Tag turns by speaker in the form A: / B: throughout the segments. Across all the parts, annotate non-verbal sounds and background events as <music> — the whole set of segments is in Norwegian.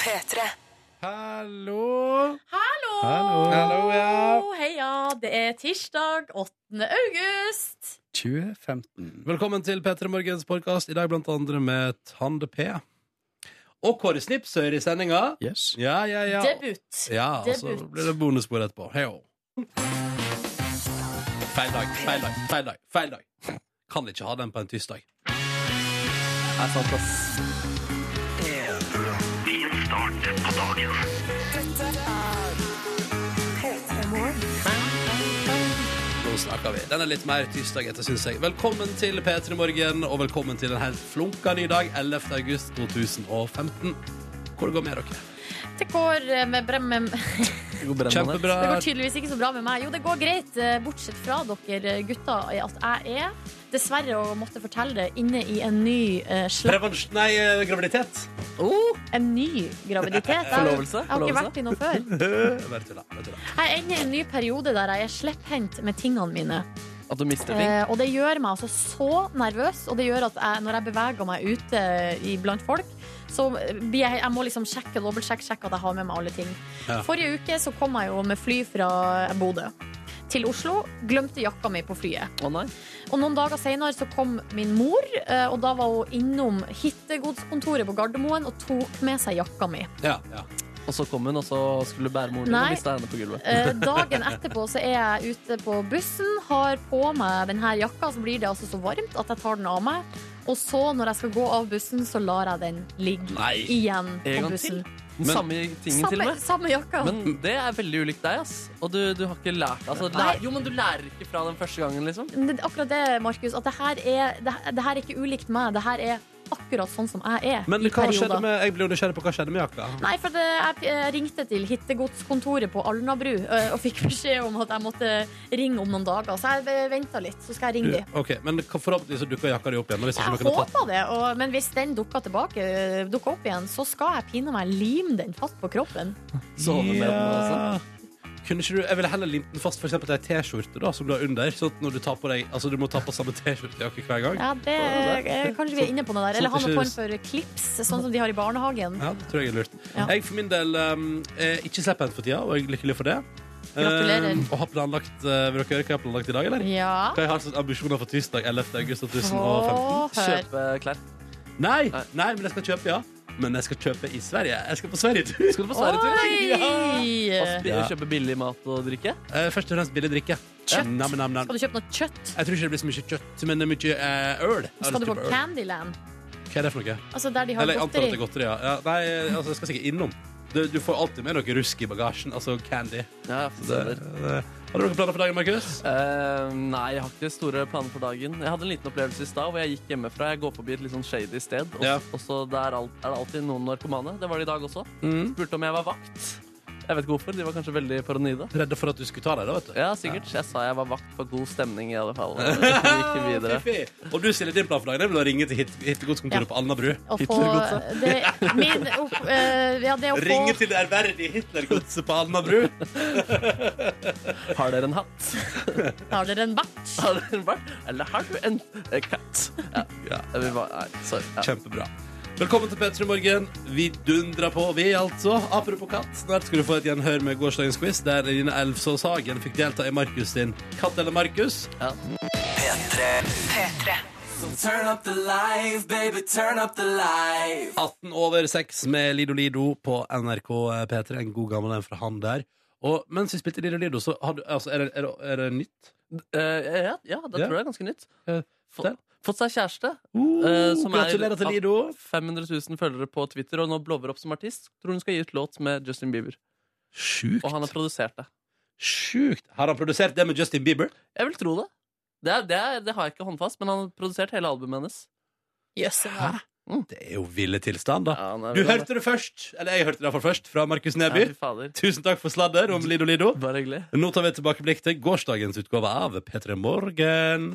A: P3.
B: Hallo!
C: Hallo!
B: Hallo. Hallo, ja.
C: Heia! Det er tirsdag 8. august.
B: 2015.
D: Velkommen til P3 Morgens podkast, i dag blant andre med Tande P. Og Kåre Snipsøyr i sendinga.
B: Yes.
D: Ja, ja, ja.
C: Debut.
D: Ja, og så
C: Debut.
D: blir det bonusbord etterpå. Heyo. Feil dag, feil dag, feil dag, feil dag. Kan ikke ha den på en tirsdag.
B: Jeg satt oss.
D: Nå snakker vi. Den er litt mer tirsdagete, syns jeg. Velkommen til P3 Morgen, og velkommen til en helt flunka ny dag, 11. august 2015. Hvor går det med dere?
C: Det går, eh, med brem, <laughs> med,
B: Det går bra med
D: Kjempebra.
C: det går tydeligvis ikke så bra med meg. Jo, det går greit, eh, bortsett fra dere eh, gutter, eh, at jeg er Dessverre å måtte fortelle det inne i en ny eh, slapp
D: Prevensj... Nei, eh, graviditet.
C: En ny
B: <laughs>
C: graviditet. Jeg har-
B: Oh! Forlovelse?
C: Jeg har ikke
B: Forlovelse?
C: vært i noe før.
D: Bare tulla. bare tulla.
C: Jeg er inne i en ny periode der jeg er slepphendt med tingene mine.
B: det. At du mister ting.
C: Eh, og det gjør meg altså så nervøs, og det gjør at jeg, når jeg beveger meg ute i, blant folk, så blir jeg, jeg må liksom sjekke, dobbeltsjekke, sjekke at jeg har med meg alle ting.
D: Ja.
C: Forrige uke så kom jeg jo med fly fra Bodø til Oslo. Glemte jakka mi på flyet.
B: Å nei.
C: Og noen dager senere så kom min mor, eh, og da var hun innom hittegodskontoret på Gardermoen og tok med seg jakka mi.
D: Ja, ja.
B: Og så kom hun, og så skulle bære moren din
C: Nei.
B: og mista henne på gulvet.
C: Eh, dagen etterpå så er jeg ute på bussen, har på meg denne jakka, så blir det altså så varmt at jeg tar den av meg. Og så, når jeg skal gå av bussen, så lar jeg den ligge
D: Nei.
C: igjen
B: En
C: på
B: gang
C: bussen.
B: Den
D: Men-
B: samme tingen til og
C: Samme,
B: med.
C: samme jakka.
B: Men det er veldig ulikt deg, ass. Og du, du har ikke lært altså,
C: Nei.
B: lær, Jo, men du lærer ikke fra den første gangen, liksom.
C: Men det er akkurat det, Markus, at det her er, det, det her er ikke ulikt meg. Det her er akkurat sånn som jeg er
D: Men
C: i
D: hva skjedde
C: perioder.
D: med, jeg blir jo nysgjerrig på hva skjedde med jakka.
C: Nei, for det, jeg eh, ringte til hittegodskontoret på Alnabru eh, og fikk beskjed om at jeg måtte ringe om noen dager. Så jeg venta litt, så skal jeg ringe dem.
D: Ok, Men forhåpentligvis så dukker jakka di opp igjen. og Hvis ikke
C: Jeg
D: noen har tatt
C: håper det, og, men hvis den dukker, tilbake, dukker opp igjen, så skal jeg pine meg lime den fast på kroppen.
B: Sove med den og sånn.
D: altså. Kunne ikke du, jeg ville heller limt den fast for eksempel til ei T-skjorte da, som du har under. Sånn at når du tar på deg Altså du må ta på samme T-skjortejakke hver gang.
C: Ja, det, eh, kanskje vi er inne på noe der. Eller ha
D: sånn at
C: noen
D: ikke-
C: form for klips, sånn som de har i barnehagen.
D: Ja, det tror jeg er lurt.
C: Ja.
D: Jeg for min del um, er ikke slepphendt for tida, og jeg er lykkelig for det.
C: Gratulerer.
D: Um, og har planlagt eh, Vil dere høre hva jeg har planlagt i dag, eller?
C: Ja.
D: Hva jeg har som ambisjoner for tirsdag 11. august 2015?
C: Å, hør.
B: Kjøpe klær.
D: Nei, nei, men jeg skal kjøpe, ja. Men jeg skal kjøpe i Sverige. Jeg skal på Sverigetur.
B: Skal du på Sverigetur?
C: Oi!
B: Og spi- Kjøpe billig mat og drikke?
D: Eh, Først og fremst billig drikke.
C: Kjøtt.
D: Nam, nam, nam.
C: Skal du kjøpe noe kjøtt?
D: Jeg tror ikke det blir så mye kjøtt, men det er mye eh, øl. Jeg har
C: Skal du
D: lyst til
C: på
D: å kjøpe øl.
C: Candyland?
D: Hva er det for noe?
C: Altså der de har
D: Eller jeg antar at det er
C: godteri?
D: godteri, ja. ja nei, altså, jeg skal sikkert innom. Du, du får alltid med noe rusk i bagasjen. Altså candy.
B: Ja, ja,
D: Det,
B: stemmer.
D: det. Har du noen planer for dagen, Markus?
B: Eh, nei, jeg har ikke store planer for dagen. Jeg hadde en liten opplevelse i stad hvor jeg gikk hjemmefra. Jeg går forbi et litt sånn shady sted, og,
D: Ja.
B: og så der alt, er det alltid noen narkomane. Det var det i dag også.
C: Mm.
B: Spurte om jeg var vakt. Jeg vet ikke hvorfor. De var kanskje veldig paranoide.
D: Redde for at du skulle ta deg, da, vet du.
B: Ja, sikkert. Jeg sa jeg var vakt for god stemning, i alle
D: <laughs>
B: fall. Vi gikk videre.
D: Fiffi. Og du stiller din plan for dagen. Det vil å ringe til hit- hittegodskontoret på Alnabru.
C: Å få,
B: Hitlergodset.
C: det, min, opp, eh, ja, det å få
D: Ringe til det ærverdige Hitlergodset på Alnabru.
C: <laughs>
B: Har dere en hatt?
C: Har dere en bart?
B: Har dere en bart? Eller har du en eh, katt? Ja.
D: Ja.
B: Jeg vil bare, nei, sorry. Ja.
D: Kjempebra. Velkommen til P3 Morgen. Vi dundrer på, vi altså. Apropos katt, snart skal du få et gjenhør med gårsdagens quiz, der Line Elvsås Hagen fikk delta i Markus sin Katt eller Markus.
B: Ja.
A: P3.
D: 18 over 6 med Lido Lido på NRK P3. En god gammel en fra han der. Og mens vi spilte Lido Lido, så har du, altså, er, det, er, det, er det nytt?
B: Eh, ja, ja, det
D: Ja.
B: tror jeg er ganske nytt.
D: Eh,
B: Få- Fått seg kjæreste.
D: Uh,
B: Eh, som er-
D: gratulerer til Lido.
B: 500 000 følgere på Twitter og nå blåver opp som artist. Tror hun skal gi ut låt med Justin Bieber.
D: Sjukt.
B: Og han har produsert det.
D: Sjukt. Har han produsert det med Justin Bieber?
B: Jeg vil tro det. Det, er, det, er, det har jeg ikke håndfast, men han har produsert hele albumet hennes.
C: Jøsse navn.
D: Det er jo ville tilstand, da.
B: Ja, han er
D: Du
B: vel-
D: hørte det først! Eller jeg hørte det iallfall først, fra Markus
B: ja,
D: Neby.
B: fy fader.
D: Tusen takk for sladder om Lido Lido.
B: Bare hyggelig.
D: Nå tar vi et tilbakeblikk til gårsdagens utgave av P3 Morgen.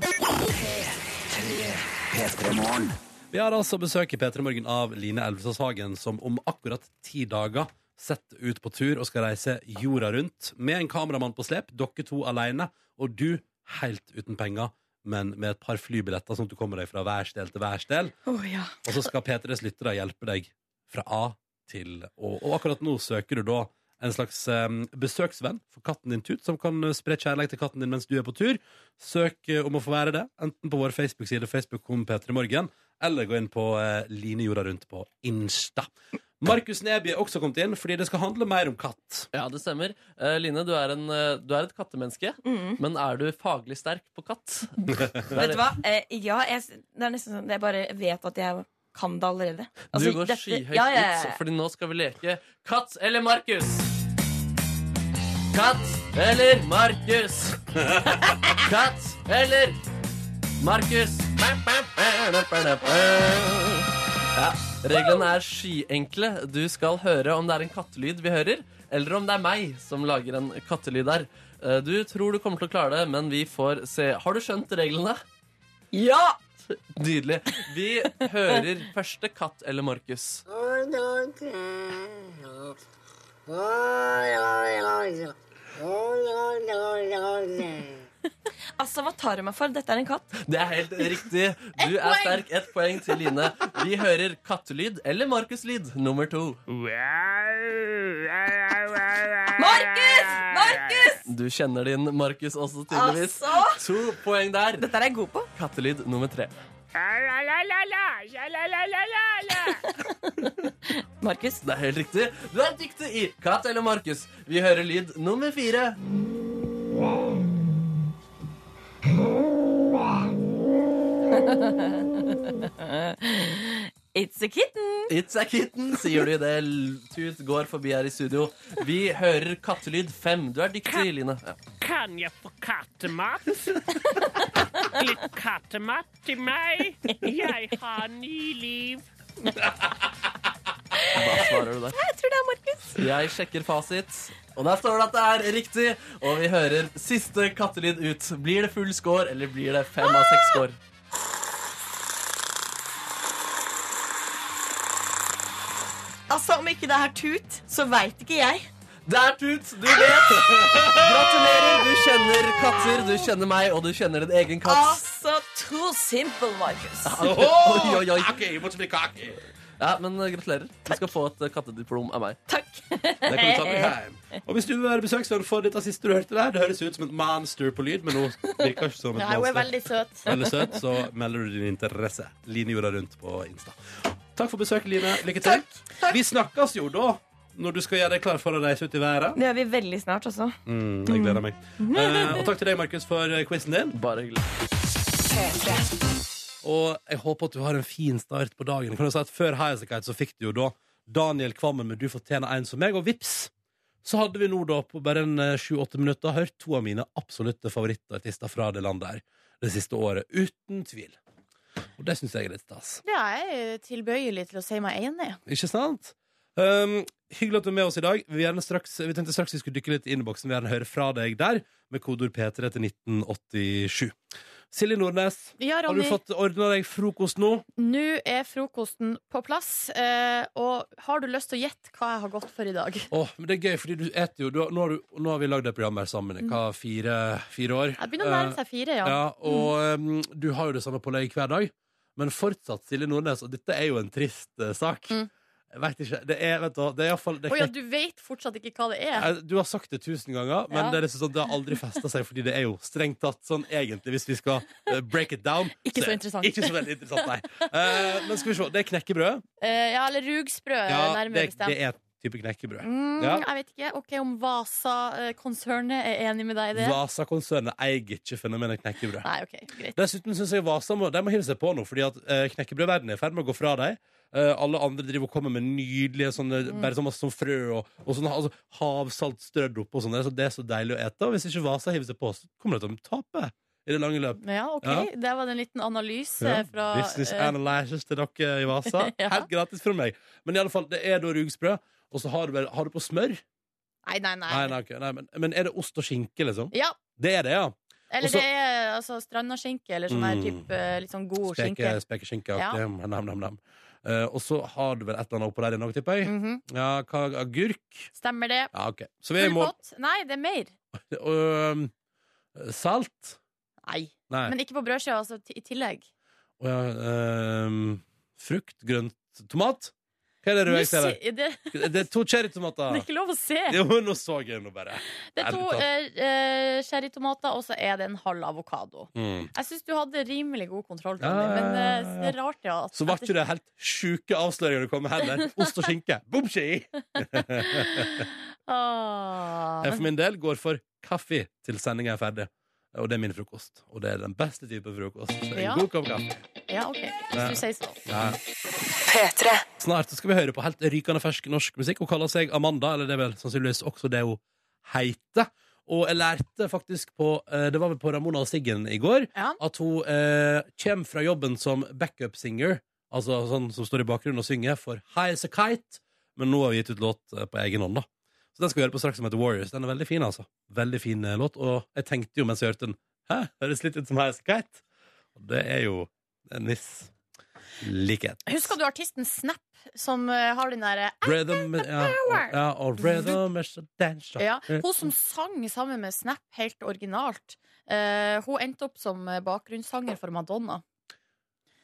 D: Vi har altså besøk i P3 Morgen av Line Elvesås Hagen, som om akkurat ti dager setter ut på tur og skal reise jorda rundt med en kameramann på slep, dere to alene, og du helt uten penger. men med et par flybilletter, sånn at du kommer deg fra værsdel til værsdel.
C: Åh, ja.
D: Og så skal P3s lyttere hjelpe deg fra A til Å. Og akkurat nå søker du da en slags eh, besøksvenn for katten din Tut, som kan eh, spre kjærlighet til katten din mens du er på tur. Søk eh, om å få være det, enten på vår Facebook-side, Facebook.com P3morgen, eller gå inn på eh, Line jorda rundt på Insta. Markus Neby er også kommet inn, fordi det skal handle mer om katt.
B: Ja, det stemmer. Eh, Line, du er, en, eh, du er et kattemenneske, men er du faglig sterk på katt?
A: Vet du hva? Eh, ja, jeg, s- det er nesten sånn Jeg bare vet at jeg kan det allerede.
B: Du
A: Altså,
B: går
A: dette-
B: skyhøyt
A: ja, ja, ja.
B: ut, fordi nå skal vi leke Katt eller Markus? Katt eller Markus?
A: <laughs>
B: Katt eller Markus? Ja, reglene er skyenkle. Du skal høre om det er en kattelyd vi hører, eller om det er meg som lager en kattelyd der. Eh, Du tror du kommer til å klare det, men vi får se. Har du skjønt reglene?
A: ja!
B: Nydelig. Vi hører første Katt eller Markus.
A: Altså, hva tar du meg for? Dette er en katt.
B: Det er helt riktig. Du er sterk. Ett poeng til Line. Vi hører kattelyd eller Markus-lyd nummer to.
A: Markus! Markus!
B: Du kjenner din Markus også, tydeligvis.
A: Altså!
B: To poeng der.
A: Dette er jeg god på.
B: Kattelyd nummer tre.
A: Markus.
B: Det er helt riktig. Du er dyktig i Katt eller Markus. Vi hører lyd nummer fire.
A: It's a kitten.
B: It's a kitten, sier du idet Tut går forbi her i studio. Vi hører kattelyd fem. Du er dyktig, Line. Ja.
E: Kan jeg få kattemat? Litt kattemat til meg? Jeg har ny liv.
B: Hva svarer du der?
A: Jeg tror det er Markus.
B: Jeg sjekker fasit, og der står det at det er riktig. Og vi hører siste kattelyd ut. Blir det full score, eller blir det fem av seks score?
A: Altså, om ikke det er tut, så veit ikke jeg.
B: Det er Tut! Du vet! Gratulerer! Du kjenner katter, du kjenner meg, og du kjenner din egen katt.
A: Altså, too simple, Markus.
D: Ah.
B: <laughs> Oi, oi, oi.
D: Kake, bort med kake.
B: Ja, men eh, Gratulerer. Du skal få et eh, kattediplom av meg.
A: Takk.
D: Det kan du ta med hjem. Og hvis du vil være besøksvenn for dette siste du hørte der, det høres ut som et monster på lyd, men nå virker ikke som et
C: Nei, hun er
D: monster.
C: veldig søt.
D: Veldig søt, så melder du din interesse. Line jorda rundt på Insta. Takk for besøket, Line. Lykke til. Vi snakkes jo da, når du skal gjøre deg klar for å reise ut i været.
A: Det gjør vi veldig snart også.
D: Mm, jeg gleder meg. Eh, og takk til deg, Markus, for eh, quizen din.
B: Bare hyggelig.
D: Og jeg håper at du har en fin start på dagen. Kan du si at Før Highasakite så fikk du jo da Daniel Kvammen med 'Du fortjener en som meg', og vips, så hadde vi nå da på bare en eh, sju-åtte minutter hørt to av mine absolutte favorittartister fra det landet her det siste året. Uten tvil. Og det syns jeg er litt stas.
C: Ja, jeg er tilbøyelig til å si meg enig.
D: Ikke sant? Um, hyggelig at du er med oss i dag. Vi, vil gjerne straks, vi tenkte straks vi skulle dykke litt i innboksen. Vi vil gjerne høre fra deg der med kodeord P3 til 1987. Silje Nordnes,
C: Ja,
D: har du
C: Ronny,
D: fått ordna deg frokost nå?
C: nå er frokosten på plass. eh, Og har du lyst til å gjette hva jeg har gått for i dag?
D: Åh, men det er gøy, fordi du eter jo du, har- nå, har du, nå har vi lagd et program her sammen i hva, fire, fire år.
C: Jeg Mm. begynner å nærme seg fire,
D: Eh,
C: ja. Mm.
D: ja, og um, du har jo det samme pålegget hver dag. Men fortsatt, Silje Nordnes, og dette er jo en trist eh, sak.
C: Mm.
D: Jeg vet ikke, det er, vet du, hva, det er iallfall
C: Å ja, du vet fortsatt ikke hva det er?
D: Jeg- Eh, Du har sagt det tusen ganger, men
C: Ja.
D: det, er liksom sånn, det har aldri festa seg. Fordi det er jo strengt tatt sånn egentlig, hvis vi skal eh, break it down
C: Ikke så
D: er-
C: interessant.
D: Ikke så veldig interessant, nei. Eh, men skal vi se. Det er knekkebrød.
C: Eh, Ja, eller rugsprø, nærmere
D: det, det
C: bestemt.
D: er type knekkebrød.
C: Mm,
D: Ja.
C: Jeg vet ikke. OK, om Vasa-konsernet er enig med deg i det?
D: Vasa-konsernet eier ikke fenomenet knekkebrød.
C: Nei, OK, greit.
D: Dessuten syns jeg Vasa må, de må hive seg på nå, fordi at eh, knekkebrødverdenen er i ferd med å gå fra dem. Eh, alle andre driver og kommer med nydelige sånne,
C: Mm.
D: bare sånn masse sånn frø og, og sånn altså, havsalt strødd oppå. og sånn der, Så det er så deilig å ete. Og hvis ikke Vasa hiver seg på, så kommer de til å tape i det lange løp.
C: Ja, OK.
D: Ja.
C: Der var det en liten analyse
D: Ja,
C: fra
D: Business
C: eh,
D: analysis til dere i Vasa.
C: <laughs> Ja.
D: Helt gratis fra meg. Men i alle fall, det er da rugsprø. Og så har du, vel- har du på smør?
C: Nei, nei,
D: Nei,
C: nei.
D: nei, ok, nei men, men er det ost og skinke, liksom?
C: Ja.
D: Det er det, ja.
C: Eller
D: Og så-
C: det er altså, strandaskinke, eller sånn her
D: Mm.
C: type eh, litt sånn god skinke.
D: Speke- Spekeskinkeaktig. Nam, nam, nam. Eh, og så har du vel et eller annet oppå der igjen òg, tipper jeg.
C: Mhm.
D: Ja, hva, agurk?
C: Stemmer det.
D: Ja, OK. Så vi
C: Full
D: må
C: pott? Nei, det er mer.
D: øhm, eh, Salt?
C: Nei.
D: Nei.
C: Men ikke på brødskiva altså, t- i tillegg.
D: Å ja, ehm, frukt, grønt, tomat? Hva er det røde
C: Nå
D: jeg ser
C: si- det, det
D: der? Det er to
C: er <laughs>
D: cherrytomater.
C: ikke lov å se!
D: Jo, nå så jeg nå bare.
C: Det er to
D: Ærlig talt.
C: eh, eh, cherrytomater, og så er det en halv avokado.
D: Mm.
C: Jeg syns du hadde rimelig god kontroll,
D: Ja,
C: Ronny,
D: ja,
C: men
D: ja,
C: eh,
D: ja.
C: det er rart ja, at
D: Så var ikke det helt sjuke avsløringer du kom med heller. Ost og skinke.
C: <laughs>
D: Bomski!
C: Ah,
D: Jeg
C: men,
D: for min del går for kaffe til sendinga er ferdig. Og det er min frokost. Og det er den beste type frokost. En
C: Ja.
D: god kopp kaffe.
C: ja, ok, hvis du sier så.
D: Ja.
F: P3.
D: Snart skal vi høre på helt rykende fersk norsk musikk. Hun kaller seg Amanda, eller det er vel sannsynligvis også det hun heter. Og jeg lærte faktisk på eh, Det var vel på Ramona og Siggen i går.
C: Ja.
D: At hun eh, kommer fra jobben som backup-singer, altså sånn som står i bakgrunnen og synger, for High As A Kite. Men nå har vi gitt ut låt eh, på egen hånd, da. Så den skal vi høre på straks, som heter Warriors. Den er veldig fin, altså. Veldig fin eh, låt. Og jeg tenkte jo mens jeg hørte den, hæ, høres litt ut som High As A Kite? Og det er jo en viss likhet.
C: Husker du artisten Snap, som eh, har den derre
D: Rhythm ja, og- ja, og rhythm is a dance da.
C: ja, Hun som sang sammen med Snap helt originalt. Eh, hun endte opp som eh, bakgrunnssanger for Madonna.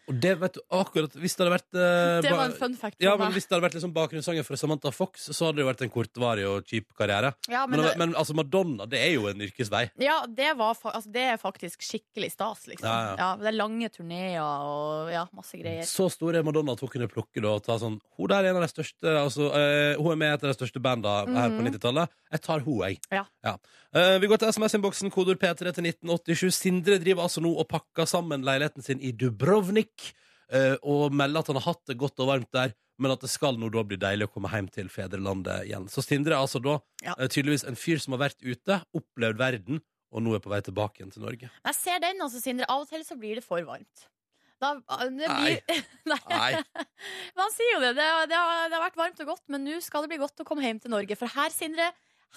D: Og det vet du akkurat Hvis det hadde vært eh,
C: Det
D: ba-
C: var en fun fact. for
D: ja,
C: meg.
D: men Hvis det hadde vært liksom bakgrunnssanger fra Samantha Fox, så hadde det vært en kortvarig og kjip karriere.
C: ja,
D: Men,
C: men det,
D: men altså Madonna det er jo en yrkesvei.
C: Ja, det, var fa altså, det er faktisk skikkelig stas, liksom.
D: Ja,
C: Ja,
D: ja.
C: det er lange turneer og ja, masse greier.
D: Så stor er Madonna at hun kunne plukke da, og ta sånn Hun der er en av de største altså, eh, Hun er med i et av de største banda her på
C: Mhm.
D: 90-tallet. Jeg tar hun, jeg.
C: Ja.
D: Eh, vi går til SMS-innboksen, kodord P3 til 1987. Sindre driver altså nå og pakker sammen leiligheten sin i Dubrovnik. eh, og melder at han har hatt det godt og varmt der, men at det skal nå da bli deilig å komme hjem til fedrelandet igjen. Så Sindre er altså da
C: Ja.
D: eh, tydeligvis en fyr som har vært ute, opplevd verden, og nå er på vei tilbake igjen til Norge.
C: Men Jeg ser den, altså, Sindre. Av og til så blir det for varmt. Da, eh, det blir, <laughs> nei.
D: Nei.
C: Man sier jo det. Det, har- det, har, det har vært varmt og godt, men nå skal det bli godt å komme hjem til Norge. For her, Sindre,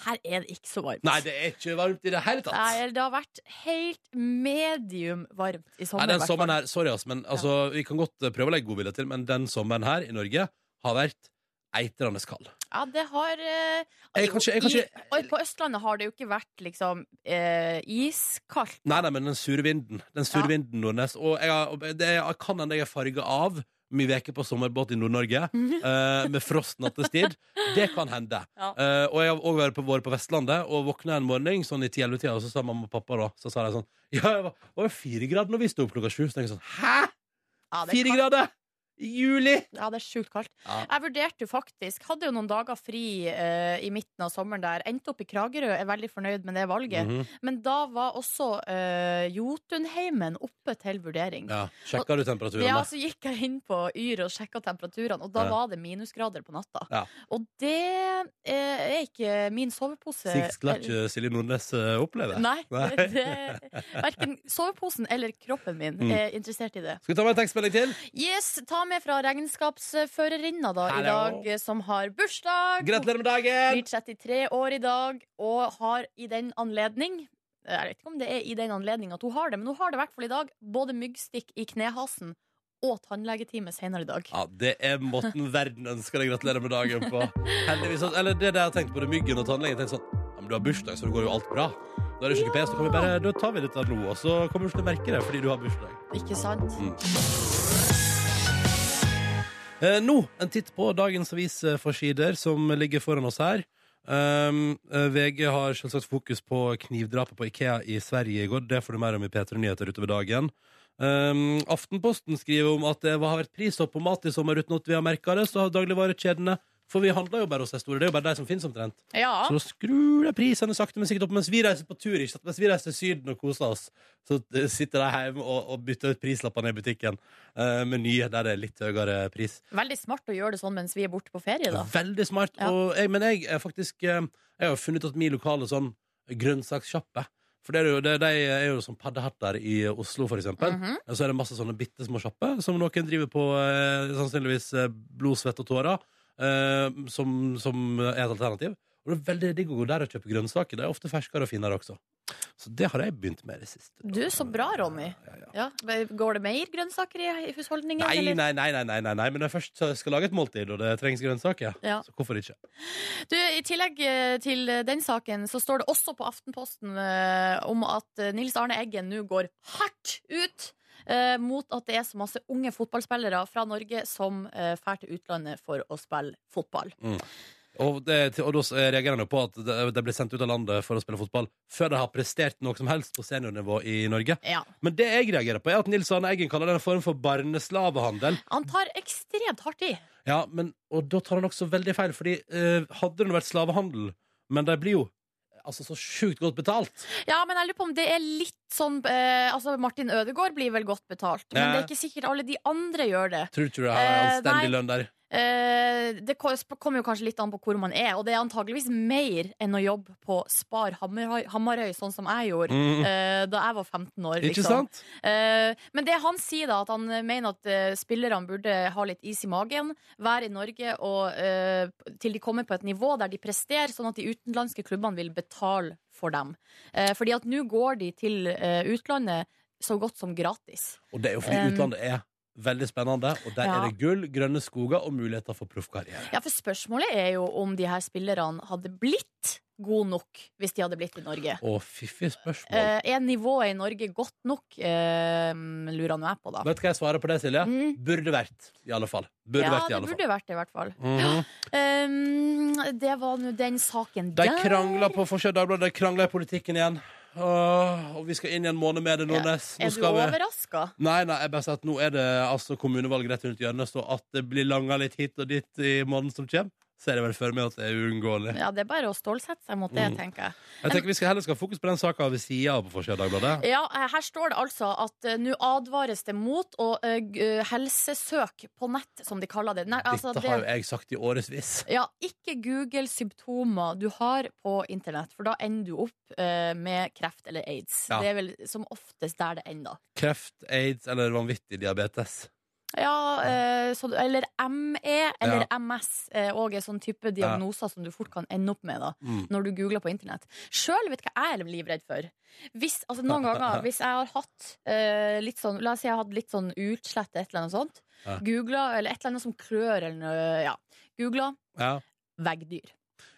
C: her er det ikke så varmt.
D: Nei, det er ikke varmt i det hele tatt.
C: Nei, det har vært helt medium varmt i sommer.
D: Nei, den
C: hvertfall.
D: sommeren her, sorry ass, men altså, vi kan godt eh, prøve å legge godvilje til, men den sommeren her i Norge har vært eitrende kald.
C: Ja, det har eh,
D: Jeg kan ikke- jeg kan
C: i-
D: ikke-
C: og På Østlandet har det jo ikke vært liksom eh, iskaldt.
D: Nei, nei, men den sure vinden, den sure
C: Ja.
D: vinden Nordnes, og jeg, har- og det er- jeg kan hende jeg er farget av mye veker på sommerbåt i
C: <laughs>
D: Nord-Norge, eh, med frost nattestid. Det kan hende.
C: Ja.
D: Eh, og jeg har også vært på, vært på Vestlandet, og våkna en morgen sånn i 10-11-tida, og så sa mamma og pappa da, så sa de sånn, ja, jeg var, det var jo fire grader når vi stod opp klokka sju, så tenkte jeg sånn, hæ?
C: Ja, det er
D: Fire
C: kaldt.
D: grader? I juli?
C: Ja, det er sjukt kaldt.
D: Ja.
C: Jeg vurderte jo faktisk Hadde jo noen dager fri eh, i midten av sommeren der. Endte opp i Kragerø, er veldig fornøyd med det valget.
D: Mhm.
C: Men da var også eh, Jotunheimen oppe til vurdering. Ja.
D: Ja, sjekker du temperaturen? da?
C: så gikk jeg inn på Yr og sjekka temperaturene, og da
D: Ja.
C: var det minusgrader på natta.
D: Ja.
C: Og det eh, er ikke min sovepose
D: Slik skal ikke Silje Nordnes eh, oppleve.
C: Nei.
D: Nei.
C: Det, verken soveposen eller kroppen min
D: Mm.
C: er interessert i det.
D: Skal vi ta med en tekstmelding til?
C: Yes, Ta med fra regnskapsførerinna da i
D: Hallo.
C: dag, eh, som har bursdag.
D: Gratulerer med dagen!
C: Blir 33 år i dag og har i den anledning eh, Jeg vet ikke om det er i den anledning at hun har det, men hun har det i hvert fall i dag. Både myggstikk i knehasen og tannlegetime senere i dag.
D: Ja, Det er måten verden ønsker deg gratulerer med dagen på. Heldigvis, altså, eller det der jeg tenkte på det myggen og tannlegen. Jeg tenkte sånn, ja, men Du har bursdag, så det går jo alt bra. Da er det ikke PS, så kan vi bare, da tar vi dette nå, og så kommer du ikke til å merke det fordi du har bursdag.
C: Ikke sant?
D: Mm. Eh, nå en titt på dagens avisforsider som ligger foran oss her. Um, eh, VG har selvsagt fokus på knivdrapet på Ikea i Sverige i går. Det får du mer om i P3 Nyheter utover dagen. Um, Aftenposten skriver om at det har vært prishopp på mat i sommer uten at vi har merka det. Så har dagligvarekjedene For vi handler jo bare hos de store. Det er jo bare de som finnes omtrent.
C: Ja.
D: Så da skrur de prisene sakte, men sikkert opp mens vi reiser på tur. Ikke sant? Mens vi reiser til Syden og koser oss, så eh, sitter de hjemme og, og bytter ut prislappene i butikken eh, med nye der det er litt høyere pris.
C: Veldig smart å gjøre det sånn mens vi er borte på ferie, da.
D: Veldig smart.
C: Ja.
D: Og jeg, men jeg er faktisk eh, Jeg har funnet at min lokale sånn grønnsakssjappe for det er jo, det, De er jo som paddehatter i Oslo, for eksempel.
C: Mhm.
D: Og Så er det masse sånne bitte små sjapper som noen driver på eh, sannsynligvis eh, blod, svett og tårer, eh, som, som er et alternativ. Og det er veldig digg å gå der og kjøpe grønnsaker. Det er ofte ferskere og finere også. Så det har jeg begynt med i det siste.
C: Du, så bra, Ronny. Ja, går det mer grønnsaker i i husholdningen?
D: Nei,
C: eller?
D: nei, nei, nei, nei, nei, nei, men når jeg først skal lage et måltid, og det trengs grønnsaker,
C: Ja.
D: så hvorfor ikke?
C: Du, I tillegg eh, til den saken så står det også på Aftenposten eh, om at eh, Nils Arne Eggen nå går hardt ut eh, mot at det er så masse unge fotballspillere fra Norge som eh, drar til utlandet for å spille fotball.
D: Og, det, og da eh, reagerer han jo på at de- de blir sendt ut av landet for å spille fotball før de har prestert noe som helst på seniornivå i Norge.
C: Ja.
D: Men det jeg reagerer på, er at Nils Arne Eggen kaller det en form for barneslavehandel.
C: Han tar ekstremt hardt i.
D: Ja, men, Og da tar han også veldig feil, fordi eh, hadde det nå vært slavehandel Men de blir jo altså så sjukt godt betalt.
C: Ja, men jeg lurer på om det er litt sånn eh, Altså, Martin Ødegaard blir vel godt betalt, men
D: Ja.
C: det er ikke sikkert alle de andre gjør det.
D: Tror du ikke du har
C: Eh,
D: anstendig
C: nei.
D: lønn der?
C: Eh, det ko- sp- kommer jo kanskje litt an på hvor man er, og det er antageligvis mer enn å jobbe på Spar Hammerhøy, Hammarøy, sånn som jeg gjorde.
D: Mm,
C: eh, da jeg var 15 år.
D: ikke
C: liksom.
D: sant?
C: Eh, men det han sier, da, at han eh, mener at eh, spillerne burde ha litt is i magen, være i Norge og, eh, til de kommer på et nivå der de presterer, sånn at de utenlandske klubbene vil betale for dem. Eh, fordi at nå går de til eh, utlandet så godt som gratis.
D: Og det er jo fordi
C: Um,
D: utlandet er veldig spennende, og der
C: ja.
D: er det gull, grønne skoger og muligheter for proffkarriere.
C: Ja, For spørsmålet er jo om de her spillerne hadde blitt gode nok hvis de hadde blitt i Norge.
D: Å, fiffig spørsmål.
C: Eh, er nivået i Norge godt nok, eh, lurer nå jeg på, da.
D: Vet du hva jeg svarer på det, Silje?
C: Mm.
D: Burde vært, i alle fall. Burde
C: ja,
D: vært, i
C: det
D: alle fall.
C: burde vært det, i hvert fall.
D: Mhm.
C: Um, det var nå den saken
D: De
C: der.
D: krangler på Forskjell Dagbladet, de krangler i politikken igjen. Åh, og vi skal inn i en måned med det, Nordnes. Nå
C: Er du
D: skal vi...
C: overraska?
D: Nei, nei, jeg bare sier at nå er det altså, kommunevalg rett rundt hjørnet, så at det blir langa litt hit og dit i måneden som kommer, så er det vel for meg at det er uunngåelig.
C: Ja, det er bare å stålsette seg mot
D: Mm.
C: det, tenker jeg.
D: Jeg tenker vi skal heller skal ha fokus på den saka ved sida av på Forskjell Dagbladet.
C: Ja, eh, her står det altså at eh, nå advares det mot å eh, g- eh, helsesøk på nett, som de kaller det. Nei, altså,
D: Dette har jo
C: det
D: jeg sagt i årevis.
C: ja, ikke google symptomer du har på internett, for da ender du opp eh, med kreft eller aids.
D: Ja.
C: Det er vel som oftest der det ender.
D: kreft, aids eller vanvittig diabetes.
C: Ja, eh, så, eller ME eller MS eh, og er sånn type diagnoser som du fort kan ende opp med da,
D: Mm.
C: når du googler på internett. Sjøl vet du hva jeg er livredd for. Hvis, altså, <laughs> noen ganger, hvis jeg har hatt eh, litt sånn La oss si jeg har hatt litt sånn utslett et eller annet sånt.
D: Ja.
C: Googla, eller et eller annet som klør, eller noe Ja. Googla
D: Ja.
C: veggdyr.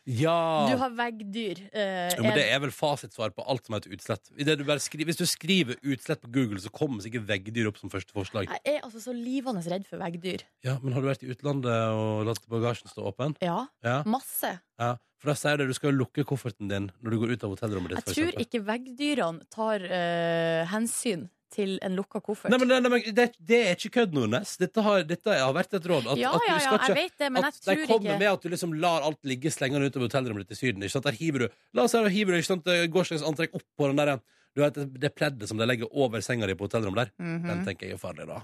D: ja.
C: Du har veggdyr. eh,
D: jo, men det
C: er-
D: er vel fasitsvar på alt som heter utslett. I det du bare skri- Hvis du skriver 'utslett' på Google, så kommer sikkert veggdyr opp som første forslag.
C: jeg er altså så livende redd for veggdyr.
D: Ja, Men har du vært i utlandet og latt bagasjen stå åpen?
C: Ja,
D: Ja.
C: masse.
D: ja. For da sier det du skal lukke kofferten din når du går ut av hotellrommet ditt. for
C: Jeg tror
D: eksempel.
C: ikke veggdyrene tar eh, hensyn til en lukka koffert.
D: Nei, men, nei, nei, men det, det er ikke kødd, Nordnes. Dette har, dette har vært et råd. At,
C: ja,
D: at du
C: ja, ja,
D: skal ikke
C: jeg vet det, men jeg
D: at de
C: tror
D: kommer
C: ikke
D: med at du liksom lar alt ligge slengende utover hotellrommet ditt i Syden. Ikke sant? Der hiver du La oss si du hiver ikke sant? gårsdagens antrekk opp på den der, du vet, det pleddet som de legger over senga di på hotellrommet der.
C: Mhm.
D: Den tenker jeg er farlig, da.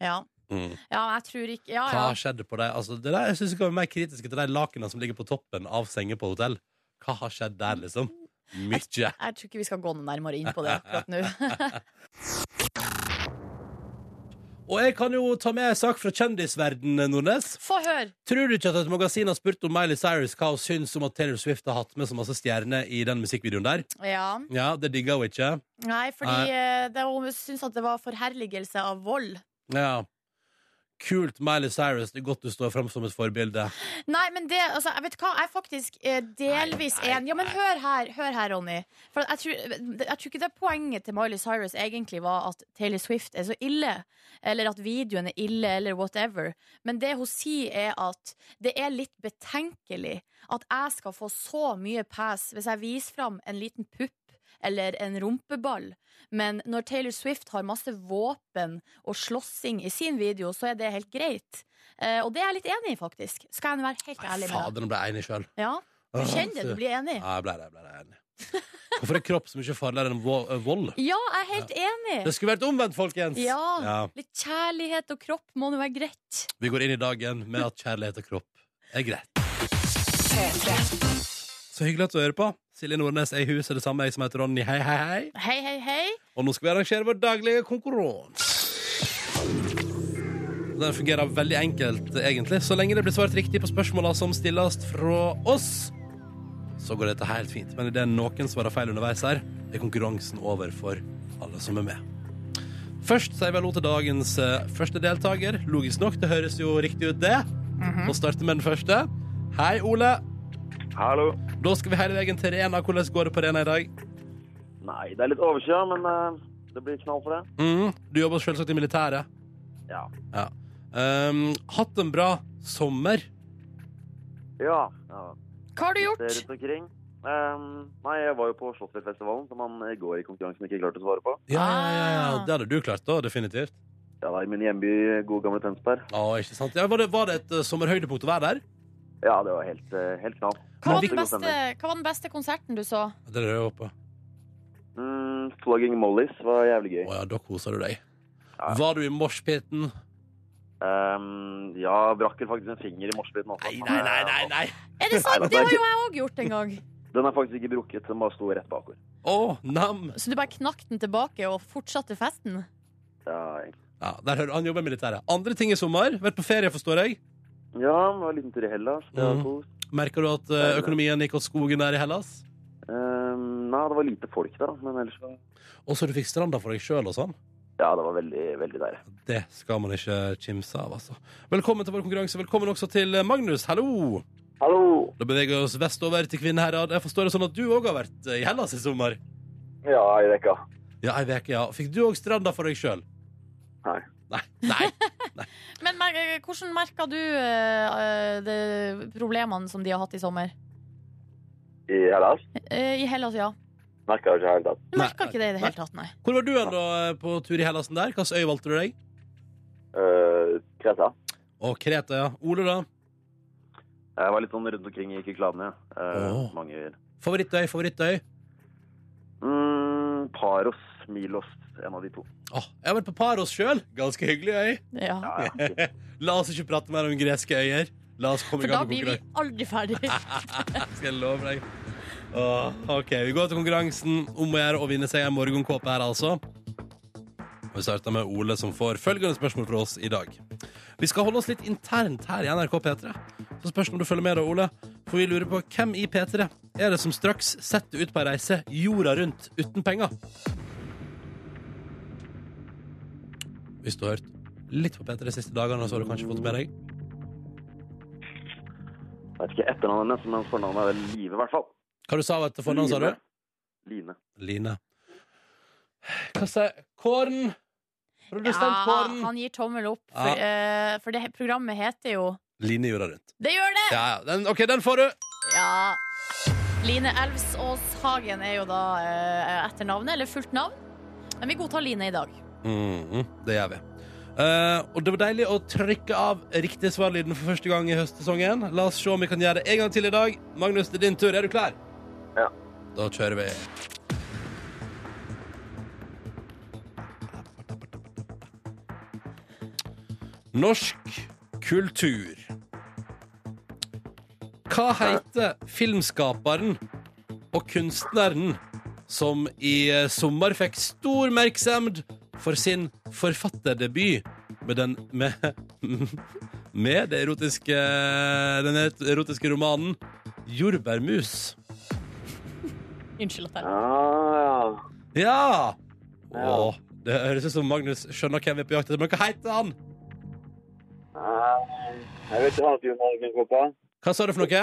C: ja.
D: Mm.
C: ja, jeg tror ikke Ja, ja.
D: Hva skjedde på deg? Altså, det der, jeg synes vi skal være mer kritiske til de lakenene som ligger på toppen av senger på hotell. Hva har skjedd der, liksom? Mykje.
C: Jeg tror ikke vi skal gå noe nærmere inn på det akkurat nå. <laughs>
D: Og jeg kan jo ta med en sak fra kjendisverdenen, Nordnes.
C: Få høre!
D: Tror du ikke at et magasin har spurt om Miley Cyrus hva hun syns om at Taylor Swift har hatt med så masse stjerner i den musikkvideoen der?
C: Ja.
D: Ja, det digger hun ikke.
C: Nei, fordi
D: Nei.
C: eh, det, hun syns at det var forherligelse av vold.
D: Ja. Kult, Miley Cyrus. Det er godt du står fram som et forbilde.
C: Nei, men det altså, jeg Vet du hva, jeg er faktisk eh, delvis
D: Nei, nei,
C: enig. Ja, men
D: nei.
C: hør her, hør her Ronny. For jeg tror, jeg tror ikke det poenget til Miley Cyrus egentlig var at Taylor Swift er så ille, eller at videoen er ille, eller whatever. Men det hun sier, er at det er litt betenkelig at jeg skal få så mye pass hvis jeg viser fram en liten pupp. Eller en rumpeball. Men når Taylor Swift har masse våpen og slåssing i sin video, så er det helt greit. Eh, og det er jeg litt enig i, faktisk. Skal jeg nå være helt
D: Nei,
C: ærlig med deg.
D: fader, nå ble jeg enig sjøl.
C: Ja, du kjenner det, du blir enig.
D: Ja, jeg ble det. Jeg ble det jeg er enig. Hvorfor er kropp så mye farligere enn vo- eh, vold?
C: Ja, jeg er helt enig.
D: Det skulle vært omvendt, folkens!
C: Ja.
D: Ja.
C: Litt kjærlighet og kropp må nå være greit.
D: Vi går inn i dagen med at kjærlighet og kropp er greit. Så hyggelig at du hører på. Silje Nordnes er i huset, det samme jeg som heter Ronny. Hei, hei, hei.
C: Hei, hei, hei.
D: Og nå skal vi arrangere vår daglige konkurranse. Den fungerer veldig enkelt, egentlig. Så lenge det blir svart riktig på spørsmåla som stilles fra oss, så går dette helt fint. Men idet noen svarer feil underveis her, er konkurransen over for alle som er med. Først sier vi hallo til dagens eh, første deltaker. Logisk nok, det høres jo riktig ut, det. Nå starter vi med den første. Hei, Ole.
G: Hallo.
D: Da skal vi hele veien til Rena. Hvordan går det på Rena i dag?
G: Nei, det er litt overskya, men eh, det blir knall for det.
D: Mm, du jobber selvsagt i militæret.
G: Ja.
D: Ja. Um, hatt en bra sommer.
G: Ja. ja.
C: Hva har du
G: Det er
C: gjort?
G: rundt omkring. Ehm, nei, jeg var jo på Slottsfjellfestivalen, som han i går i konkurransen ikke klarte å svare på.
D: Ja, ja, ja, ja.
C: Ah.
D: Det hadde du klart, da, definitivt.
G: Ja, da, i min hjemby, gode gamle Tønsberg.
D: Ja, ikke sant? Ja, var, det, var det et eh, sommerhøydepunkt å være der?
G: Ja, det var helt, eh, helt knall.
C: Hva var,
G: Masse
C: den
G: god
C: beste,
G: stemning.
C: hva var den beste konserten du så?
D: Det er det jeg håper.
G: Mm, Flogging Mollies var jævlig gøy.
D: Å ja, da koser du deg.
G: Ja.
D: Var du i moshpiten?
G: Ehm, ja, brakk vel faktisk en finger i morsbiten også.
D: nei.
C: Er det sant?
G: Nei, det
C: Det
G: er
C: har
G: ikke-
C: jo jeg òg gjort en gang.
G: Den er faktisk ikke brukket, den bare sto rett bakord.
D: Å, nam.
C: Så du bare knakk den tilbake og fortsatte festen?
G: Ja, egentlig.
D: Ja, der hører du, Han jobber i militæret. Andre ting i sommer. Vært på ferie, forstår jeg.
G: ja, det var en liten tur i Hellas. Det var
D: Mm.
G: kos.
D: Merker du at eh, økonomien gikk åt skogen der i Hellas?
G: Ehm, nei, det var lite folk der, da, men ellers var
D: Og så du fikk stranda for deg sjøl og sånn?
G: Ja, det var veldig, veldig deilig.
D: Det skal man ikke kimse av, altså. Velkommen til vår konkurranse. Velkommen også til eh, Magnus. Hallo!
G: Hallo!
D: Da beveger vi oss vestover til Kvinnherad. Jeg forstår det sånn at du òg har vært i Hellas i sommer?
G: Ja, ei uke.
D: Ja, ei veke, ja. Fikk du òg stranda for deg sjøl?
G: Nei.
D: Nei. Nei.
C: Men mer, hvordan merka du eh, de problemene som de har hatt i sommer?
G: I Hellas?
C: Eh, I Hellas, ja.
G: Merka det ikke helt at
C: Du
D: Nei,
C: merka ikke det i det
D: nei.
C: hele tatt, nei.
D: Hvor var du hen da eh, på tur i Hellasen der? Hvilken øy valgte du deg?
G: uh, Kreta.
D: Å, Kreta, ja. Ole, da?
G: Jeg var litt sånn rundt omkring i Kyklania. Eh,
D: Åh.
G: Mange
D: Favorittøy, favorittøy?
G: mm, Paros, Milos, en av de to.
D: Å, jeg har vært på Paros sjøl. Ganske hyggelig øy. <laughs>
C: Ja.
G: Ja, ja.
D: La oss ikke prate mer om greske øyer. La oss komme
C: For
D: i
C: da
D: gang med
C: blir vi
D: konkurransen.
C: aldri
D: <laughs>
C: ferdig.
D: Skal jeg love deg. Åh, OK, vi går til konkurransen om å gjøre å vinne seg en morgenkåpe her, altså. Vi starter med Ole, som får følgende spørsmål fra oss i dag. Vi skal holde oss litt internt her i NRK P3. Så spørs det om du følger med, da, Ole. For vi lurer på hvem i P3 er det som straks setter ut på ei reise jorda rundt uten penger? Hvis du har hørt litt på P3 de siste dagene, så har du kanskje fått med deg
G: Vet ikke etternavnet hennes, men fornavnet er vel Live, i hvert fall.
D: Hva du sa du til fornavn, sa du?
G: Line.
D: Line. Hva sier Kåren? Produsent
C: Ja,
D: Kåren!
C: han gir tommel opp, for,
D: Ja.
C: eh, for det he- programmet heter jo
D: Line jorda rundt.
C: Det gjør det!
D: Ja, ja. Den, OK, den får du!
C: Ja. Line Elvsås Hagen er jo da eh, etternavnet, eller fullt navn. Men vi godtar Line i dag.
D: Mhm, det gjør vi. Eh, og det var deilig å trykke av riktig svarlyden for første gang i høstsesongen. La oss se om vi kan gjøre det en gang til i dag. Magnus, det er din tur. Er du klar?
G: Ja.
D: Da kjører vi. Norsk kultur. Hva heter filmskaperen og kunstneren som i eh, sommer fikk stor merksemd for sin forfatterdebut med den med, <laughs> med det erotiske, den erotiske romanen 'Jordbærmus'.
C: Unnskyld at jeg
G: Ah,
D: Ja! Åh, det høres ut som Magnus skjønner hvem vi er på jakt etter. Men hva heter han?
G: ja. Jeg vet ikke alt om morgenkåpa.
D: Hva sa du for noe?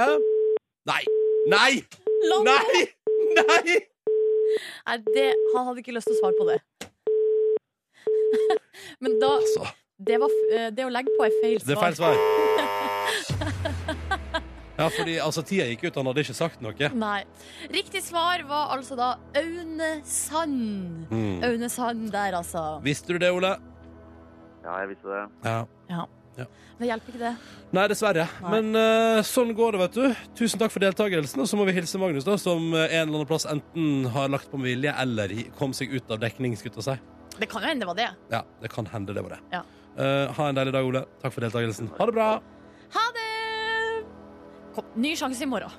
D: Nei! Nei!
C: Lol.
D: Nei! Nei!
C: Nei, det, han hadde ikke lyst til å svare på det. <laughs> Men da
D: Altså,
C: Det, var, f- eh, det å legge på er feil svar.
D: det er feil svar. Ja, fordi altså, tida gikk ut. Han hadde ikke sagt noe.
C: Nei. Riktig svar var altså da Aune Sand.
D: Mm.
C: Aune Sand der, altså.
D: Visste du det, Ole?
G: Ja, jeg visste det.
D: Ja.
C: Det hjelper ikke, det.
D: Nei, dessverre.
C: Nei.
D: Men eh, sånn går det, vet du. Tusen takk for deltakelsen. Og så må vi hilse Magnus, da, som eh, en eller annen plass enten har lagt på med vilje eller i- kom seg ut av dekning. skulle jeg til å si.
C: Det kan jo hende det var det.
D: Ja, det kan hende det var det.
C: Ja.
D: Eh, ha en deilig dag, Ole. Takk for deltakelsen. Ha det bra.
C: Ha det! Kom, ny sjanse i morgen.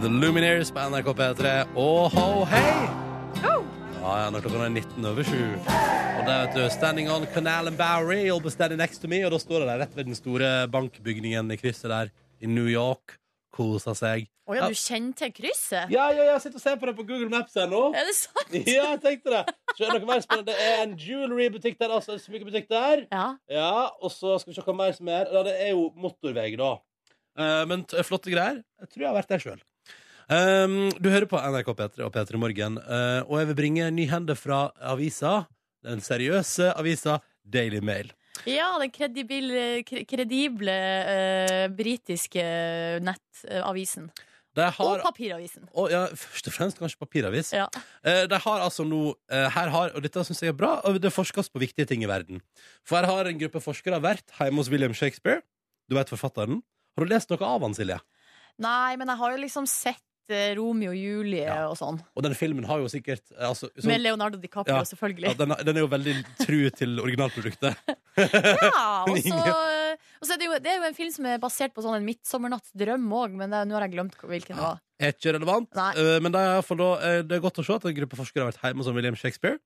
D: The Lumineers på NRK P3. Og ho, hei! Ja, ja, når klokka er 19 over 7. Og der, vet du, Standing on Canal and Bowery, you'll be standing next to me. Og da står det der rett ved den store bankbygningen i krysset der i New York. kosa seg.
C: Å ja, du kjenner til krysset?
D: Ja, ja, ja, sitter og ser på det på Google Maps her nå.
C: Er det sant?
D: Ja, jeg tenkte det. Så er det noe mer spennende. Det er en jewelry-butikk der, altså en smykkebutikk der.
C: Ja.
D: Ja, og så skal vi se hva mer som er. Ja, det er jo motorvei, da. Eh, men t flotte greier. Jeg tror jeg har vært der sjøl. du hører på NRK P3 og P3 Morgen, eh, og jeg vil bringe nyhender fra avisa. Den seriøse avisa Daily Mail.
C: ja, den kredibil- kre- kredible eh, britiske eh, nettavisen.
D: De
C: Og
D: har
C: papiravisen.
D: og, ja, Først og fremst kanskje papiravis.
C: Ja.
D: Eh, de har altså nå eh, her har, Og dette syns jeg er bra, og det forskes på viktige ting i verden. For her har en gruppe forskere vært hjemme hos William Shakespeare. Du vet forfatteren. Har du lest noe av han, Silje?
C: Nei, men jeg har jo liksom sett eh, Romeo og Julie
D: Ja.
C: og sånn.
D: Og den filmen har jo sikkert eh, altså, sånn-
C: Med Leonardo DiCaprio,
D: Ja.
C: selvfølgelig.
D: Ja, den, den er jo veldig tru til originalproduktet. <laughs>
C: Ja, og så,
D: Ingen.
C: og så er det, jo, det er jo en film som er basert på sånn en midtsommernattsdrøm òg, men det, nå har jeg glemt hvilken det var.
D: Er ikke relevant.
C: Nei.
D: Eh, Men det er, i hvert fall da, eh, det er godt å se at en gruppe forskere har vært hjemme hos William Shakespeare.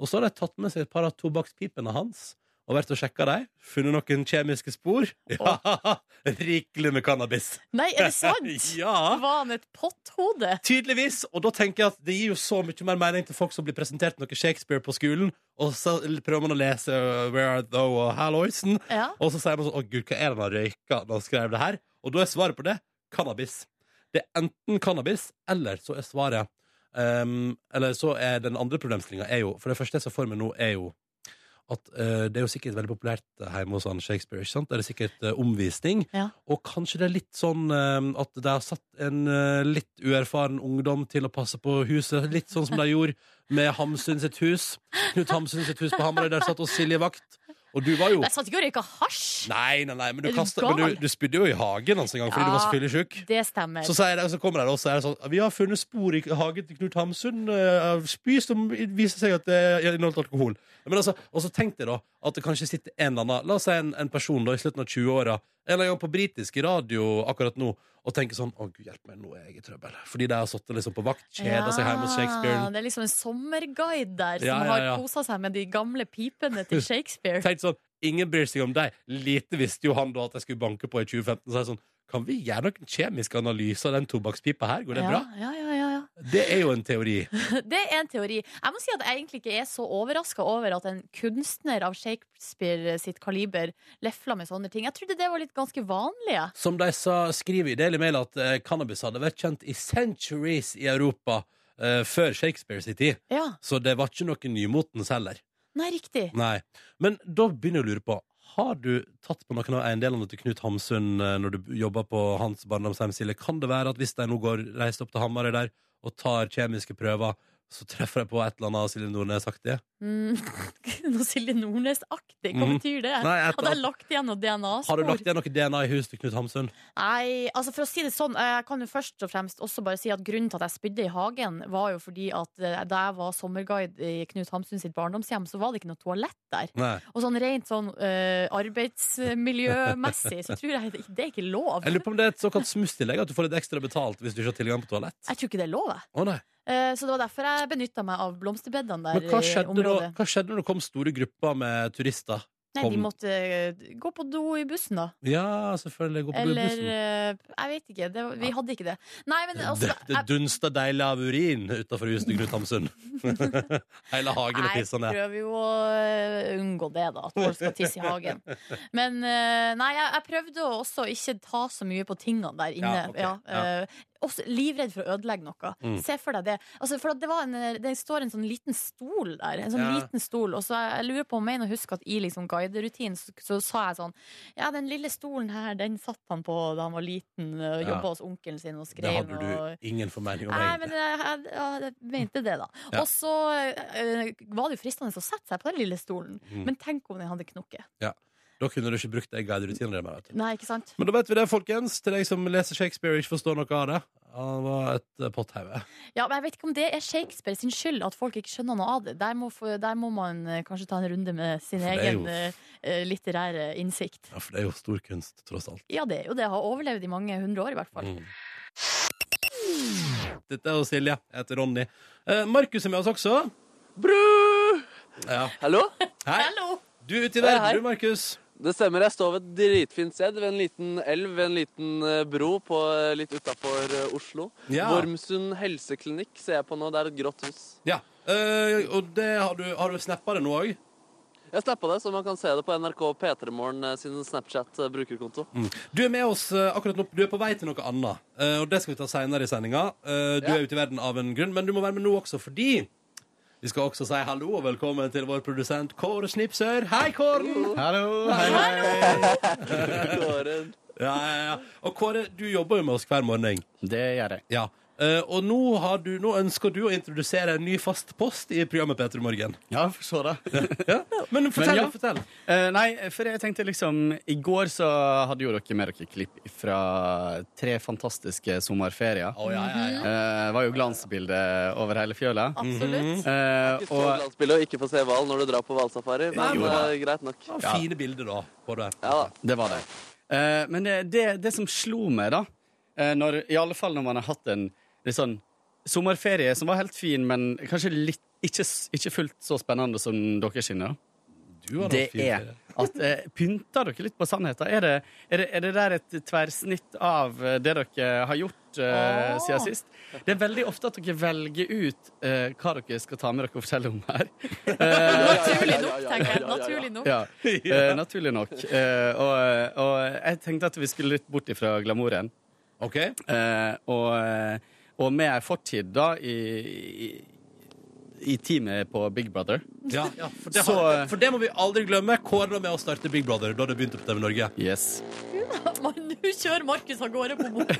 D: Og så har de tatt med seg et par av tobakkspipene hans og vært og sjekka dem. Funnet noen kjemiske spor. Ja, <laughs> Rikelig med cannabis.
C: Nei, er det sant?
D: <laughs> Ja,
C: Var han et potthode?
D: Tydeligvis. Og da tenker jeg at det gir jo så mye mer mening til folk som blir presentert noe Shakespeare på skolen, og så prøver man å lese uh, Where Art Thou og Halloysen.
C: Ja.
D: Og så sier man sånn Å, gud, hva er det han røyka da han skrev det her? Og da er svaret på det cannabis. Det er enten cannabis, eller så er svaret ehm, Eller så er den andre problemstillinga er jo For det første jeg ser for meg nå, er jo at eh, det er jo sikkert veldig populært hjemme hos han Shakespeare. ikke sant? Det er sikkert eh, omvisning.
C: Ja.
D: Og kanskje det er litt sånn ehm, at de har satt en eh, litt uerfaren ungdom til å passe på huset. Litt sånn som de gjorde med Hamsun sitt hus. Knut Hamsun sitt hus på Hamarøy. Der satt oss Silje vakt. Og du var jo
C: Jeg satt ikke og røyka hasj!
D: Nei, nei, nei, men du,
C: Er du
D: kastet,
C: gal?
D: men du, du spydde jo i hagen hans en gang fordi du var så
C: Ja.
D: fyllesjuk.
C: Det stemmer.
D: Så, sier de, så kommer de og så er det sånn Vi har funnet spor i hagen til Knut Hamsun eh, av spy som viser seg at det inneholdt alkohol. Men altså, og så tenk deg da at det kanskje sitter en eller annen La oss si en, en person da i slutten av 20-åra en eller annen gang på britisk radio akkurat nå og tenker sånn Å, gud hjelpe meg, nå er jeg i trøbbel. Fordi de har sittet liksom på vakt, kjeda seg hjemme hos Shakespeare.
C: Ja, Det er liksom en sommerguide der som
D: Ja, ja, ja.
C: har kosa seg med de gamle pipene
D: <laughs>
C: til Shakespeare.
D: Tenkt sånn, ingen bryr seg om deg Lite visste jo han da at jeg skulle banke på i 2015 Så er det sånn, kan vi gjøre noen kjemisk analyse Av den tobakspipa her, går det
C: ja,
D: bra?
C: ja, ja, ja, ja.
D: Det er jo en teori
C: Det er en teori. Jeg må si at jeg egentlig ikke er så overraska over at en kunstner av Shakespeare sitt kaliber lefla med sånne ting. Jeg trodde det var litt ganske vanlig. jeg.
D: Som de sa, skriver i Daily Mail at eh, Cannabis hadde vært kjent i centuries i Europa eh, Før Shakespeare sitt tid
C: Ja.
D: Så det var ikke noe nymotens heller
C: Nei, riktig.
D: Nei, men da begynner jeg å lure på Har du tatt på noen av eiendelene til Knut Hamsun eh, Når du jobber på hans barndomsheim Silje? Kan det være at hvis de nå går reist opp til Hammarøy der Og tar kjemiske prøver Så treffer de på et eller annet av Silje Nordnes-aktige?
C: Mm. <laughs> Noe Silje Nordnes-aktig. Hva
D: Mhm.
C: betyr det?
D: Nei, et,
C: Hadde jeg lagt igjen noe
D: har du
C: DNA-spor?
D: lagt igjen noe DNA i huset til Knut Hamsun?
C: Nei, altså for å si det sånn, jeg kan jo først og fremst også bare si at grunnen til at jeg spydde i hagen, var jo fordi at eh, da jeg var sommerguide i Knut Hamsun sitt barndomshjem, så var det ikke noe toalett der.
D: Nei.
C: Og sånn rent sånn eh, arbeidsmiljømessig, så tror jeg det er ikke lov.
D: Jeg lurer på om det er et såkalt smusstillegg, at du får litt ekstra betalt hvis du ikke har tilgang på toalett.
C: Jeg tror ikke det er lov, jeg.
D: Å nei.
C: Eh, Så det var derfor jeg benytta meg av blomsterbedene der.
D: Men hva
C: i
D: skjedde, da,
C: området.
D: hva skjedde når det kom store grupper med turister?
C: Nei, de
D: kom-
C: måtte eh, gå på do i bussen, da.
D: Ja, selvfølgelig. Gå på
C: Eller
D: bussen.
C: eh, Jeg vet ikke. Det, var- vi hadde ikke det. Nei, men altså
D: det, det dunster deilig av urin utenfor huset til Knut
C: <laughs>
D: Hamsun. Hele hagen er
C: Nei,
D: pissa ned.
C: prøver jo å eh, unngå det, da. At folk skal tisse i
D: <laughs>
C: hagen. Men eh, nei, jeg, jeg prøvde å også ikke ta så mye på tingene der inne.
D: Ja, ok, ja.
C: eh, også livredd for å ødelegge noe.
D: Mm.
C: Se for deg det. Altså, for at det, var en, eh, det står en sånn liten stol der. En sånn
D: Ja.
C: liten stol. Og så jeg, jeg lurer på om jeg husker at i liksom guiderutinen så, så sa jeg sånn Ja, den lille stolen her, den satt han på da han var liten. eh, og
D: Ja.
C: Jobba hos onkelen sin og
D: Det
C: skrev
D: hadde
C: og
D: du ingen formening om,
C: Nei, men
D: egentlig.
C: jeg, jeg, jeg, mente det, da.
D: Ja.
C: Og så eh, var det jo fristende å sette seg på den lille stolen,
D: Mm.
C: men tenk om den hadde knokket.
D: Da kunne du ikke brukt de guiderutinen din mer. vet du.
C: Nei, ikke sant?
D: Men da vet vi det, folkens. Til deg som leser Shakespeare og ikke forstår noe av det. Han var et eh, potthauge.
C: Ja, men jeg vet ikke om det er Shakespeare sin skyld at folk ikke skjønner noe av det. Der må, få- der må man eh, kanskje ta en runde med sin
D: For det er
C: egen
D: jo-
C: eh, eh, litterære innsikt.
D: Ja, for det er jo stor kunst, tross alt.
C: Ja, det er jo det. Har overlevd i mange hundre år, i hvert fall.
D: Mm. Dette er jo Silje. Jeg heter Ronny. Eh, Markus er med oss også.
H: Bru!
D: Ja.
H: Hallo?
D: Hei.
C: Hallo!
D: Du er ute i
H: Hei, hei.
D: verden, du, Markus.
B: Det stemmer. Jeg står ved et dritfint sted, ved en liten elv, ved en liten eh, bro på, eh, litt utafor Oslo.
D: Ja.
B: Vormsund helseklinikk ser jeg på nå. Det er et grått hus.
D: Ja. Eh, og det har du, har du snappa det nå òg?
B: Jeg snappa det, så man kan se det på NRK P3morgen eh, sin Snapchat-brukerkonto.
I: Mm.
D: Du er med oss eh, akkurat nå. Du er på vei til noe annet. eh, og det skal vi ta seinere i sendinga. Eh, du
B: Ja.
D: er ute i verden av en grunn, men du må være med nå også fordi vi skal også si hallo og velkommen til vår produsent Kåre Snipsør. Hei, Kåren!
I: Hallo, hei, hei.
B: Kåren.
D: Ja, ja, ja. Og Kåre, du jobber jo med oss hver morgen.
I: Det gjør jeg.
D: Ja. Eh, og nå, har du, nå ønsker du å introdusere en ny fast post i programmet P3 Morgen.
I: Ja, for så det.
D: Ja? Men fortell,
I: ja.
D: fortell.
I: <laughs> Eh, nei, for jeg tenkte liksom I går så hadde jo dere med dere klipp fra tre fantastiske sommerferier.
D: Å, ja, ja, ja.
I: Eh, var jo glansbilde over hele fjøla.
D: Mhm.
C: Absolutt.
I: Eh,
B: Ikke så
I: og
B: glansbilde og ikke få se hval når du drar på hvalsafari, men
I: Jo da.
B: eh, greit nok.
D: Ja,
I: Ja.
D: Fine bilder, da. På det.
B: Ja da.
I: det var det. Eh, men det, det, det som slo meg, da eh, når, I alle fall når man har hatt en litt sånn sommerferie som var helt fin, men kanskje litt, ikke, s- ikke fullt så spennende som dere sine. da
D: Du har noen
I: det
D: fine
I: er
D: bilder.
I: at eh, Pynter dere litt på sannheten? Er det, er, det, er det der et tverrsnitt av eh, det dere har gjort eh,
C: Åh.
I: siden sist? Det er veldig ofte at dere velger ut eh, hva dere skal ta med dere og fortelle om her.
C: Naturlig nok,
B: <laughs>
C: tenker jeg.
B: ja, ja, ja.
C: Naturlig nok.
I: <laughs> Ja, eh, Naturlig nok. Eh, og, og jeg tenkte at vi skulle litt bort ifra glamouren.
D: OK?
I: Eh, og, og med ei fortid da i, i, i teamet på Big Brother.
D: Ja, ja for, det
I: Så- eh,
D: har, for det må vi aldri glemme. Kåre var med å starte Big Brother da det begynte på TV Norge.
I: Yes.
C: Man, nå kjører Markus av gårde på bordet.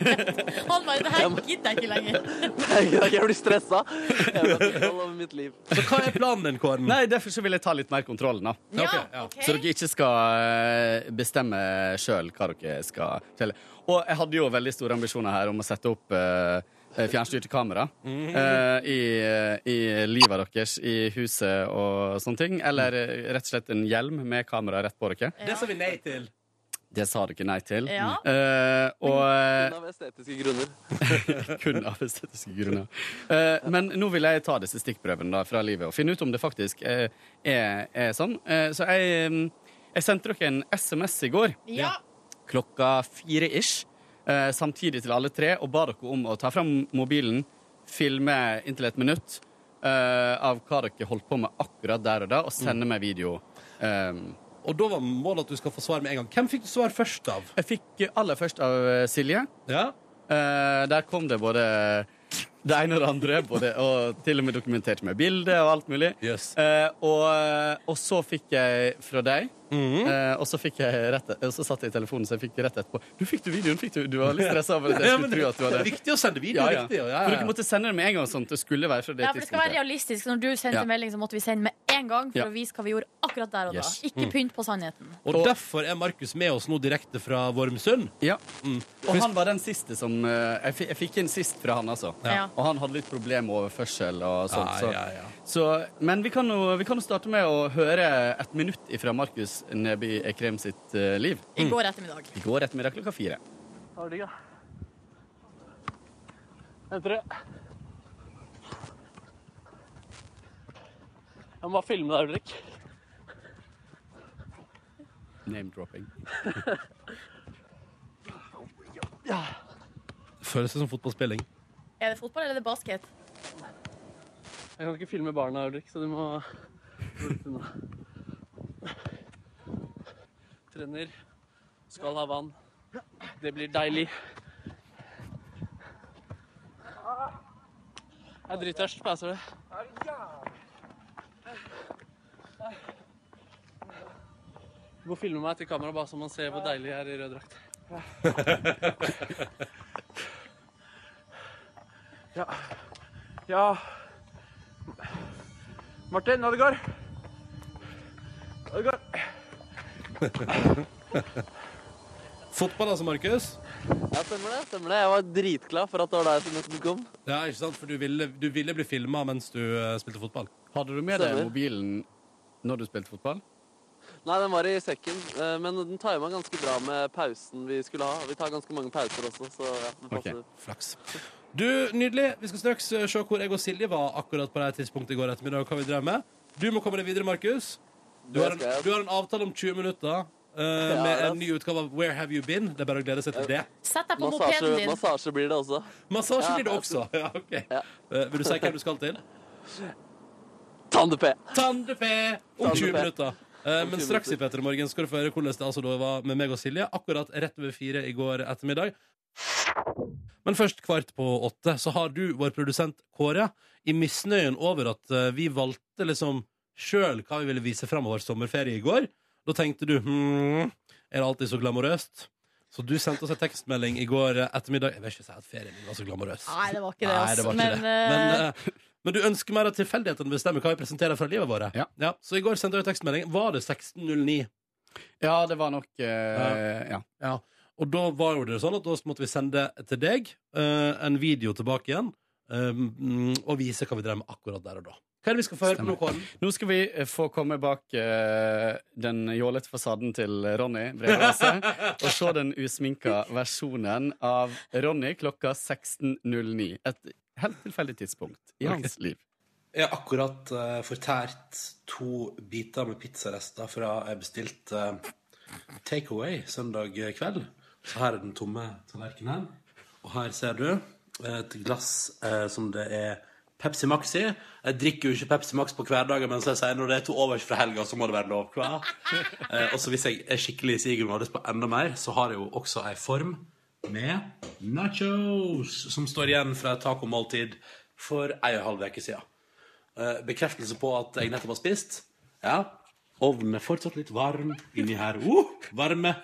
C: Han bare Det her gidder jeg ikke lenger.
B: Jeg blir stressa. Jeg vil ha kontroll over mitt liv.
D: Så hva er planen din, Kåren?
I: Nei, derfor så vil jeg ta litt mer kontrollen, da.
D: Ja, ok,
C: Ja,
D: ja.
C: ok.
I: Så dere ikke skal eh, bestemme sjøl hva dere skal fortelle. Og jeg hadde jo veldig store ambisjoner her om å sette opp eh, fjernstyrte kamera
C: Mhm.
I: eh, i, i livet deres, i huset og sånne ting. Eller eh, rett og slett en hjelm med kamera rett på dere.
D: Det sa vi nei til.
I: Det sa dere nei til.
C: Ja.
I: Eh, og eh, <laughs>
B: Men Av estetiske grunner.
I: kun av estetiske grunner. Eh, men nå vil jeg ta disse stikkprøvene da, fra livet og finne ut om det faktisk eh, er, er sånn. Eh, så jeg, mm, jeg sendte dere en SMS i går
C: Ja.
I: klokka fire ish, eh, samtidig til alle tre, og ba dere om å ta fram mobilen, filme inntil et minutt eh, av hva dere holdt på med akkurat der og da, og sende meg video. Eh,
D: Og da var målet at du skal få svar med en gang. Hvem fikk du svar først av?
I: jeg fikk aller først av eh, Silje.
D: Ja.
I: Eh, der kom det både det ene og det andre, både, og til og med dokumentert med bilde og alt mulig.
D: Yes.
I: Eh, og, og så fikk jeg fra deg,
D: Mhm.
I: eh, og så fikk jeg rett og så satt jeg i telefonen, så jeg fikk rett etterpå. Du fikk du videoen, fikk du? Du var litt stressa over at jeg
D: Ja,
I: skulle
D: men
I: tro at du
D: det
I: hadde
D: er viktig å sende video.
I: Ja, ja.
D: Riktig, ja, ja,
I: For
D: ja.
I: dere måtte sende det med en gang, sånn at det skulle være fra det
C: Ja, for det skal være
I: tidspunktet.
C: realistisk. Når du sendte
I: Ja.
C: melding, så måtte vi sende med en gang for
I: Ja.
C: å vise hva vi gjorde akkurat der og da.
I: Yes. Mm.
C: Ikke pynt på sannheten.
D: Og derfor er Markus med oss nå direkte fra Vormsund.
I: Ja. Og han var den siste som eh, jeg, fikk, jeg fikk en sist fra han, altså.
C: Ja.
I: Og han hadde litt problemer med overførsel og sånt. Så.
D: Ja, ja, ja.
I: Så, men vi kan, jo, vi kan jo starte med å høre et minutt fra Markus Neby Ekrem sitt eh, liv.
C: I går ettermiddag.
I: I går ettermiddag klokka fire.
B: Det var digg, da. Venter du. Jeg må bare filme deg, Ulrik.
I: Name-dropping.
D: Føles det som fotballspilling.
C: Er det fotball eller er det basket?
B: Jeg kan ikke filme barna, Ulrik, så du må Trener. Skal ha vann. Det blir deilig. Jeg er drittørst, passer det? Du må filme meg til kamera, bare så man ser hvor deilig jeg er i rød drakt. Ja. ja. Martin Ødegaard. Ødegaard.
D: Fotball, altså, Markus?
B: Ja, stemmer det. stemmer det. Jeg var dritglad for at det var deg som nesten kom.
D: Ja, ikke sant? For du ville, du ville bli filma mens du eh, spilte fotball.
I: Hadde du med deg
B: Stemmer.
I: mobilen når du spilte fotball?
B: Nei, den var i sekken, eh, men den tima ganske bra med pausen vi skulle ha. Vi tar ganske mange pauser også, så ja, det passer.
I: Ok.
D: Flaks. Du, Nydelig. Vi skal straks eh, se hvor jeg og Silje var akkurat på det her tidspunktet i går ettermiddag. og hva vi drev med. Du må komme deg videre, Markus. Du, har en-
B: Det skal jeg.
D: du har en avtale om 20 minutter. eh,
B: Ja,
D: med
B: det-
D: en ny utgave av Where Have You Been. Det er bare å glede seg til det.
C: Sett deg på
B: Massasje,
C: mopeden din.
B: massasje blir det også.
D: Massasje
B: Ja.
D: blir det også. Ja, ok. Eh, vil du si hvem du skal til?
B: Tande P.
D: Tande P om
B: Tande
D: 20
B: P.
D: minutter. Eh, men
B: 20
D: straks i Petter i morgen skal du få høre hvordan det altså da var med meg og Silje. Akkurat rett over fire i går ettermiddag. Men først kvart på åtte så har du, vår produsent Kåre, i misnøyen over at eh, vi valgte liksom sjøl hva vi ville vise fram av vår sommerferie i går. Da tenkte du hm, er det alltid så glamorøst? Så du sendte oss en tekstmelding i går ettermiddag. Jeg vil ikke si at ferien min var så glamorøs.
C: Nei, det var ikke det,
D: Nei, det
C: altså.
D: var ikke
C: Men,
D: det.
C: eh, <laughs>
D: Men, eh, men du ønsker mer at tilfeldighetene bestemmer hva vi presenterer fra livet vårt?
I: Ja.
D: så i går sendte jeg en tekstmelding. Var det 1609?
I: Ja, det var nok eh, ja.
D: Ja. Og da var jo det sånn at da måtte vi sende til deg eh, en video tilbake igjen eh, mm, og vise hva vi drev med akkurat der og da. Hva er det vi skal få høre på nå, Kåren?
I: Nå skal vi eh, få komme bak eh, den jålete fasaden til Ronny
D: <laughs>
I: Brevase og se den usminka versjonen av Ronny klokka 16.09. Et helt tilfeldig tidspunkt i hans liv.
D: Jeg har akkurat eh, fortært to biter med pizzarester fra jeg bestilte eh, takeaway søndag kveld. Så her er den tomme tallerkenen her. Og her ser du et glass eh, som det er Pepsi Max i. Jeg drikker jo ikke Pepsi Max på hverdager, men så jeg sier når det er to overs fra helga, så må det være lov. Hva? Eh, og så hvis jeg er skikkelig i sigen og har lyst på enda mer, så har jeg jo også ei form med nachos, som står igjen fra et tacomåltid for ei og en halv uke siden. Eh, bekreftelse på at jeg nettopp har spist. Ja. Ovnen er fortsatt litt varm inni her. Uh, varme.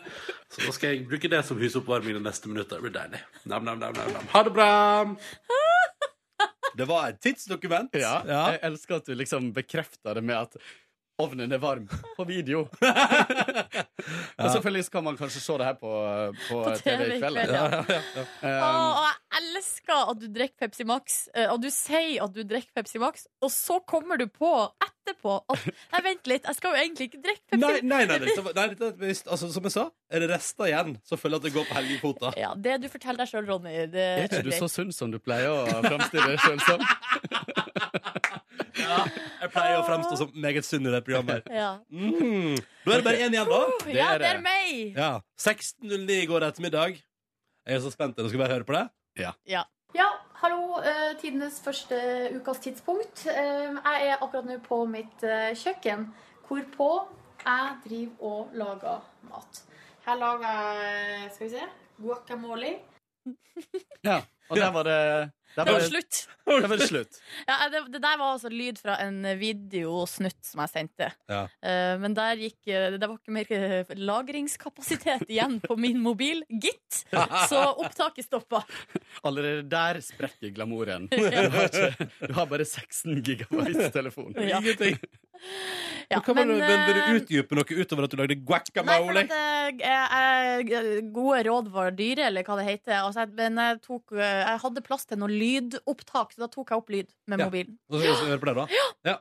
D: Så da skal jeg bruke det som husoppvarming de neste minutter. Det blir deilig. Nam, nam, nam, nam, nam. Ha det bra! Det var et tidsdokument.
I: Ja, Jeg elsker at du liksom bekrefter det med at ovnen er varm på
D: <laughs>
I: video. <laughs> Og selvfølgelig så kan man kanskje se det her på, på, TV i kveld.
C: ja.
I: <laughs> Um,
C: Å, og jeg elsker at du drikker Pepsi Max, eh, og du sier at du drikker Pepsi Max, og så kommer du på etterpå at <laughs> Nei, vent litt, jeg skal jo egentlig ikke drikke Pepsi
D: Nei, nei, nei, nei, det var- nei, det er visst- altså, Som jeg sa, er det rester igjen, så føler jeg at det går på helgekvota.
C: Ja, Det du forteller deg sjøl, Ronny det
I: Er ikke du så sunn som du pleier <laughs> å framstille deg sjøl som?
D: Jeg pleier å fremstå som meget sunn i det programmet. her.
C: Ja,
D: Mm. Da er det bare én igjen, da.
I: Det
C: ja
I: er
C: det er
I: det.
C: meg!
D: Ja. 16.09 i går ettermiddag. Jeg er så spent. Dere skal bare høre på det.
C: Ja. Ja, hallo. eh, Tidenes første ukas tidspunkt. Eh, Jeg er akkurat nå på mitt eh, kjøkken, hvorpå jeg driver og lager mat. Her lager jeg Skal vi se guacamole.
I: Ja, og der var det der
C: Det var
I: var det,
C: slutt.
I: der var det slutt.
C: Ja, det, det der var altså lyd fra en videosnutt som jeg sendte.
D: Ja.
C: Eh, men der gikk, eh, det var ikke mer eh, lagringskapasitet igjen på min mobil,
D: <laughs>
C: gitt. Så opptaket stoppa.
I: Allerede der sprekker glamouren. Du har, ikke, du har bare 16 gigabyte telefon.
C: Ja.
D: Ingenting.
C: Ja,
D: Hva men,
C: eh,
D: men vil du utdype noe utover at du lagde
C: Nei, for
D: guacamole?
C: at, eh, jeg- jeg- gode råd var dyre, eller hva det heter. Altså, jeg, men jeg, tok, eh, jeg hadde plass til noe lydopptak, så da tok jeg opp lyd med
D: Ja.
C: mobilen.
D: Da skal vi høre på det, da.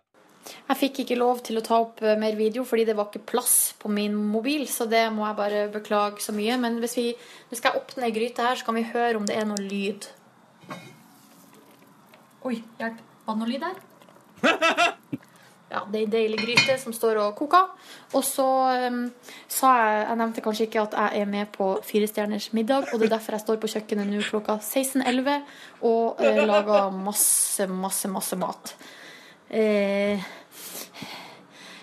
C: Jeg fikk ikke lov til å ta opp eh, mer video fordi det var ikke plass på min mobil, så det må jeg bare beklage så mye. Men hvis vi nå skal jeg åpne ei gryte her, så kan vi høre om det er noe lyd. Oi, hjelp. Var det noe lyd der? <laughs> Ja, det er ei deilig gryte som står og koker. Og så eh, sa jeg Jeg nevnte kanskje ikke at jeg er med på Fire stjerners middag, og det er derfor jeg står på kjøkkenet nå klokka 16.11 og eh, lager masse, masse, masse mat. Eh,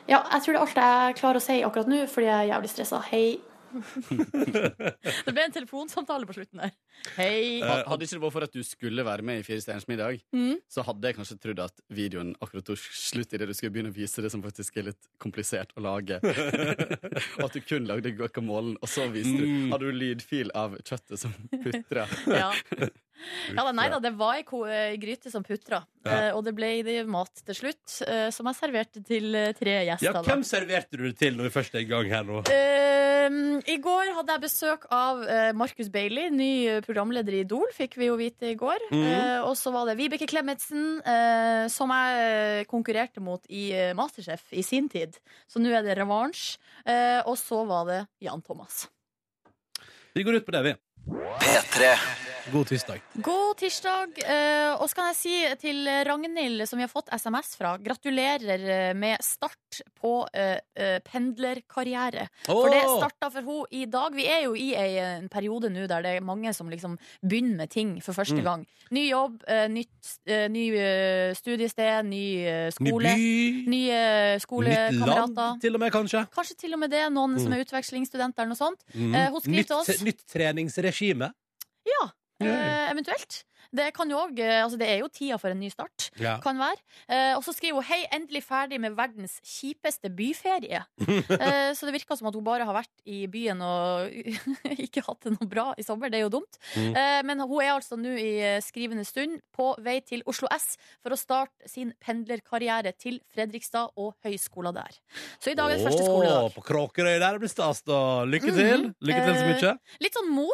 C: ja, jeg tror det er alt jeg klarer å si akkurat nå, fordi jeg er jævlig stressa. Hei. <laughs> det ble en telefonsamtale på slutten der. Hei.
I: Ha- Hadde ikke det vært for at du skulle være med i Fire stjerners middag, så hadde jeg kanskje trodd at videoen akkurat tok slutt idet du skulle begynne å vise det som faktisk er litt komplisert å lage. og at du kun lagde guacamolen, og så viste du Hadde du lydfil av kjøttet som putra?
C: Ja. <laughs> ja, nei da, det var ei ko- ei gryte som putra, Eh, og det ble det mat til slutt, eh, som jeg serverte til eh, tre
D: Ja,
C: gjester. da.
D: hvem serverte du det til når vi først er i gang her nå?
C: Eh, I går hadde jeg besøk av eh, Markus Bailey, ny eh, programleder i Idol, fikk vi jo vite i går.
D: Mm.
C: Eh, og så var det Vibeke Klemetsen, eh, som jeg eh, konkurrerte mot i eh, Masterchef i sin tid. Så nå er det revansj. Eh, og så var det Jan Thomas.
D: Vi går ut på det, vi.
F: P3.
D: God tirsdag.
C: God tirsdag. eh, Og så kan jeg si til Ragnhild, som vi har fått SMS fra, gratulerer eh, med start på eh, eh, pendlerkarriere. For det
D: Åh!
C: starta for henne i dag. Vi er jo i ei, eh, en periode nå der det er mange som liksom begynner med ting for første
D: Mm.
C: gang. Ny jobb, eh, nytt eh, ny, eh, studiested, ny
D: Ny
C: eh, skole.
D: by,
C: Nye
D: nytt land Mm.
C: skolekamerater.
D: til og med, kanskje.
C: Kanskje til og med det. Noen som er utvekslingsstudenter eller noe sånt.
D: Mm.
C: Eh, hun skriver
D: nytt,
C: til oss.
D: nytt treningsregime.
C: Ja,
D: Ja, ja.
C: eh, eventuelt. Det, kan jo òg, eh, altså det er jo tida for en ny start.
D: Ja.
C: Kan være. Eh, og så skriver hun 'Hei, endelig ferdig med verdens
D: <laughs>
C: kjipeste byferie'. eh, så det virker som at hun bare har vært i byen og <laughs> ikke hatt det noe bra i sommer. Det er jo dumt.
D: Mm.
C: Eh, men hun er altså nå i eh, skrivende stund på vei til Oslo S for å starte sin pendlerkarriere til Fredrikstad og høyskolen der. Så i dag er det første skoledag.
D: Åh, På Kråkerøy der det blir stas, da. Lykke til.
C: Mhm.
D: Lykke til så
C: Eh,
D: mye.
C: Litt sånn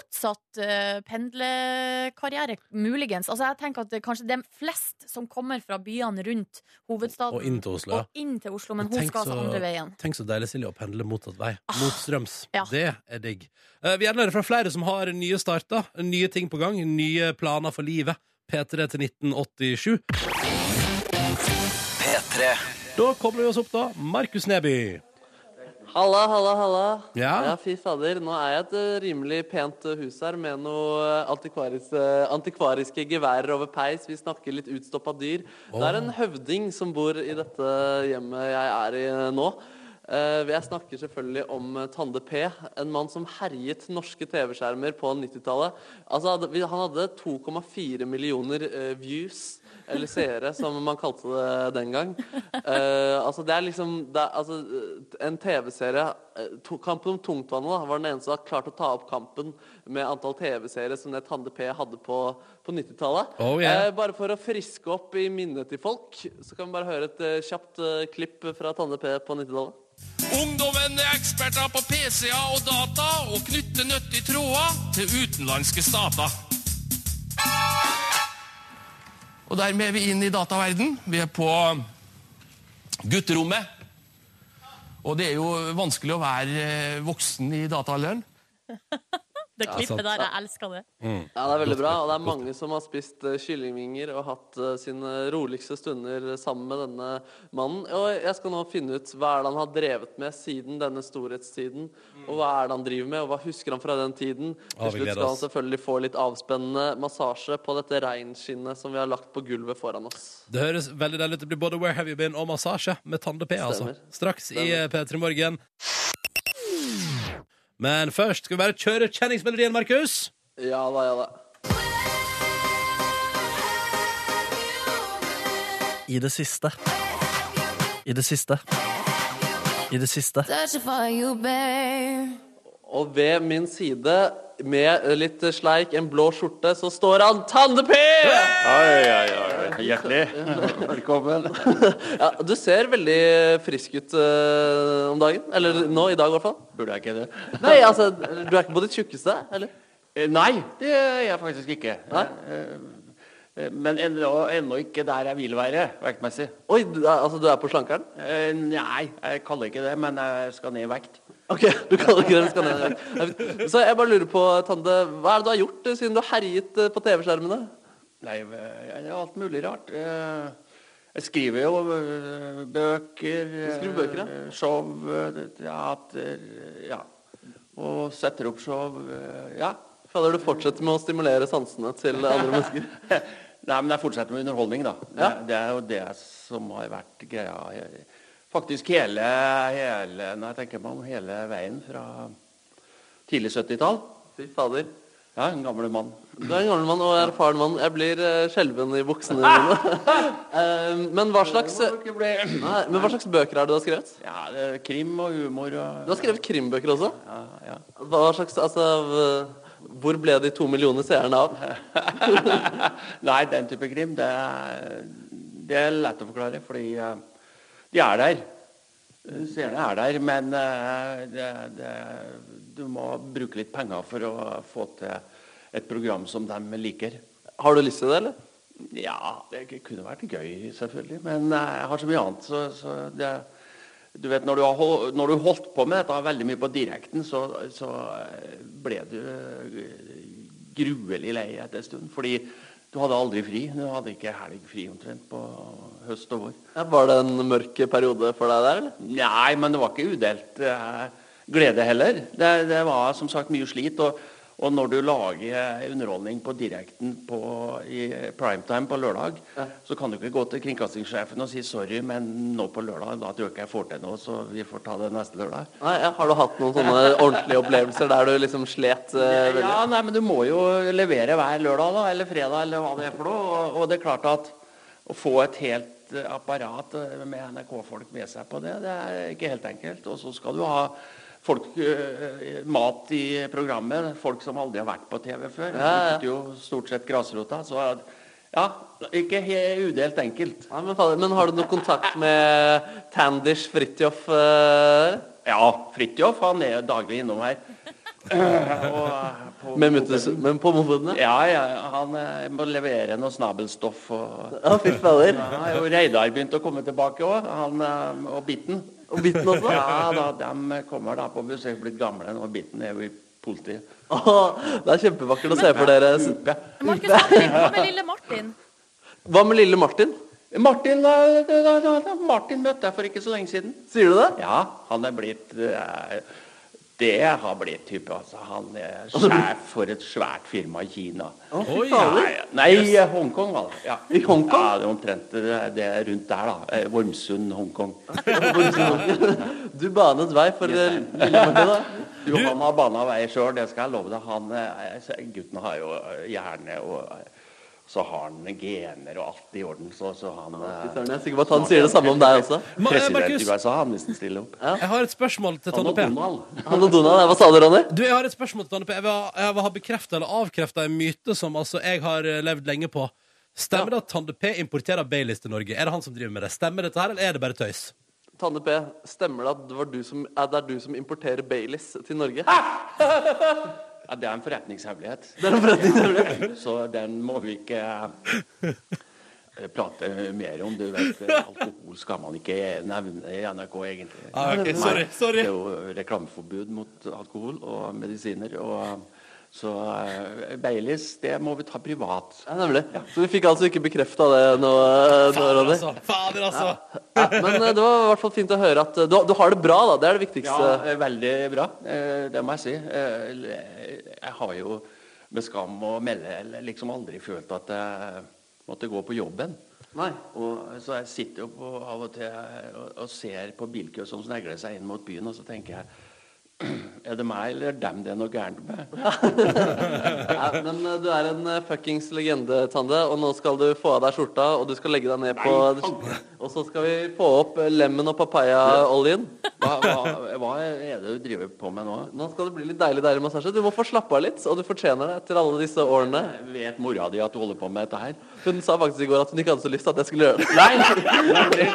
C: motsatt eh, pendlekarriere, muligens. Altså jeg tenker at det, Kanskje det er flest som kommer fra byene rundt hovedstaden
D: Og inn til Oslo. ja.
C: og inn til Oslo, men
D: Og
C: hun
D: tenk
C: skal altså
D: så-
C: andre veien. Ah,
D: Tenk så deilig, Silje, å pendle motsatt vei. Mot strøms.
C: ja.
D: Det er digg. Eh, Vi er nødt fra flere som har nye starter, nye ting på gang, nye planer for livet. P3 til 1987.
F: P3.
D: Da kobler vi oss opp, da. Markus Neby.
B: Halla, halla, halla. Ja,
D: Ja.
B: fy fader. Nå er jeg et eh, rimelig pent eh, hus her med noe eh, antikvaris, eh, antikvariske geværer over peis. Vi snakker litt utstoppa dyr. Det er en høvding som bor i dette hjemmet jeg er i eh, nå. Eh, Jeg snakker selvfølgelig om eh, Tande P, en mann som herjet norske TV-skjermer på 90-tallet. Altså, hadde- vi- han hadde 2,4 millioner eh, views, eller seere, som man kalte det den gang. Eh, altså, det er liksom det er, altså, eh, En TV-serie eh, to- Kampen om tungtvannet da, var den eneste som har klart å ta opp kampen med antall TV-seere som det Tande P hadde på, på 90-tallet.
D: Oh, yeah.
B: Eh, bare for å friske opp i minnet til folk, så kan vi bare høre et eh, kjapt eh, klipp fra Tande P på 90-tallet.
J: Ungdommen er eksperter på PC-er og data og knytter nyttige tråder til utenlandske stater. Og dermed er vi inn i dataverden. Vi er på gutterommet. Og det er jo vanskelig å være eh, voksen i dataalderen.
C: Det klippet der, jeg elsker det.
B: Ja, det er veldig bra, og det er mange som har spist eh, kyllingvinger og hatt eh, sine roligste stunder sammen med denne mannen. Og jeg skal nå finne ut hva er det han har drevet med siden denne storhetstiden, og hva er det han driver med, og hva husker han fra den tiden?
D: Ja, vi
B: Til slutt
D: gleder
B: skal han
D: oss.
B: selvfølgelig få litt avspennende massasje på dette reinskinnet som vi har lagt på gulvet foran oss.
D: Det høres veldig deilig ut. Det blir både Where Have You Been og massasje med Tande P. Altså.
B: Stemmer.
D: Straks i eh, P3 Morgen. Men først skal vi bare kjøre kjenningsmelodien, Markus.
B: Ja da, ja da.
H: I det siste. I det siste. I det siste.
B: Og ved min side, med litt sleik, en blå skjorte, så står han Tande-P!
G: Oi, oi, oi. Hjertelig velkommen.
B: <laughs> Ja, du ser veldig frisk ut eh, om dagen. Eller nå, i dag i hvert fall.
G: Burde jeg ikke det?
B: Nei, altså, du er ikke på ditt tjukkeste, eller?
G: Eh, Nei, det er jeg faktisk ikke.
B: Nei?
G: Eh, Men ennå, ennå ikke der jeg vil være, vektmessig.
B: Oi, du er, altså, du er på slankeren?
G: Eh, Nei, jeg kaller ikke det, men jeg skal ned i vekt.
B: Ok, du kaller ikke det skandinavisk. Så jeg bare lurer på, Tande, hva er det du har gjort eh, siden du har herjet eh, på TV-skjermene?
G: Nei, jeg har alt mulig rart. Eh, Jeg skriver jo eh, bøker. Du
B: skriver bøker, ja?
G: Show, eh, teater, eh, ja. Og setter opp show, eh, ja.
B: Fader, du fortsetter med å stimulere sansene
G: <laughs>
B: til andre mennesker.
G: Nei, men jeg fortsetter med underholdning, da. Det,
B: Ja.
G: det er jo det som har vært greia. he- Faktisk hele, hele Når jeg tenker meg om, hele veien fra tidlig 70-tall.
B: Fy fader.
G: Ja, en gammel mann.
B: Du er en gammel mann og erfaren mann. Jeg blir eh, skjelven i
G: <laughs>
B: buksene mine. <laughs> Eh, Men hva slags,
G: Det må ikke bli-
B: nei, men hva slags bøker er det du har skrevet?
G: Ja, det er krim og humor og <laughs>
B: Du har skrevet krimbøker også?
G: ja, ja.
B: Hva slags, altså, v- hvor ble de to millioner seerne av?
G: Nei, den type krim, det er, det er lett å forklare, fordi eh, de er der. Seerne er der, men eh, det, det, du må bruke litt penger for å få til et program som de liker.
B: Har du lyst til det, eller?
G: Ja, det kunne vært gøy, selvfølgelig, men eh, jeg har så mye annet, så, så det du vet, når du, har holdt, når du holdt på med dette veldig mye på direkten, så, så eh, ble du eh,
I: gruelig lei etter en stund. Fordi du hadde aldri fri. Du hadde ikke helg fri omtrent på høst og vår.
B: var det en mørk periode for deg der, eller?
I: Nei, men det var ikke udelt eh, glede heller. Det, det var som sagt mye slit. Og, og når du lager underholdning på direkten på, i primetime på lørdag, så kan du ikke gå til kringkastingssjefen og si sorry, men nå på lørdag da tror jeg ikke jeg får til noe, så vi får ta det neste lørdag.
B: Nei, ja, Har du hatt noen sånne ordentlige opplevelser der du liksom slet eh, veldig?
I: Ja, nei, men du må jo levere hver lørdag da, eller fredag eller hva det er for noe. Og, og det er klart at å få et helt eh, apparat eh, med NRK-folk med seg på det, det er ikke helt enkelt. Og så skal du ha folk, eh, mat i programmet, folk som aldri har vært på TV før.
B: Ja, ja.
I: Du sitter jo stort sett grasrota, så ja, ikke helt udelt enkelt.
B: Nei, men, fader, men har du noe kontakt med Tandish Fridtjof? eh?
I: Ja, Fridtjof han er daglig innom her. Og, eh, på
B: Med mutters- men på mopedene?
I: Ja, ja, han eh, må levere noe snabelstoff og
B: Ja, fy fader.
I: Ja, og Reidar begynte å komme tilbake òg, han eh, og Bitten.
B: Og bitten også?
I: Ja, da, de kommer da på besøk, blitt gamle nå. Bitten er jo i politiet.
B: Åh, det er kjempevakkert å se for dere.
C: Markus Martin, hva med lille Martin?
B: Hva med lille Martin?
I: Martin, da, da, da, da, da, Martin møtte jeg for ikke så lenge siden.
B: Sier du det?
I: Ja, han er blitt eh, Det har blitt type, altså. Han er sjef for et svært firma i Kina.
B: Å, fy
D: Oi.
B: fader.
I: Nei, eh, Hongkong var det. Ja.
B: I Hongkong?
I: Ja, det er omtrent det, det er rundt der, da. Eh, Vormsund, Hongkong.
B: Du banet vei for eh, lille Martin, da.
I: Du, han har bana vei sjøl, det skal jeg love deg. Han, eh, så- gutten har jo eh, hjerne og eh, så har han gener og alt i orden. Så, så han
B: Fy
I: eh,
B: søren, Jeg er sikker på at han sier det samme om deg også.
D: Ma- eh,
I: President
D: Markus,
I: i USA, han hvis han stiller opp.
D: jeg har et spørsmål til
I: Han
D: Tonje
I: og
D: P.
I: Donald.
B: Han og Donald, hva sa du, Ronny?
D: Du, jeg har et spørsmål til Tonje P. Jeg vil ha- jeg vil ha bekrefta eller avkrefta en myte som altså jeg har eh, levd lenge på. Stemmer det at Tande P importerer Baileys til Norge? Er det han som driver med det? Stemmer dette her, eller er det bare tøys?
B: Tanne P, stemmer det at det, var du som, er det er du som importerer Baileys til Norge?
I: Ja, det er en forretningshemmelighet.
B: Det er en forretningshemmelighet.
I: <laughs> Så den må vi ikke eh, prate mer om. Du
D: <laughs>
I: vet, eh, alkohol skal man ikke nevne i NRK, egentlig.
D: Ah, ok, sorry, sorry.
I: Det er jo reklameforbud mot alkohol og medisiner. Og, så eh, Baileys, det må vi ta privat.
B: Ja, nemlig. Så vi fikk altså ikke bekrefta det nå, eh, nå
D: Fader,
B: Ronny.
D: altså! Fader, altså.
B: Ja, men eh, det var i hvert fall fint å høre at eh, du, du har det bra, da. Det er det
I: Ja,
B: viktigste.
I: eh, veldig bra. Eh, Det må jeg si. Eh, Jeg har jo med skam å melde liksom aldri følt at jeg måtte gå på jobben.
B: Nei.
I: Og, så jeg sitter jo på, av og til eh, og, og ser på bilkø som snegler seg inn mot byen, og så tenker jeg <clears throat> Er det meg eller dem det er noe gærent med?
B: Ja, men eh, du er en eh, fuckings legende, Tande, og nå skal du få av deg skjorta, og du skal legge deg ned på <laughs> Og så skal vi få opp eh, lemon og papaya-oljen.
I: Hva, hva, hva er det du driver på med nå?
B: Nå skal det bli litt deilig, deilig massasje. Du må få slappe av litt, og du fortjener det etter alle disse årene.
I: Vet mora di at du holder på med dette her?
B: Hun sa faktisk i går at hun ikke hadde så lyst til at jeg skulle gjøre det.
I: Nei! Det,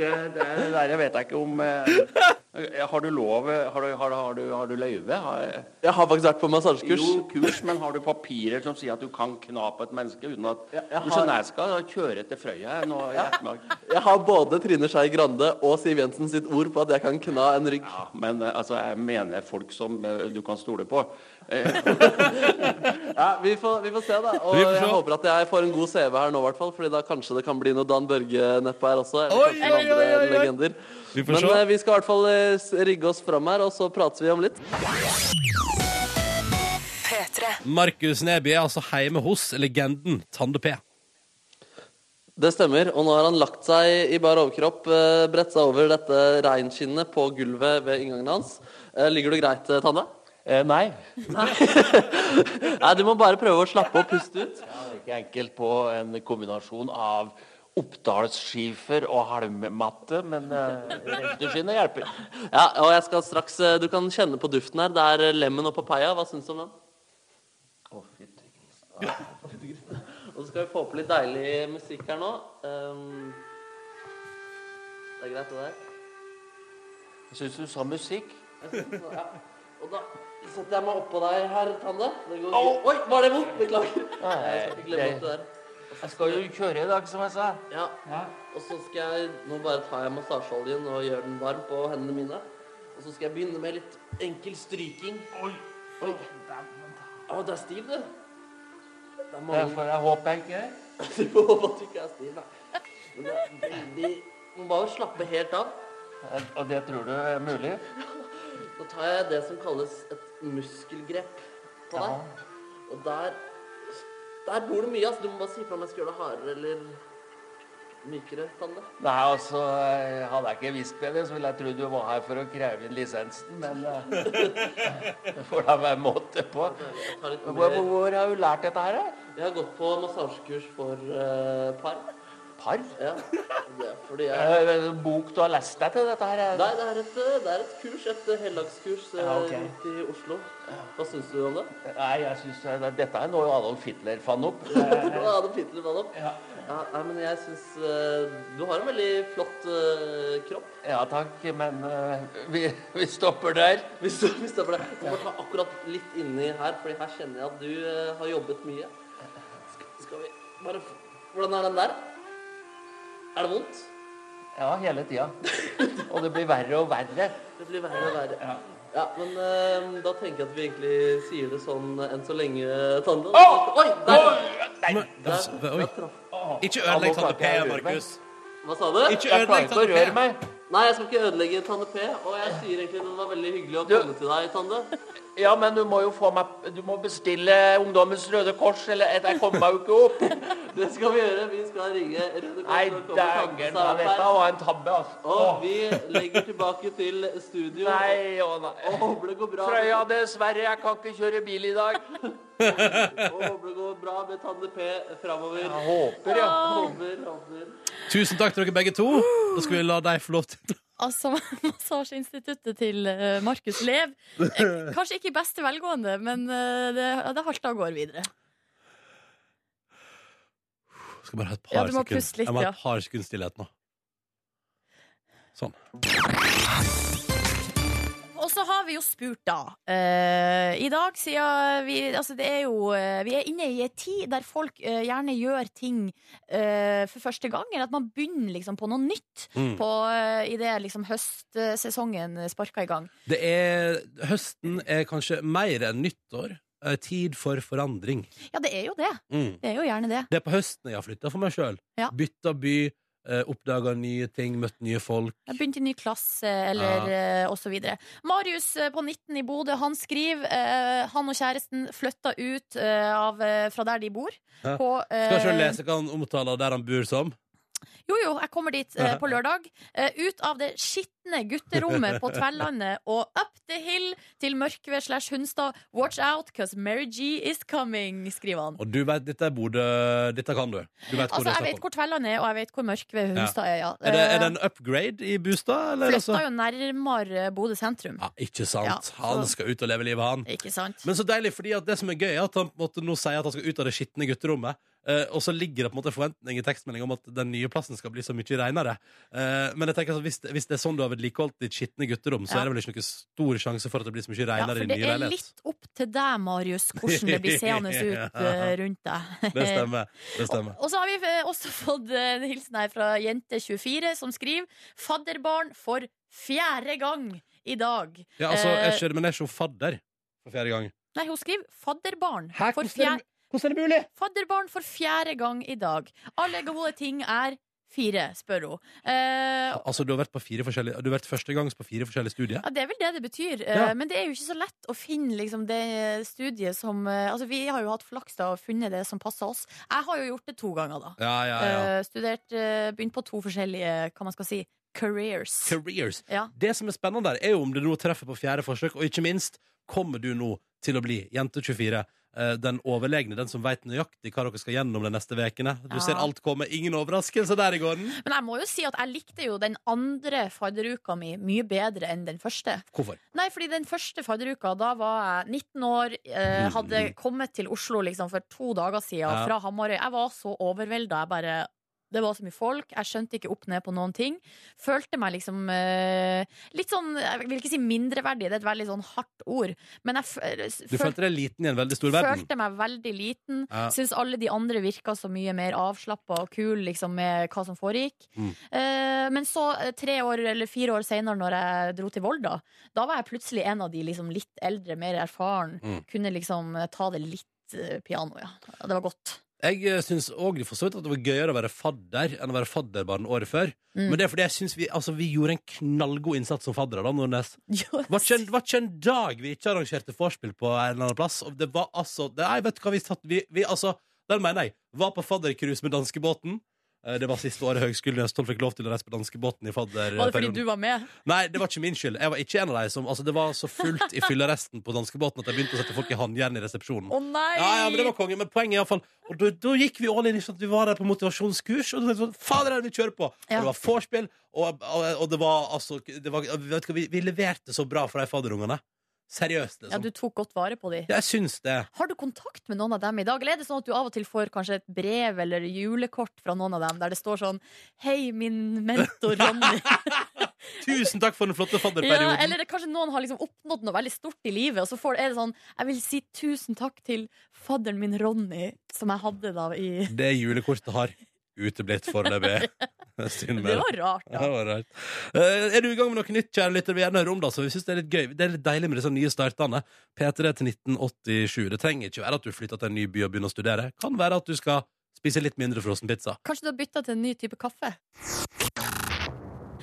I: det, det der vet jeg ikke om eh, Har du lov Har du, har, har du, har du løyve? Har,
B: Jeg har faktisk vært på massasjekurs.
I: Jo, kurs, men har du papirer som sier at du kan kna på et menneske uten at
B: Ja, jeg har-
I: Du skjønner, jeg skal kjøre til Frøya jeg, nå i ettermiddag.
B: Jeg har både Trine Skei Grande og Siv Jensen sitt ord på at jeg kan kna en rygg.
I: Ja, men eh, altså, jeg mener folk som eh, du kan stole på. Eh,
B: Ja, vi, får, vi får se, da. Og
D: Vi får se.
B: jeg håper at jeg får en god CV her nå, i hvert fall. Fordi da kanskje det kan bli noe Dan Børge nedpå her også. Eller
D: Oi,
B: kanskje noen
D: oi, oi, oi,
B: andre
D: oi.
B: legender.
D: Vi får
B: Men
D: se.
B: eh, vi skal i hvert fall eh, s- rigge oss fram her, og så prates vi om litt.
K: P3.
D: Markus Neby er altså hjemme hos legenden Tande P.
B: Det stemmer. Og nå har han lagt seg i bar overkropp, eh, bredt seg over dette reinskinnet på gulvet ved inngangen hans. Eh, Ligger du greit, eh, Tande?
I: eh, nei.
B: <laughs> Nei, du må bare prøve å slappe opp, puste ut.
I: Det er ikke enkelt på en kombinasjon av oppdalsskifer og halmmatte, men reinsdyrskinnet hjelper.
B: Ja, og jeg skal straks eh, Du kan kjenne på duften her. Det er eh, lemon og papaya. Hva syns du om den? Å, fytti grisen. Ja, fytti grisen. Og så skal vi få på litt deilig musikk her nå. Ehm, det er greit, det der.
I: Syns du sa musikk?
B: Ja. Og da setter jeg meg oppå deg her, Tande. Det går Oi, var det vondt? Beklager. Jeg skal ikke glemme
I: det-
B: alt det der.
I: Jeg skal jo kjøre i dag, som jeg sa.
B: Ja. Og så skal jeg Nå bare tar jeg massasjeoljen og gjør den varm på hendene mine. Og så skal jeg begynne med litt enkel stryking. Oi. Oi. Å, du er stiv, du.
G: Det får jeg håpe jeg ikke er.
B: Du får håpe at du ikke er stiv, da. Men det er veldig Må bare slappe helt av.
G: Og det tror du er mulig?
B: Da tar jeg det som kalles et muskelgrep på deg. Og der Der bor det mye, altså. Du må bare si fra om jeg skal gjøre det hardere eller mykere, Tande.
G: Nei, altså, eh, hadde jeg ikke visst bedre, så ville jeg trodd du var her for å kreve inn lisensen, men eh, <laughs> det får da være måte på. Men Hvor, hvor, hvor har du lært dette her, da?
B: Jeg har gått på massasjekurs for eh, par.
G: Par?
B: Ja. Det er fordi jeg
G: Eh, eh, Bok du har lest deg til, dette her?
B: Nei, det er et, eh, det er et kurs, et eh, heldagskurs eh,
G: Ja, ok.
B: rundt i Oslo. Hva syns du om det?
G: Nei, jeg synes eh, det- dette er noe Adolf Hitler fant opp.
B: <laughs> Det
G: Eh,
B: var Adam Pitler man opp. Ja. nei, men jeg syns eh, Du har en veldig flott eh, kropp.
G: Ja takk, men eh, vi, vi stopper der.
B: Hvis du, hvis det er for det. Du må bare ta akkurat litt inni her, Fordi her kjenner jeg at du eh, har jobbet mye. Skal, skal vi bare f- Hvordan er den der? Er det vondt? <laughs>
G: Ja, hele tida. Og det blir verre og verre.
B: Det blir verre og verre. Ja. men eh, da tenker jeg at vi egentlig sier det sånn eh, enn så lenge, Tande. Oi! Der!
D: Der, oi.
B: der traff-
D: Ikke
G: Ja, nå
D: ødelegg Tande
G: klarte
D: P,
G: jeg å lure meg.
D: Markus.
B: Hva sa du?
D: Ikke
G: Jeg klarer
D: ødelegg
G: ikke å
D: Tande
G: røre
D: P.
G: meg.
B: Nei, jeg skal ikke ødelegge Tande P. Og jeg sier egentlig at det var veldig hyggelig å
G: Du-
B: komme til deg, Tande.
G: Ja, men du må jo få meg Du må bestille Ungdommens Røde Kors, eller et- jeg kommer meg jo ikke opp.
B: Det skal vi gjøre. Vi skal ringe Røde Kors. <laughs>
G: Nei,
B: når det kommer Tande
G: dægeren. da,
B: Sarp her.
G: Dette var en tabbe, altså.
B: Og vi legger tilbake til studio.
G: Nei, å
B: Og
G: nei.
B: håper det går bra.
G: Frøya, dessverre. Jeg kan ikke kjøre bil i dag.
B: Og håper det går bra med Tande P framover.
G: Jeg håper, ja.
B: Håper, håper.
D: Tusen takk til dere begge to. Da skal vi la deg få lov til
C: Altså, <laughs> massasjeinstituttet til eh, Markus Lev. eh, Kanskje ikke i beste velgående, men eh, det, ja, det halter og går videre.
D: Skal bare ha et par
C: Ja, du må
D: sekunder.
C: puste litt,
D: Jeg må ha et
C: ja.
D: par sekunder stillhet nå. Sånn.
C: Og så har vi jo spurt, da. eh, I dag, siden vi Altså, det er jo eh, Vi er inne i en tid der folk eh, gjerne gjør ting eh, for første gang, eller at man begynner liksom på noe nytt
D: Mm.
C: på, eh, i det liksom høstsesongen sparker i gang.
D: Det er, høsten er kanskje mer enn nyttår. eh, Tid for forandring.
C: Ja, det er jo det.
D: Mm.
C: Det er jo gjerne det.
D: Det er på høsten jeg har flytta for meg sjøl.
C: Ja.
D: Bytta by, eh, oppdaga nye ting, møtt nye folk.
C: Jeg begynte i ny klasse, eller eh, og så videre. Marius eh, på 19 i Bodø, han skriver eh, Han og kjæresten flytta ut eh, av, eh, fra der de bor.
D: Ja.
C: På, eh,
D: Skal sjøl lese hva han omtaler der han bor som.
C: Jo, jo, jeg kommer dit eh, på lørdag. Eh, ut av det skitne gutterommet på Tverlandet og up the hill til Mørkved slash Hunstad. Watch out, cause Mary G is coming, skriver han.
D: Og du veit, dette er Bodø Dette kan du. Du vet hvor
C: Altså,
D: det er
C: jeg
D: snakk
C: vet
D: om.
C: hvor Eh. Tverlandet er, og jeg vet hvor Mørkved Hunstad er, ja.
D: Er det, er det en upgrade i Bustad? eller altså?
C: Flytta jo nærmere Bodø sentrum.
D: Ja, ikke
C: Ja,
D: sant.
C: så-
D: Han skal ut og leve livet, han.
C: Ikke sant?
D: Men så deilig, fordi at det som er gøy, er at han på en måte nå sier at han skal ut av det skitne gutterommet. eh, og så ligger det på en måte forventning i tekstmelding om at den nye plassen skal bli så mye renere. Eh, men jeg tenker altså, hvis, hvis det er sånn du har vedlikeholdt ditt skitne gutterom, så
C: Ja.
D: er det vel ikke noen stor sjanse for at det blir så mye
C: Ja,
D: renere i
C: for det
D: ny
C: er
D: leilighet.
C: litt opp til deg, Marius, hvordan det blir
D: <laughs>
C: seende ut eh, rundt deg.
D: Det stemmer. Det stemmer.
C: Og så har vi eh, også <laughs> fått eh, en hilsen her fra jente24, som skriver 'Fadderbarn for fjerde gang i dag'.
D: Ja, altså,
C: Eh,
D: jeg skjønner, men jeg er ikke fadder for fjerde gang.
C: Nei, hun skriver 'fadderbarn
D: Hæ,
C: for,
D: hvordan er
C: fjer
D: det- Hvordan er det mulig?
C: fadderbarn for fjerde gang i dag'. Alle gode ting er fire, spør hun. Eh,
D: Altså, du har vært, på fire forskjellige, du har vært førstegangs på fire forskjellige studier.
C: Ja, Det er vel det det betyr. eh,
D: Ja.
C: Men det er jo ikke så lett å finne liksom, det studiet som eh, Altså, Vi har jo hatt flaks da og funnet det som passer oss. Jeg har jo gjort det to ganger, da.
D: Ja, ja, ja.
C: Eh, studert, eh, Begynt på to forskjellige hva man skal si, careers.
D: Careers.
C: Ja.
D: Det som er spennende der, er jo om det nå treffer på fjerde forsøk, og ikke minst, kommer du nå til å bli jente 24? eh, Den overlegne, den som veit nøyaktig hva dere skal gjennom de neste ukene. Du
C: Ja.
D: ser alt komme. Ingen overraskelse der i gården.
C: Men jeg må jo si at jeg likte jo den andre fadderuka mi mye bedre enn den første.
D: Hvorfor?
C: Nei, fordi den første fadderuka, da var jeg 19 år, eh, hadde kommet til Oslo liksom for to dager siden
D: Mm. Ja.
C: fra Hamarøy. Jeg var så overvelda. Jeg bare det var så mye folk, jeg skjønte ikke opp ned på noen ting. Følte meg liksom eh, litt sånn Jeg vil ikke si mindreverdig, det er et veldig sånn hardt ord. Men jeg f
D: Du følte deg liten i en veldig stor verden.
C: Følte meg veldig liten.
D: Ja.
C: Syns alle de andre virka så mye mer avslappa og kul liksom, med hva som foregikk.
D: Mm.
C: Eh, men så, eh, tre år eller fire år seinere, når jeg dro til Volda, da var jeg plutselig en av de liksom, litt eldre, mer erfaren.
D: Mm.
C: Kunne liksom eh, ta det litt litt eh, piano, ja. Det var godt.
D: Jeg syns òg for så vidt at det var gøyere å være fadder enn å være fadderbarn året før.
C: Mm.
D: Men det er fordi jeg synes vi, altså, vi gjorde en knallgod innsats som faddere, da, Nordnes.
C: <laughs>
D: Var ikke, en, var ikke en dag vi ikke arrangerte vorspiel på en eller annen plass. Og det var altså Nei, vet du hva vi satt vi, vi altså, Den mener jeg. Var på faddercruise med danskebåten. Eh, Det var siste året Høgskolen i Østfold fikk lov til å reise på danskebåten i fadderperioden.
C: Var det fordi du var med?
D: Nei, det var ikke min skyld. Jeg var ikke en av de som Altså, det var så fullt i fylleresten på danskebåten at jeg begynte å sette folk i håndjern i resepsjonen.
C: Å nei!
D: Ja, ja, men det var konge, men poenget er i hvert fall Og da, da gikk vi all in, ikke sant? Vi var der på motivasjonskurs Og da tenkte vi sånn, faen det er det vi kjører på Og
C: Ja.
D: det var forspill Og, og, og det var, altså det var, vet du hva, vi, vi leverte så bra for de fadderungene Seriøst,
C: Ja,
D: liksom
C: du tok godt vare på de.
D: Jeg synes det
C: Har du kontakt med noen av dem i dag? Eller er det sånn at du av og til får kanskje et brev eller julekort fra noen av dem der det står sånn Hei, min
D: <laughs>
C: mentor Ronny.
D: Tusen takk for den flotte
C: ja,
D: fadderperioden
C: eller det- kanskje noen har liksom oppnådd noe veldig stort i livet, og så får, er det sånn Jeg vil si tusen takk til fadderen min Ronny, som jeg hadde da i
D: Det julekortet har uteblitt
C: <laughs>
D: foreløpig Synd med
C: Det var rart,
D: Ja, det var rart. Eh, er du i gang med noe nytt, kjære lytter? Vi gjerne hører om det. Altså. Vi synes det er litt gøy. Det er litt deilig med disse nye startene. P3 til 1987. Det trenger ikke være at du flytter til en ny by og begynner å studere. Kan være at du skal spise litt mindre frossenpizza.
C: Kanskje du har bytta til en ny type kaffe?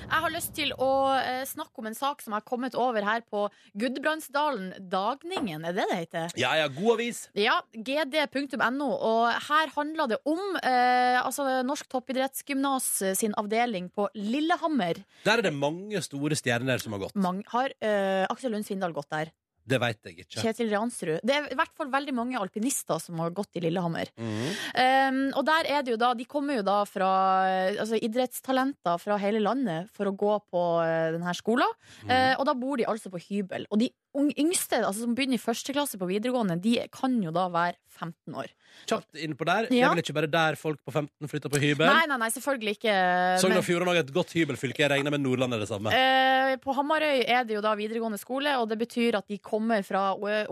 C: Jeg har lyst til å eh, snakke om en sak som har kommet over her på Gudbrandsdalen Dagningen. Er det det heter?
D: Ja, ja, god avis.
C: Ja, gd.no. Og her handler det om eh, altså Norsk toppidrettsgymnas eh, sin avdeling på Lillehammer.
D: Der er det mange store stjerner som har gått.
C: Mange, har eh, Aksel Lund Svindal gått der?
D: Det veit jeg ikke.
C: Kjetil Ransrud? Det er i hvert fall veldig mange alpinister som har gått i Lillehammer.
D: Mhm.
C: Um, og der er det jo da De kommer jo da fra eh, altså, idrettstalenter fra hele landet for å gå på eh, denne skolen. Eh, og da bor de altså på hybel. Og de ung- yngste, altså, som begynner i første klasse på videregående, de kan jo da være 15 år.
D: Kjapt innpå der. Det
C: Ja.
D: er vel ikke bare der folk på 15 flytter på hybel?
C: Nei, nei, nei, selvfølgelig ikke.
D: Sogn
C: men-
D: og Fjordane er et godt hybelfylke. Jeg regner med Nordland er det samme.
C: Eh, på Hamarøy er det jo da videregående skole, og det betyr at de kommer fra eh,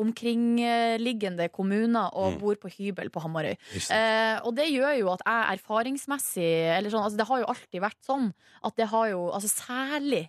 C: omkringliggende kommuner og
D: Mm.
C: bor på hybel på Hamarøy.
D: Ikke sant.
C: Eh, og det gjør jo at jeg erfaringsmessig eller sånn, altså Det har jo alltid vært sånn at det har jo altså Særlig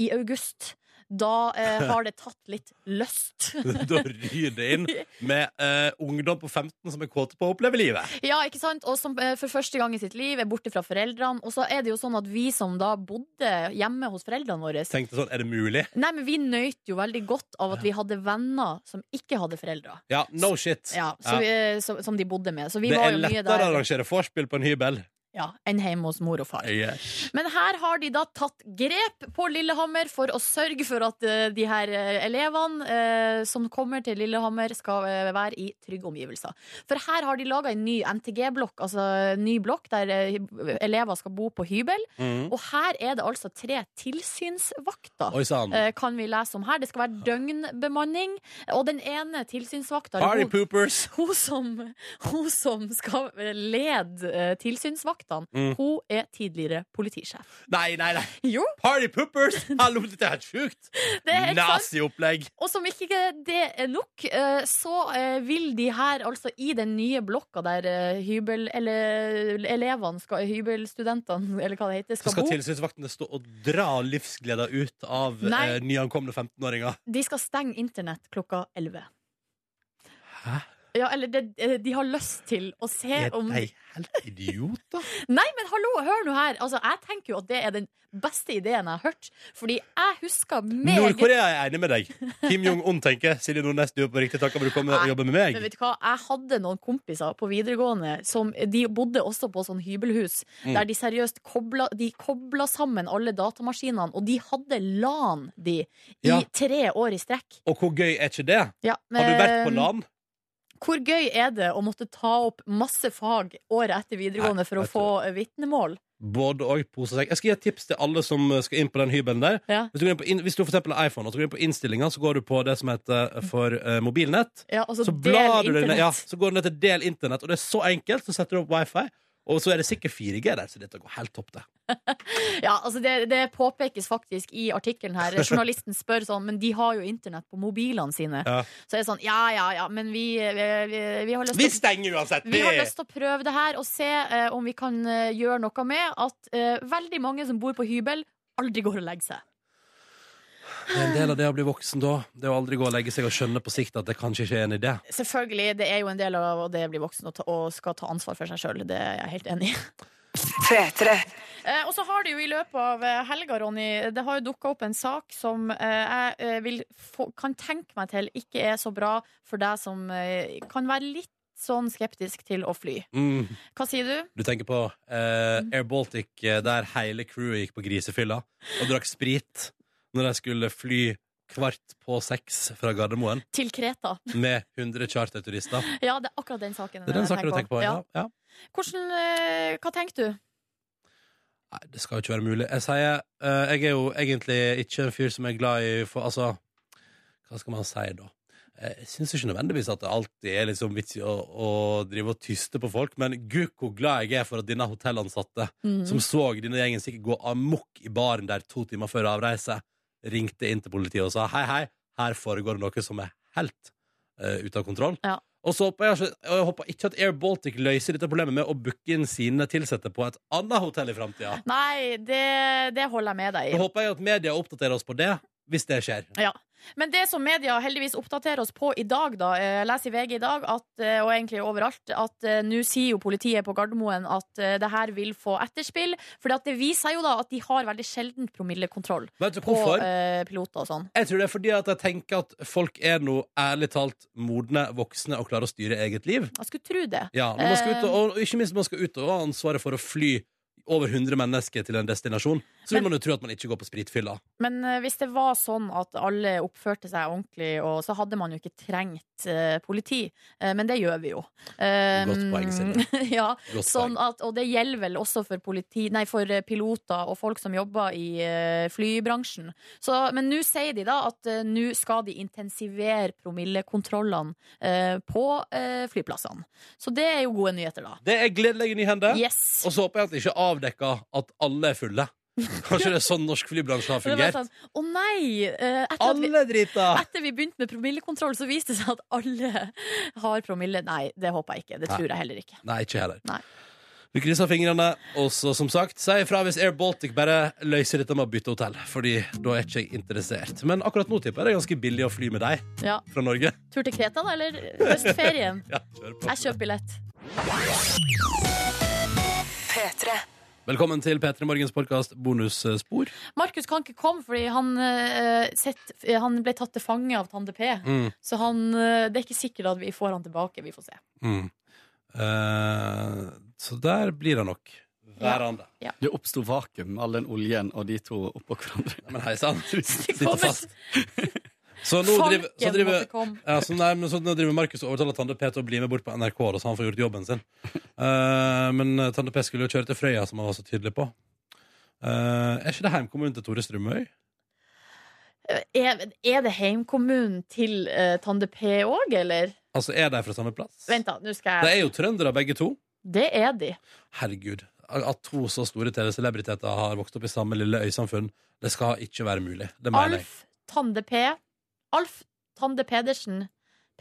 C: i august. Da eh,
D: <laughs>
C: har det tatt litt lyst.
D: <laughs> da ryr det inn med eh, ungdom på 15 som er kåte på å oppleve livet.
C: Ja, ikke sant? Og som eh, for første gang i sitt liv er borte fra foreldrene. Og så er det jo sånn at vi som da bodde hjemme hos foreldrene våre
D: Tenkte sånn, er det mulig?
C: Nei, men vi nøyt jo veldig godt av at vi hadde venner som ikke hadde foreldre.
D: Ja, no shit.
C: Ja, så vi, eh, som, som de bodde med. Så vi
D: det
C: var
D: er
C: jo mye
D: lettere å
C: der
D: arrangere vorspiel på en hybel.
C: ja, enn hjemme hos mor og far. Men her har de da tatt grep på Lillehammer for å sørge for at eh, de her eh, elevene eh, som kommer til Lillehammer, skal eh, være i trygge omgivelser. For her har de laga en ny NTG-blokk, altså en ny blokk der eh, elever skal bo på hybel.
D: Mhm.
C: Og her er det altså tre tilsynsvakter.
D: Oi sann.
C: eh, Kan vi lese om her. Det skal være døgnbemanning. Og den ene tilsynsvakta eller
D: Party
C: hun-
D: poopers.
C: hun som, hun som skal lede eh, tilsynsvaktene,
D: Mm.
C: hun er tidligere politisjef.
D: Nei, nei, nei.
C: Jo,
D: Party poopers! Hallo, dette er helt sjukt!
C: det er helt sant.
D: Naziopplegg.
C: Og som ikke det er nok, eh, så eh, vil de her, altså i den nye blokka der eh, hybel, eller elevene, skal, hybelstudentene, <laughs> eller hva det heter,
D: Så
C: skal,
D: skal
C: bo,
D: tilsynsvaktene stå og dra livsgleda ut av
C: Nei.
D: eh, nyankomne 15-åringer.
C: de skal stenge internett klokka 11. Ja, eller det, eh, de har lyst til å se
D: Er
C: om
D: de helt
C: <laughs>
D: idioter?
C: Nei, men hallo, hør nå her. Altså, jeg tenker jo at det er den beste ideen jeg har hørt. Fordi jeg husker meget
D: Nord-Korea er enig med deg. Kim Jong-un tenker Silje Nordnes, du er på riktig takk, kan du komme og jobbe med meg?
C: Men vet du hva, jeg hadde noen kompiser på videregående som de bodde også på sånn hybelhus,
D: Mm.
C: der de seriøst kobla, de kobla sammen alle datamaskinene, og de hadde LAN, de, i
D: Ja.
C: tre år i strekk.
D: Og hvor gøy er ikke det?
C: Ja,
D: Har du vært på
C: men-
D: LAN?
C: Hvor gøy er det å måtte ta opp masse fag året etter videregående
D: Nei,
C: for å
D: vet du
C: få vitnemål?
D: Både og pose og sekk. Jeg skal gi et tips til alle som eh, skal inn på den hybelen der.
C: Ja.
D: Hvis du, går inn på inn, hvis du for eksempel har iPhone, og så går du inn på innstillinga, så går du på det som heter eh, for eh, mobilnett.
C: Ja, altså,
D: Så, blar du
C: del
D: deg ned,
C: internett.
D: ja, så går du ned til del internett, og det er så enkelt. Så setter du opp wifi, og så er det sikkert 4G der, så dette går helt topp, det.
C: Ja, altså det, det påpekes faktisk i artikkelen her. Journalisten spør sånn, men de har jo internett på mobilene sine.
D: Ja.
C: Så er det sånn, ja, ja, ja, men vi, vi, vi, vi har lyst
D: Vi
C: til å-
D: stenger uansett!
C: vi har lyst til å prøve det her og se eh, om vi kan eh, gjøre noe med at eh, veldig mange som bor på hybel, aldri går og legger seg.
D: Det er en del av det å bli voksen da. Det å aldri gå og legge seg og skjønne på sikt at det kanskje ikke er en idé.
C: Selvfølgelig, det er jo en del av det å bli voksen og, ta, og skal ta ansvar for seg sjøl. Det er jeg helt enig i. Eh, og så har det jo i løpet av eh, helga, Ronny, det har jo dukka opp en sak som eh, jeg eh, vil få, kan tenke meg til ikke er så bra for deg som eh, kan være litt sånn skeptisk til å fly.
D: Mm.
C: Hva sier du?
D: Du tenker på eh, Air Baltic, eh, der hele crewet gikk på grisefylla og drakk sprit når de skulle fly kvart på seks fra Gardermoen
C: Til Kreta.
D: med 100 charterturister.
C: Ja, det er akkurat den saken.
D: Det er den
C: jeg
D: saken du tenker på? Ja. ja.
C: Hvordan, eh, hva tenker du?
D: Nei, det skal jo ikke være mulig. Jeg sier eh, Jeg er jo egentlig ikke en fyr som er glad i for, Altså, hva skal man si da? Eh, Jeg syns ikke nødvendigvis at det alltid er liksom vits i å, å drive og tyste på folk, men gud hvor glad jeg er for at denne hotellansatte,
C: Mm.
L: Mhm.
D: som så denne gjengen sikkert gå amok i baren der to timer før avreise, ringte inn til politiet og sa hei, hei, her foregår det noe som er helt eh, ute av kontroll. Og så håper jeg, ikke- og jeg håper ikke at Air Baltic løser dette problemet med å booke inn sine ansatte på et annet hotell i framtida.
C: Nei, det, det holder jeg med deg i.
D: Da håper jeg at media oppdaterer oss på det, hvis det skjer.
C: Ja. Men det som media heldigvis oppdaterer oss på i dag, da, eh, jeg leser i VG i dag, at, eh, og egentlig overalt, at eh, nå sier jo politiet på Gardermoen at eh, det her vil få etterspill. For det viser seg jo da at de har veldig sjelden promillekontroll
D: Vet du
C: på
D: hvorfor?
C: eh, piloter og sånn.
D: Jeg tror det er fordi at jeg tenker at folk er nå ærlig talt modne, voksne og klarer å styre eget liv.
C: Jeg skulle tro det.
D: Ja, når man skal ut og, og ikke minst når man skal ut og ha ansvaret for å fly over 100 mennesker til en destinasjon, så vil man jo tro at man ikke går på spritfylla.
C: Men eh, hvis det var sånn at alle oppførte seg ordentlig, og så hadde man jo ikke trengt eh, politi. Eh, men det gjør vi jo. Eh,
D: Godt poeng, Silje.
C: <laughs> ja,
D: Godt
C: sånn at, og det gjelder vel også for, politi, nei, for eh, piloter og folk som jobber i eh, flybransjen. Så, men nå sier de da at eh, nå skal de intensivere promillekontrollene eh, på eh, flyplassene. Så det er jo gode nyheter, da.
D: Det er gledelige nyhender.
C: Yes.
D: Og så håper jeg at det ikke avdekker at alle er fulle. Kanskje det er sånn norsk flybransje har
C: <laughs> Og det var
D: fungert.
C: Sånn, å nei! eh, Etter at, vi, etter vi begynte med promillekontroll, så viste det seg at alle har promille. Nei, det håper jeg ikke. Det
D: Nei.
C: tror jeg heller ikke.
D: Nei, ikke heller.
C: Nei.
D: Vi krysser fingrene, og så som sagt, si ifra hvis Air Baltic bare løser dette med å bytte hotell. Fordi da er ikke jeg interessert. Men akkurat nå tipper jeg det er ganske billig å fly med deg
C: Ja.
D: fra Norge.
C: Tur til Kreta, da, eller høstferien?
D: <laughs> Ja, kjør på.
C: Jeg kjøper billett.
D: Velkommen til P3 Morgens podkast bonusspor.
C: Markus kan ikke komme fordi han, eh, sett, han ble tatt til fange av Tande P.
D: Mm.
C: Så han, eh, det er ikke sikkert at vi får han tilbake. Vi får se.
D: Mm. Eh, så der blir det nok. Værende.
C: Ja.
I: Det oppsto vakuum, all den oljen og de to oppå hverandre. <laughs>
D: Men hei sann, sitter
I: kommer-
D: fast. Så nå
I: Folken
D: driver, så driver,
I: måtte komme.
D: ja, så nei, men så nå driver Markus og overtaler Tande P til å bli med bort på NRK, da, så han får gjort jobben sin. Eh, men eh, Tande P skulle jo kjøre til Frøya, som han var så tydelig på. Eh, er ikke det heimkommunen til Tore Strømøy?
C: Eh, Er, er det heimkommunen til eh, Tande P òg, eller?
D: Altså, Er de fra samme plass?
C: Vent, da. Nå skal
D: De er
C: jeg
D: jo trøndere, begge to.
C: Det er de.
D: Herregud. At to så store TV-celebriteter har vokst opp i samme lille øysamfunn, det skal ikke være mulig. Det mener jeg.
C: Alf Tande P. Alf Tande Pedersen.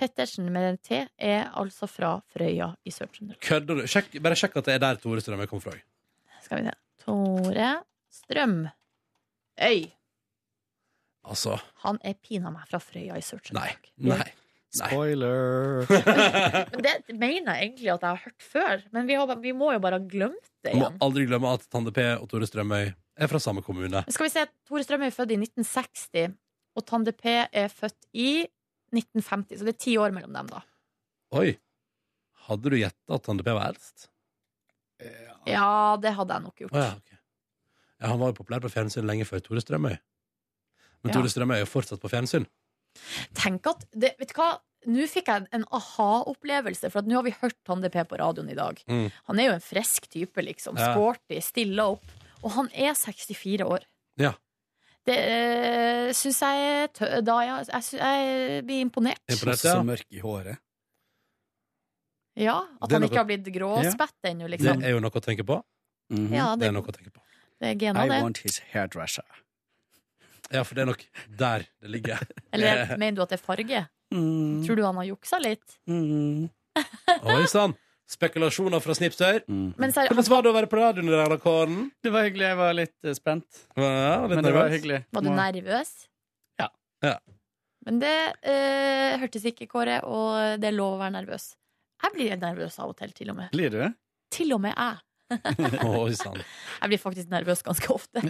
C: Pettersen med en T er altså fra Frøya i Sør-Trøndelag.
D: Kødder du? Sjekk, bare sjekk at det er der Tore Strømøy kom fra.
C: Skal vi se. Tore Strøm. Øy.
D: Altså
C: Han er pina meg fra Frøya i Sør-Trøndelag.
D: Nei.
I: Spoiler.
C: Men det mener jeg egentlig at jeg har hørt før. Men vi, har, ba- vi må jo bare ha glemt det
D: Du må
C: igjen.
D: aldri glemme at Tande P og Tore Strømøy er fra samme kommune.
C: Skal vi se. Tore Strøm er født i 1960, og Tande P er født i 1950. Så det er ti år mellom dem, da.
D: Oi! Hadde du gjetta at Tande P var eldst?
C: Ja, det hadde jeg nok
D: Å
C: gjort.
D: ja, ok. ja, han var jo populær på fjernsyn lenge før Tore Strømøy. Men
C: Ja.
D: Tore Strømøy er jo fortsatt på fjernsyn.
C: Tenk at det, Vet du hva? Nå fikk jeg en, en aha-opplevelse, for at nå har vi hørt Tande P på radioen i dag.
D: Mm.
C: Han er jo en frisk type, liksom.
D: Ja.
C: Sporty, stilla opp. Og han er 64 år.
D: Ja.
C: Det øh, syns jeg er tø da jeg, jeg, sy- jeg blir imponert.
I: Imponert, ja. Så mørk i håret.
C: Ja, At
D: Det er
C: han
D: noe-
C: ikke har blitt gråspett ennå,
D: Det
C: liksom.
D: er jo noe å tenke på.
C: Ja,
D: det
C: det,
D: er noe å tenke på.
C: det er gena, det.
I: his hairdresser.
D: Ja, for det er nok der det ligger. <laughs>
C: Eller mener du at det er farge?
I: Mm,
C: Tror du han har juksa litt?
D: Oi sann! Spekulasjoner fra Snipsøyr.
I: Mm.
C: Men så er-
D: Hvordan var det å være på radioen i dag, da, Kåren?
I: Det var hyggelig. Jeg var litt eh, spent.
D: Ja, litt
I: Men det var
D: nervøs.
I: hyggelig.
C: Var du nervøs?
D: Mm. Ja.
C: Men det eh, hørtes ikke, Kåre, og det er lov å være nervøs. Jeg blir nervøs av og til, til og med.
I: Blir du?
C: Til og med jeg.
D: Oi sann.
C: Jeg blir faktisk nervøs ganske ofte.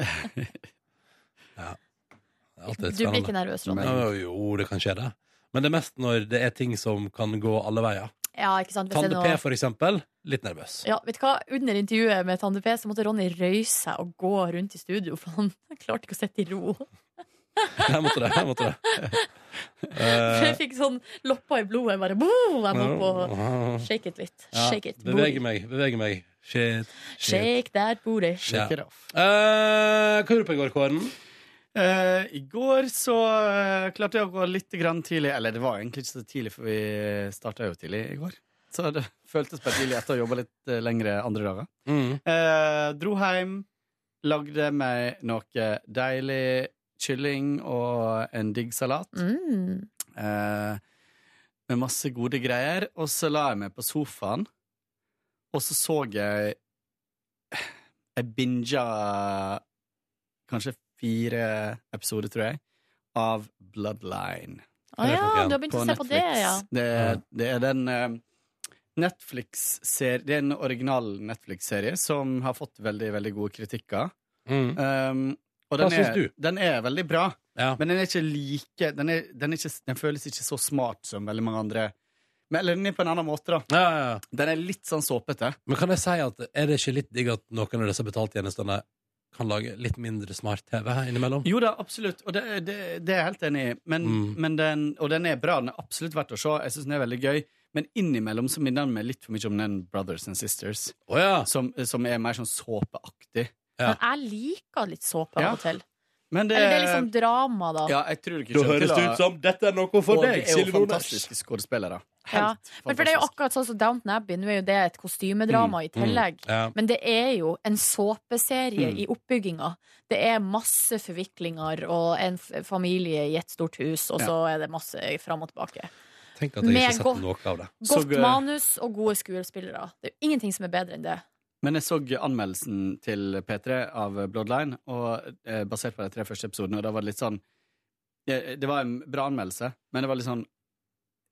D: Alt er
C: Du blir
D: spennende.
C: ikke nervøs, Ronny.
D: Ja, Jo, det kan skje, det. Men det er mest når det er ting som kan gå alle veier.
C: Ja, ikke sant? Hvis det er
D: Tande
C: noe-
D: P, for eksempel. Litt nervøs.
C: <laughs> Ja, vet du hva? Under intervjuet med Tande P så måtte Ronny røyse seg og gå rundt i studio, for han klarte ikke å sitte i ro.
D: Jeg måtte det. Jeg måtte det.
C: Så
D: Eh,
C: jeg fikk sånn lopper i blodet. Jeg bare boom, Jeg må opp og shake it litt.
D: ja,
C: Shake it.
D: Beveger
C: booty.
D: meg. Beveger meg. Shit. shit.
C: Shake that booty.
D: Ja. Eh, hva gjorde du på i går, Kåren?
I: Eh, I går så eh, klarte jeg å gå litt grann tidlig. Eller det var egentlig ikke så tidlig, for vi starta jo tidlig i går. Så det føltes bare tidlig etter å ha jobba litt eh, lengre andre dager.
D: Mm,
I: Eh, dro hjem, lagde meg noe deilig kylling og en digg salat.
C: Mm.
I: Eh, med masse gode greier. Og så la jeg meg på sofaen, og så så jeg Jeg binga kanskje fire episoder, tror jeg, av Bloodline.
C: Å ja, du har begynt å se på det, ja.
I: Det, det er den eh, Netflix-serien Det er en original Netflix-serie som har fått veldig, veldig gode kritikker. Um, og
D: Hva
I: den er,
D: syns du?
I: Den er veldig bra,
D: mm. Ja.
I: men den er ikke like den, er, den, er ikke, den føles ikke så smart som veldig mange andre. Men, eller den er på en annen måte, da. Den er litt sånn såpete.
D: Men kan jeg si at er det ikke litt digg at noen av disse betaltjenestene kan lage litt mindre smart-TV her innimellom?
I: Jo da, absolutt, og det, det, det er jeg helt enig i. Men, men den, og den er bra, den er absolutt verdt å se. Jeg synes den er veldig gøy. Men innimellom så minner den meg litt for mye om den Brothers and Sisters. som, som er mer sånn såpeaktig.
C: Men jeg liker litt såpe
I: Ja.
C: av og til.
I: Men det,
C: Eller det er liksom drama, da.
I: ja, jeg tror
D: Da
I: ikke kommer til
D: høres det
I: å-
D: ut som, «Dette er noe for
I: Og
D: deg,
I: Det er
D: Silje
I: jo
D: Nordnes!»
I: fantastiske skuespillere.
C: Ja,
I: Helt
C: men for det er jo
I: fantastisk.
C: akkurat sånn som Downton Abbey. Nå er jo det et kostymedrama
I: Mm,
C: i tillegg.
I: mm, ja.
C: Men det er jo en såpeserie
I: Mm.
C: i oppbygginga. Det er masse forviklinger og en f- familie i et stort hus, og så er det masse fram og tilbake.
D: Tenk at jeg ikke
C: Med
D: har sett
C: godt-
D: noe av det.
I: Så
C: Godt
I: gøy.
C: manus og gode skuespillere. Det er jo ingenting som er bedre enn det.
I: Men jeg så anmeldelsen til P3 av Bloodline, og, eh, basert på de tre første episodene, og da var det litt sånn eh, Det, det var en bra anmeldelse, men det var litt sånn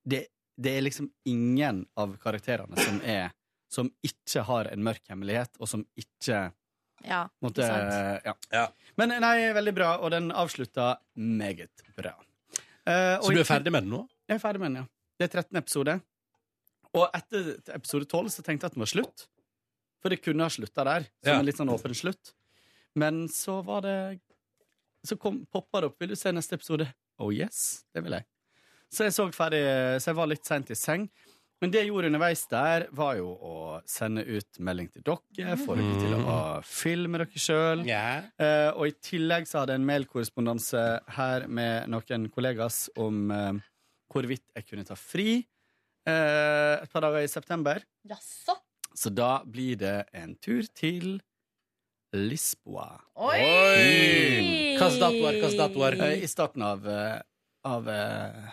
I: Det, det er liksom ingen av karakterene som er Som ikke har en mørk hemmelighet, og som ikke
C: Ja,
I: Måtte,
C: ikke sant?
I: ja. Men nei, veldig bra, og den avslutta meget bra. Eh, og
D: Så du er
I: i-
D: ferdig med den nå?
I: Jeg er ferdig med den, ja. Det er 13 episoder. Og etter episode 12 så tenkte jeg at den var slutt. For det kunne ha slutta der, som
D: Ja.
I: en litt sånn åpen slutt. Men så var det Så kom, poppa det opp. Vil du se neste episode? Oh yes, det vil jeg. Så jeg så ferdig Så jeg var litt seint i seng. Men det jeg gjorde underveis der, var jo å sende ut melding til dere, få dere til å filme dere sjøl. Eh, og i tillegg så hadde jeg en mailkorrespondanse her med noen kollegas om eh, hvorvidt jeg kunne ta fri eh, et par dager i september.
C: Jaså?
I: Så da blir det en tur til Lisboa.
C: Oi!
D: Oi! Hva slags datoer, hva slags datoer?
I: Eh, I starten av, eh, av eh,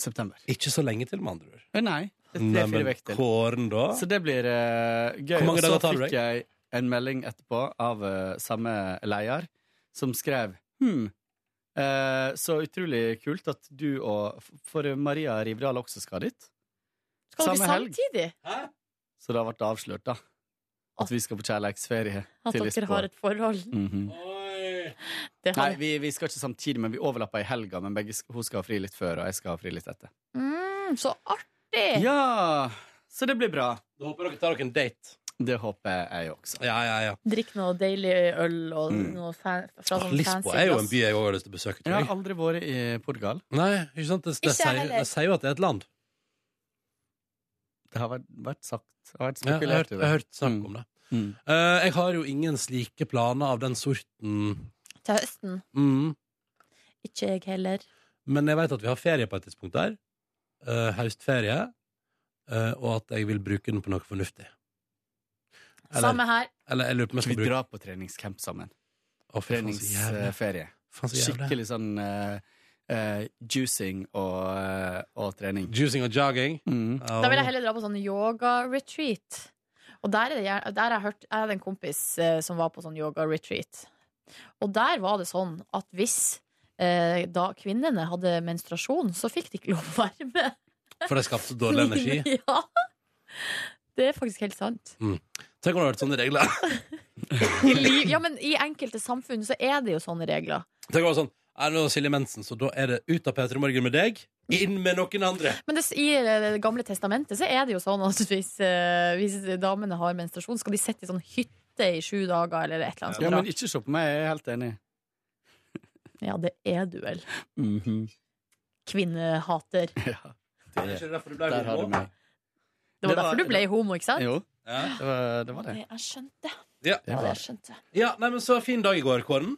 I: september.
D: Ikke så lenge til, med andre ord.
I: Eh, Nei, det er
D: Nei,
I: tre-fire
D: men
I: uker til.
D: Kåren, da?
I: Så det blir eh, gøy.
D: Hvor mange
I: Og så
D: dager tar du
I: fikk jeg en melding etterpå av eh, samme leder, som skrev Hm, eh, så utrolig kult at du og For Maria Rivdal også skal dit.
C: Skal dere
I: Samme helg.
C: samtidig?
I: Så da ble det avslørt, da. At vi skal på kjærleiksferie
C: At
I: til
C: dere
I: Lisboa.
C: har et forhold?
I: Mhm.
C: Det
I: Nei,
C: har
I: vi, vi skal ikke samtidig, men vi overlapper i helga. Men begge, sk- hun skal ha fri litt før, og jeg skal ha fri litt etter.
C: mm, Så artig!
I: Ja, Så det blir bra.
D: Da håper dere tar dere en date.
I: Det håper jeg også.
D: Ja, ja, ja.
C: Drikk noe deilig øl og noe fan, fra sånn fancy
D: Ah, Lisboa er jo en
C: glass.
D: by jeg også har lyst til å besøke.
I: Jeg
D: Tror
I: har
D: jeg.
I: aldri vært i Portugal.
D: Nei, ikke sant? Det, det,
C: Ikke jeg
D: sier,
C: heller.
D: det sier jo at det er et land.
I: Det har vært, vært sagt. Det har
D: Ja,
I: vært
D: jeg har
I: spekulert
D: hørt,
I: i
D: jeg
I: det.
D: har hørt snakk om det.
I: Mm.
D: Eh, jeg har jo ingen slike planer av den sorten.
C: Til høsten.
D: Mm.
C: Ikke jeg heller.
D: Men jeg vet at vi har ferie på et tidspunkt der. eh, høstferie. eh, og at jeg vil bruke den på noe fornuftig. Eller,
C: Samme her.
D: eller jeg lurer på om jeg
I: Skal
D: skal
I: vi
D: bruke
I: dra på treningscamp sammen?
D: Å, fy faen, så jævlig.
I: Treningsferie.
D: Faen, så jævlig.
I: Skikkelig sånn eh, eh, juicing og, eh, og trening.
D: Juicing og jogging.
I: Mm.
C: Da vil jeg heller dra på sånn yoga-retreat. Og der, er det, gjerne- der har jeg hørt Jeg hadde en kompis eh, som var på sånn yoga-retreat. Og der var det sånn at hvis eh, da kvinnene hadde menstruasjon, så fikk de ikke lov å være med.
D: For det skapte så dårlig <laughs> energi.
C: <laughs> Ja. Det er faktisk helt sant.
D: Mm. Tenk om det hadde vært sånne regler. <laughs>
C: I liv, ja, men i enkelte samfunn så er det jo sånne regler.
D: Tenk om det var sånn Er det nå Silje Mensen, så da er det ut av P3 Morgen med deg, inn med noen andre. <laughs>
C: Men det, i eh, Det gamle testamentet så er det jo sånn at hvis, eh, hvis damene har menstruasjon, skal de sitte i sånn hytte i sju dager eller et eller annet.
I: Ja,
C: sånt
I: men ikke se på meg, jeg er helt enig.
C: rart. ja det er du vel.
I: Mm-hmm.
C: Kvinnehater.
D: Det er ikke derfor du ble
I: Der har du
D: homo.
I: meg.
C: Det var derfor du ble homo, ikke sant?
I: Jo,
D: Ja.
I: det var det. Var det.
A: Det jeg skjønte.
D: Ja.
I: Det var det.
A: Jeg skjønte.
D: ja, nei, men så fin dag i går, Kåren.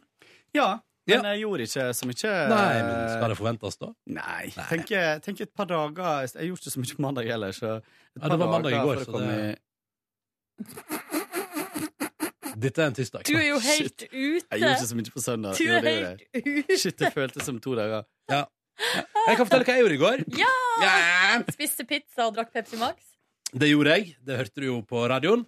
I: Ja,
D: Ja.
I: men jeg gjorde ikke så mye. eh,
D: Nei, men Eh, skal det forventes, da?
I: Nei. Tenk, eh, tenk et par dager Jeg gjorde ikke så mye på mandag heller, så et
D: Ja, det var mandag i går, så det- Dette er en tirsdag.
C: Du er jo helt
I: Jeg gjorde
C: ute!
I: ikke så mye på søndag.
C: Du
I: Jo,
C: er
I: det gjorde jeg.
C: helt ute!
I: Shit, det føltes som to dager.
D: Jeg kan fortelle hva jeg gjorde i går.
C: Ja!
D: Ja!
C: Spiste pizza og drakk Pepsi Max.
D: Det gjorde jeg. Det hørte du jo på radioen.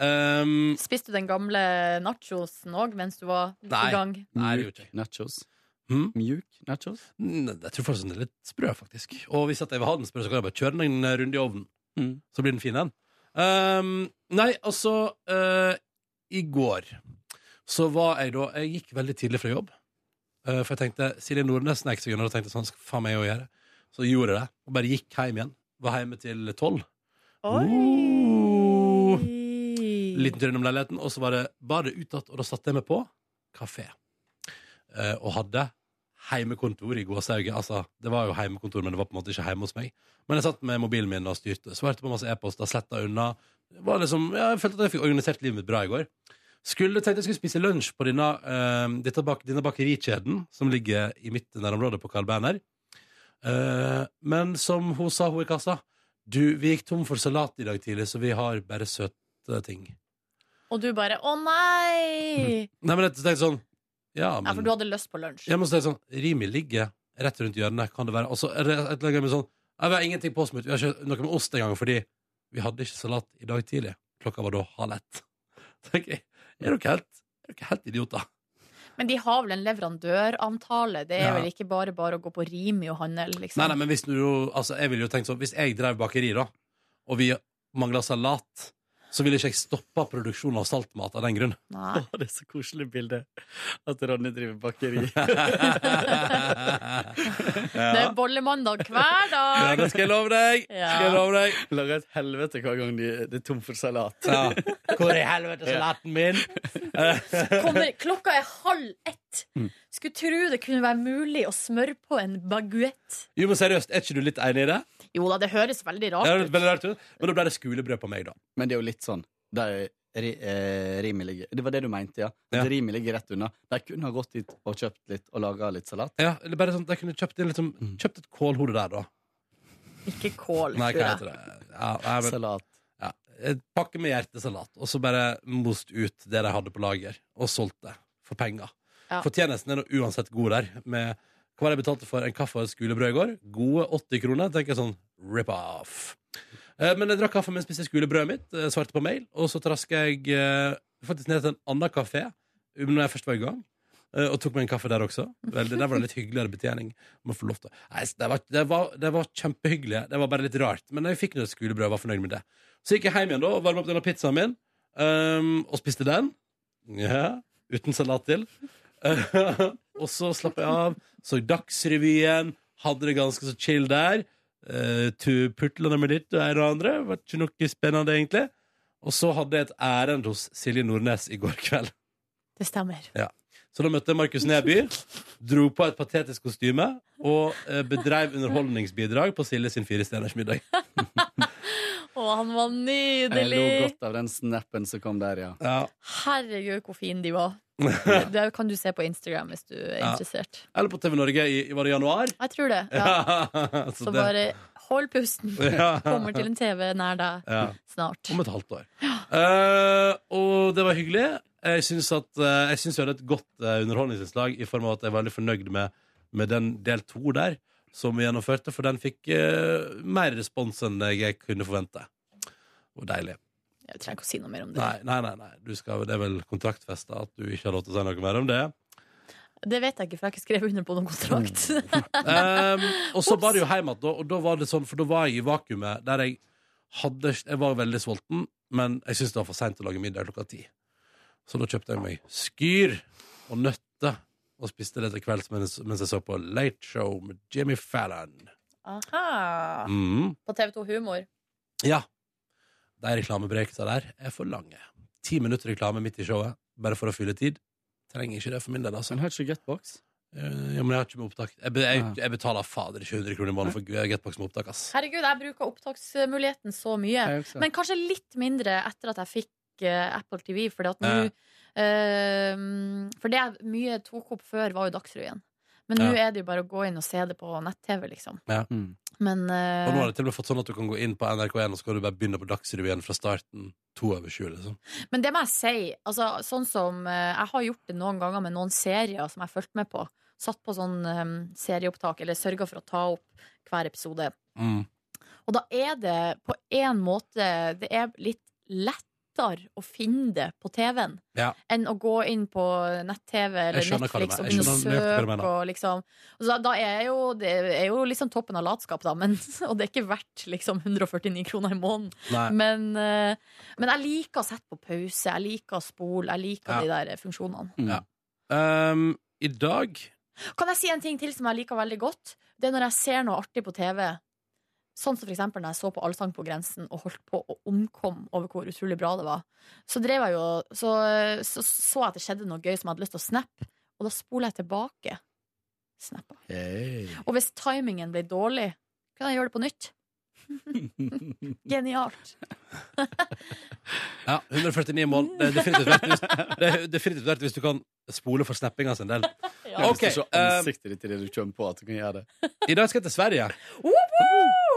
D: Um,
C: Spiste du den gamle nachosen òg mens du var
D: Nei.
C: i gang?
D: Nei, det
I: Mjuk
D: gjorde jeg
I: nachos.
D: Hmm?
I: Mjuk nachos.
D: Nei, jeg tror fortsatt den er litt sprø, faktisk. Og hvis at jeg vil ha den sprø, så kan jeg bare kjøre den en runde i ovnen.
I: Mm.
D: Så blir den fin, den. Um, nei, altså eh, I går så var jeg da Jeg gikk veldig tidlig fra jobb. eh, for jeg tenkte Silje Nordnes snek seg unna og tenkte sånn skal faen meg jeg òg gjøre. Så gjorde jeg det. Og bare gikk hjem igjen. Var hjemme til tolv. Uh, liten tur innom leiligheten, og så var det badet utad, og da satte jeg meg på kafé. Eh, og hadde heimekontor i gåsehauget. Altså, det var jo heimekontor, men det var på en måte ikke hjemme hos meg. Men jeg satt med mobilen min og styrte. Svarte på masse e-poster, sletta unna. Det Var liksom, ja, jeg følte at jeg fikk organisert livet mitt bra i går. Skulle, tenkte jeg skulle spise lunsj på denne, eh, dette bak, denne bakerikjeden som ligger i mitt nærområde på Carl Berner. Eh, men som hun sa, hun i kassa Du, vi gikk tom for salat i dag tidlig, så vi har bare søte ting.
C: Og du bare 'Å
I: Mm.
C: nei!'
D: Nei, men jeg tenkte sånn Ja,
C: Ja,
D: men
C: for du hadde lyst på lunsj.
D: Jeg må si sånn, Rimi ligger rett rundt hjørnet, kan det være. Og så er det et eller annet med sånn «Nei, Vi har ingenting på oss, men vi har ikke noe med ost engang, fordi vi hadde ikke salat i dag tidlig. Klokka var da halv ett. <laughs> Tenker jeg, er dere helt, er dere helt idioter?
C: Men de har vel en leverandøravtale? Det er
D: Ja.
C: vel ikke bare bare å gå på Rimi og handle, liksom?
D: Nei, nei, men hvis du Altså, jeg ville jo tenkt sånn Hvis jeg drev bakeri, da, og vi mangla salat, så ville ikke jeg stoppa produksjonen av saltmat av den grunn. <laughs>
C: Nei.
I: Å, det er så koselig bilde at Ronny driver bakeri.
C: Det er bollemandag hver
D: Ja,
C: dag!
D: det skal jeg love deg! Skal jeg love deg.
I: Lager et helvete hver gang de, det er tom for salat.
D: Ja. Hvor i helvete salaten min?
C: Kommer, klokka er halv ett. Skulle tro det kunne være mulig å smøre på en baguett.
D: Jo, men seriøst, er ikke du litt enig i det?
C: Jo da, det høres veldig
D: Ja,
C: rart
D: det
C: ut.
D: er veldig rart ut. Men da ble det skulebrød på meg, da.
I: Men det er jo litt sånn der ri, eh, Rimi ligger Det var det du mente, ja? At
D: Ja.
I: Rimi ligger rett unna. De kunne ha gått dit og kjøpt litt og laga litt salat.
D: Ja, eller bare sånn, at Jeg kunne kjøpt, inn liksom, kjøpt et kålhode der, da.
C: Ikke kål,
D: Nei, hva
C: tror jeg.
D: heter det? Ja, nei, men,
I: Salat.
D: ja. Et pakke med hjertesalat, og så bare most ut det de hadde på lager, og solgt det for penger.
C: Ja.
D: Fortjenesten er nå uansett god der. Med hva var det jeg betalte for en kaffe og et skulebrød i går? Gode 80 kroner. tenker jeg sånn, rip off. Eh, Men jeg drakk kaffe mens jeg spiste skulebrødet mitt, eh, svarte på mail, og så traska jeg eh, faktisk ned til en annen kafé um, når jeg først var i gang. eh, Og tok meg en kaffe der også. Vel, det der var det litt hyggeligere betjening. Må få lov til. å- Nei, det, var, det, var, det var kjempehyggelig. Det var bare litt rart. Men jeg fikk nå et skulebrød og var fornøyd med det. Så gikk jeg hjem igjen da og varma opp denne pizzaen min, ehm, og spiste den. Ja, uten salat til. Eh, <laughs> og så slapp jeg av, så Dagsrevyen, hadde det ganske så chill der. Uh, Putlene med ditt og ei og andre. Var ikke noe spennende, egentlig. Og så hadde jeg et ærend hos Silje Nordnes i går kveld.
C: Det stemmer.
D: Så da møtte jeg Markus Neby, dro på et patetisk kostyme og eh, bedreiv underholdningsbidrag på Silje sin firestjerners middag.
C: Å, han var
I: Jeg lo
C: nydelig!
I: godt av den snappen som kom der, ja.
D: Ja.
C: Herregud, hvor fin de var. Det kan du se på Instagram hvis du er
D: Ja.
C: interessert.
D: Eller på TV Norge i, i var det januar.
C: Jeg tror det. Ja.
D: Ja. <laughs>
C: Så bare hold pusten.
D: Ja.
C: Kommer til en TV nær deg
D: ja.
C: snart.
D: Om et halvt år. Eh, og det var hyggelig. Jeg syns at eh, Jeg syns vi hadde et godt eh, underholdningsinnslag i form av at jeg var veldig fornøyd med, med den del to der som vi gjennomførte, for den fikk eh, mer respons enn jeg kunne forvente. Og deilig.
C: Jeg trenger ikke å si noe mer om det.
D: Nei, nei, nei, nei. Du skal, det er vel kontraktfesta at du ikke har lov til å si noe mer om det.
C: Det vet jeg ikke, for jeg har ikke skrevet under på noen kontrakt.
D: Um, og så bar det jo hjem igjen, da, og da var det sånn, for da var jeg i vakuumet der jeg hadde Jeg var veldig sulten, men jeg syntes det var for seint å lage middag klokka ti. Så da kjøpte jeg meg skyr og nøtter og spiste det til kvelds mens, mens jeg så på Late Show med Jimmy Fallon.
C: Aha.
D: Mhm.
C: På TV2 Humor.
D: Ja. De reklamebrekene der er for lange. Ti minutter reklame midt i showet, bare for å fylle tid. Trenger ikke det for min del, altså. Eh,
I: Men har ikke Getbox?
D: Ja, men jeg har ikke med opptak. Jeg, be- jeg, jeg betaler fader ikke 100 kroner i måneden for Getbox med opptak, ass.
C: Herregud, jeg bruker opptaksmuligheten så mye.
D: Jeg også.
C: Men kanskje litt mindre etter at jeg fikk eh, Apple TV. Fordi at nå,
D: Ja.
C: eh, for det jeg mye tok opp før, var jo Dagsrevyen. Men nå
D: Ja.
C: er det jo bare å gå inn og se det på nett-TV, liksom.
D: Ja.
C: Men eh,
D: Og nå har det til og med fått sånn at du kan gå inn på NRK1 og så kan du bare begynne på Dagsrevyen fra starten. To over sju, liksom.
C: Men det må jeg si. Altså, sånn som, eh, jeg har gjort det noen ganger med noen serier som jeg har fulgt med på. Satt på sånn eh, serieopptak, eller sørga for å ta opp hver episode.
I: Mm.
C: Og da er det på en måte Det er litt lettere å finne det på TV-en
D: Ja.
C: enn å gå inn på nett-TV eller
D: Jeg skjønner hva du
C: Netflix og
D: mener. Jeg
C: begynne å
D: skjønner nøyaktig hva du
C: søke.
D: mener.
C: Og liksom. og så, da er jo, det er jo liksom toppen av latskap, da, men, <laughs> og det er ikke verdt liksom 149 kroner i måneden.
D: Nei.
C: Men, eh, men jeg liker å sette på pause, jeg liker å spole, jeg liker
D: Ja.
C: de der funksjonene.
D: Ja. Ehm, I dag
C: Kan jeg si en ting til som jeg liker veldig godt? Det er når jeg ser noe artig på TV. Sånn som for eksempel når jeg så på Allsang på grensen og holdt på å omkomme over hvor utrolig bra det var. Så drev jeg jo Så så, så jeg at det skjedde noe gøy som jeg hadde lyst til å snappe, og da spoler jeg tilbake. Snappa. Og hvis timingen ble dårlig, kan jeg gjøre det
D: <laughs>
C: på nytt. Genialt.
D: Ja, 149 mål. Det er definitivt verdt hvis, det er definitivt verdt hvis du kan spole for snappinga sin del.
I: Jeg har lyst
D: Ok,
I: til å se
D: ehm,
I: ansiktet ditt i det du kommer på at du kan gjøre det.
D: I dag skal jeg til Sverige.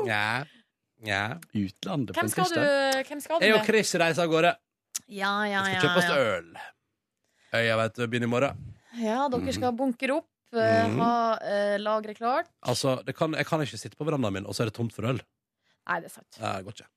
D: Nja. Nja.
I: Utlandet
C: Hvem skal du, hvem skal du
D: Jeg og
C: med?
D: Chris reiser av gårde.
C: Ja, ja,
D: Vi
C: ja,
D: skal kjøpe oss
C: ja.
D: øl. Øya vet du begynner i morgen.
C: ja dere
D: <laughs>
C: skal bunkre opp, eh,
D: Mhm.
C: ha uh, lageret klart.
D: Altså, det kan, Jeg kan ikke sitte på verandaen min, og så er det tomt for øl.
C: Nei, det er sant.
D: Nei, det går ikke.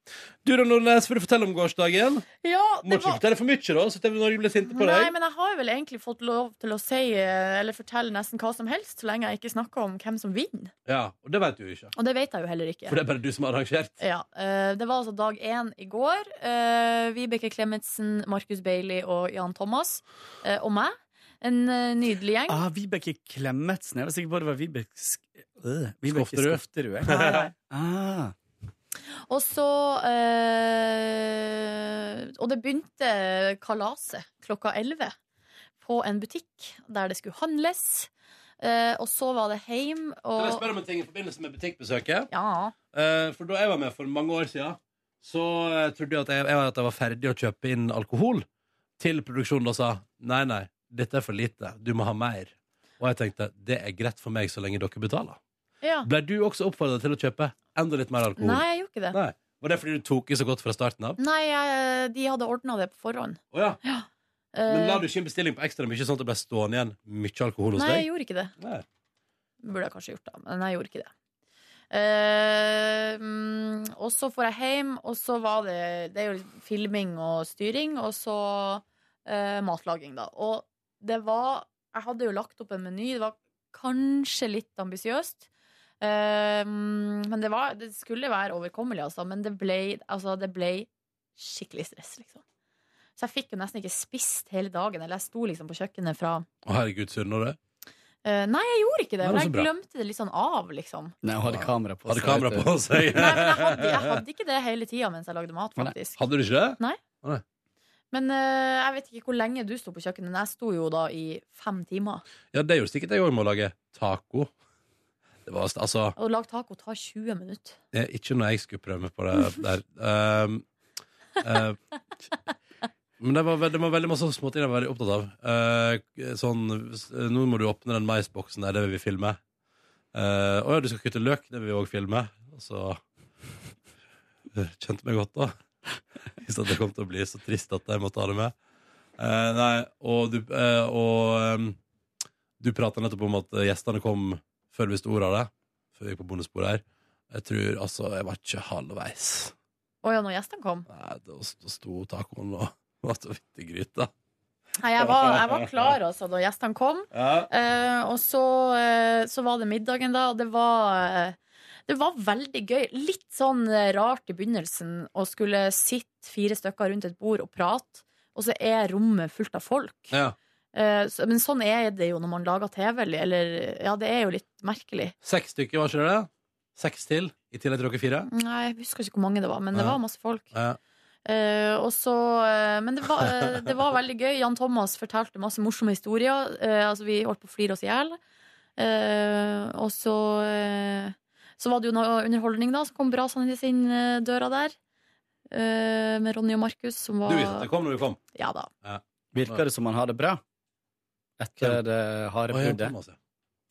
D: Du da, Nordnes, vil du fortelle om gårsdagen?
C: Ja,
D: Må ikke fortelle for mye, da, så TV Norge blir sinte på deg.
C: Nei, men jeg har vel egentlig fått lov til å si eh, eller fortelle nesten hva som helst, så lenge jeg ikke snakker om hvem som vinner.
D: Ja, Og det vet du jo ikke.
C: Og det vet jeg jo heller ikke.
D: For det er bare du som har arrangert.
C: Ja, eh, Det var altså dag én i går. Eh, Vibeke Klemetsen, Markus Bailey og Jan Thomas. eh, og meg. En eh, nydelig gjeng.
I: Ah, Vibeke Klemetsen. Jeg var sikker på det var Vibeke Sk- øh, Vibeke
D: Skofterud. Nei,
I: Skofterud.
D: nei.
I: jeg. Ah.
C: <laughs> Og så eh, Og det begynte kalaset klokka 11 på en butikk der det skulle handles. Eh, og så var det heim
D: Kan jeg
C: og
D: spørre om en ting i forbindelse med butikkbesøket?
C: Ja.
D: Eh, for da jeg var med for mange år siden, så eh, trodde jeg at jeg, jeg, at jeg var ferdig å kjøpe inn alkohol til produksjonen og sa nei, nei, dette er for lite, du må ha mer. Og jeg tenkte det er greit for meg så lenge dere betaler.
C: ja.
D: Ble du også oppfordret til å kjøpe enda litt mer alkohol?
C: Nei, jeg gjorde ikke det.
D: Nei. Var det fordi du tok i så godt fra starten av?
C: Nei, jeg, de hadde ordna det på forhånd.
D: Å ja. Men la
C: Eh,
D: du ikke inn bestilling på ekstra mye, sånn at det ble stående igjen mye alkohol hos
C: Nei, jeg
D: deg?
C: gjorde ikke det.
D: Nei.
C: Burde jeg kanskje gjort det, men jeg gjorde ikke det. Eh, mm, og så får jeg hjem, og så var det Det er jo filming og styring, og så eh, matlaging, da. Og det var Jeg hadde jo lagt opp en meny. Det var kanskje litt ambisiøst. Eh, mm, men det, var, det skulle være overkommelig, altså. Men det ble, altså, det ble skikkelig stress, liksom. Så jeg fikk jo nesten ikke spist hele dagen. Eller jeg sto liksom på kjøkkenet fra
D: Å, herregud, surna du?
C: Eh, nei, jeg gjorde ikke
D: Nei,
C: det. For
D: men
C: jeg
D: så bra.
C: glemte det litt sånn av, liksom.
I: Nei, hun hadde kamera på
D: Hadde kamera
I: vet du.
D: på seg?
C: Nei, men jeg hadde, jeg hadde ikke det hele tida mens jeg lagde mat, faktisk.
D: <laughs> Hadde du ikke det?
C: Nei.
D: Å, nei.
C: Men eh, jeg vet ikke hvor lenge du sto på kjøkkenet. men Jeg sto jo da i fem timer.
D: Ja, det gjorde sikkert jeg òg med å lage taco. Det var altså
C: Og å lage taco tar 20 minutter.
D: eh, Ikke når jeg skulle prøve meg på det der. Um, eh, men det var, ve- det var veldig masse småting jeg var veldig opptatt av. Eh, sånn s- Nå må du åpne den maisboksen der, det vil vi filme. Eh, Å ja, du skal kutte løk, det vil vi òg filme. Og så eh, kjente meg godt, da. Hvis at det kom til å bli så trist at jeg måtte ha det med. Eh, nei, og du, eh, og, ehm, du prata nettopp om at gjestene kom før vi visste ordet av det. Før vi gikk på bondesporet her. Jeg tror altså Jeg var ikke halvveis.
C: Å ja, når gjestene kom.
D: <laughs> Nei, Da sto tacoen og var så vidt i gryta.
C: Nei, Jeg var, jeg var klar altså da gjestene kom.
D: Ja.
C: Eh, og så, eh, så var det middagen, da, og det var eh, det var veldig gøy. Litt sånn eh, rart i begynnelsen å skulle sitte fire stykker rundt et bord og prate, og så er rommet fullt av folk.
D: Ja.
C: Eh, så, men sånn er det jo når man lager TV, eller- eller Ja, det er jo litt merkelig.
D: Seks stykker, var ikke det? Seks til, i tillegg til dere fire?
C: Nei, jeg husker ikke hvor mange det var, men det
D: Ja.
C: var masse folk.
D: Ja.
C: Eh, og så, eh, men det var, eh, det var veldig gøy. Jan Thomas fortalte masse morsomme historier. Eh, altså Vi holdt på å flire oss i hjel. Eh, og så eh, Så var det jo noe underholdning, da, som kom brasende inn eh, døra der. Eh, med Ronny og Markus, som var
I: Du visste at det
D: kom når du kom?
C: Ja da.
I: Virker det som han har det bra etter det harde
D: Å, Jan
I: bruddet?
D: Thomas,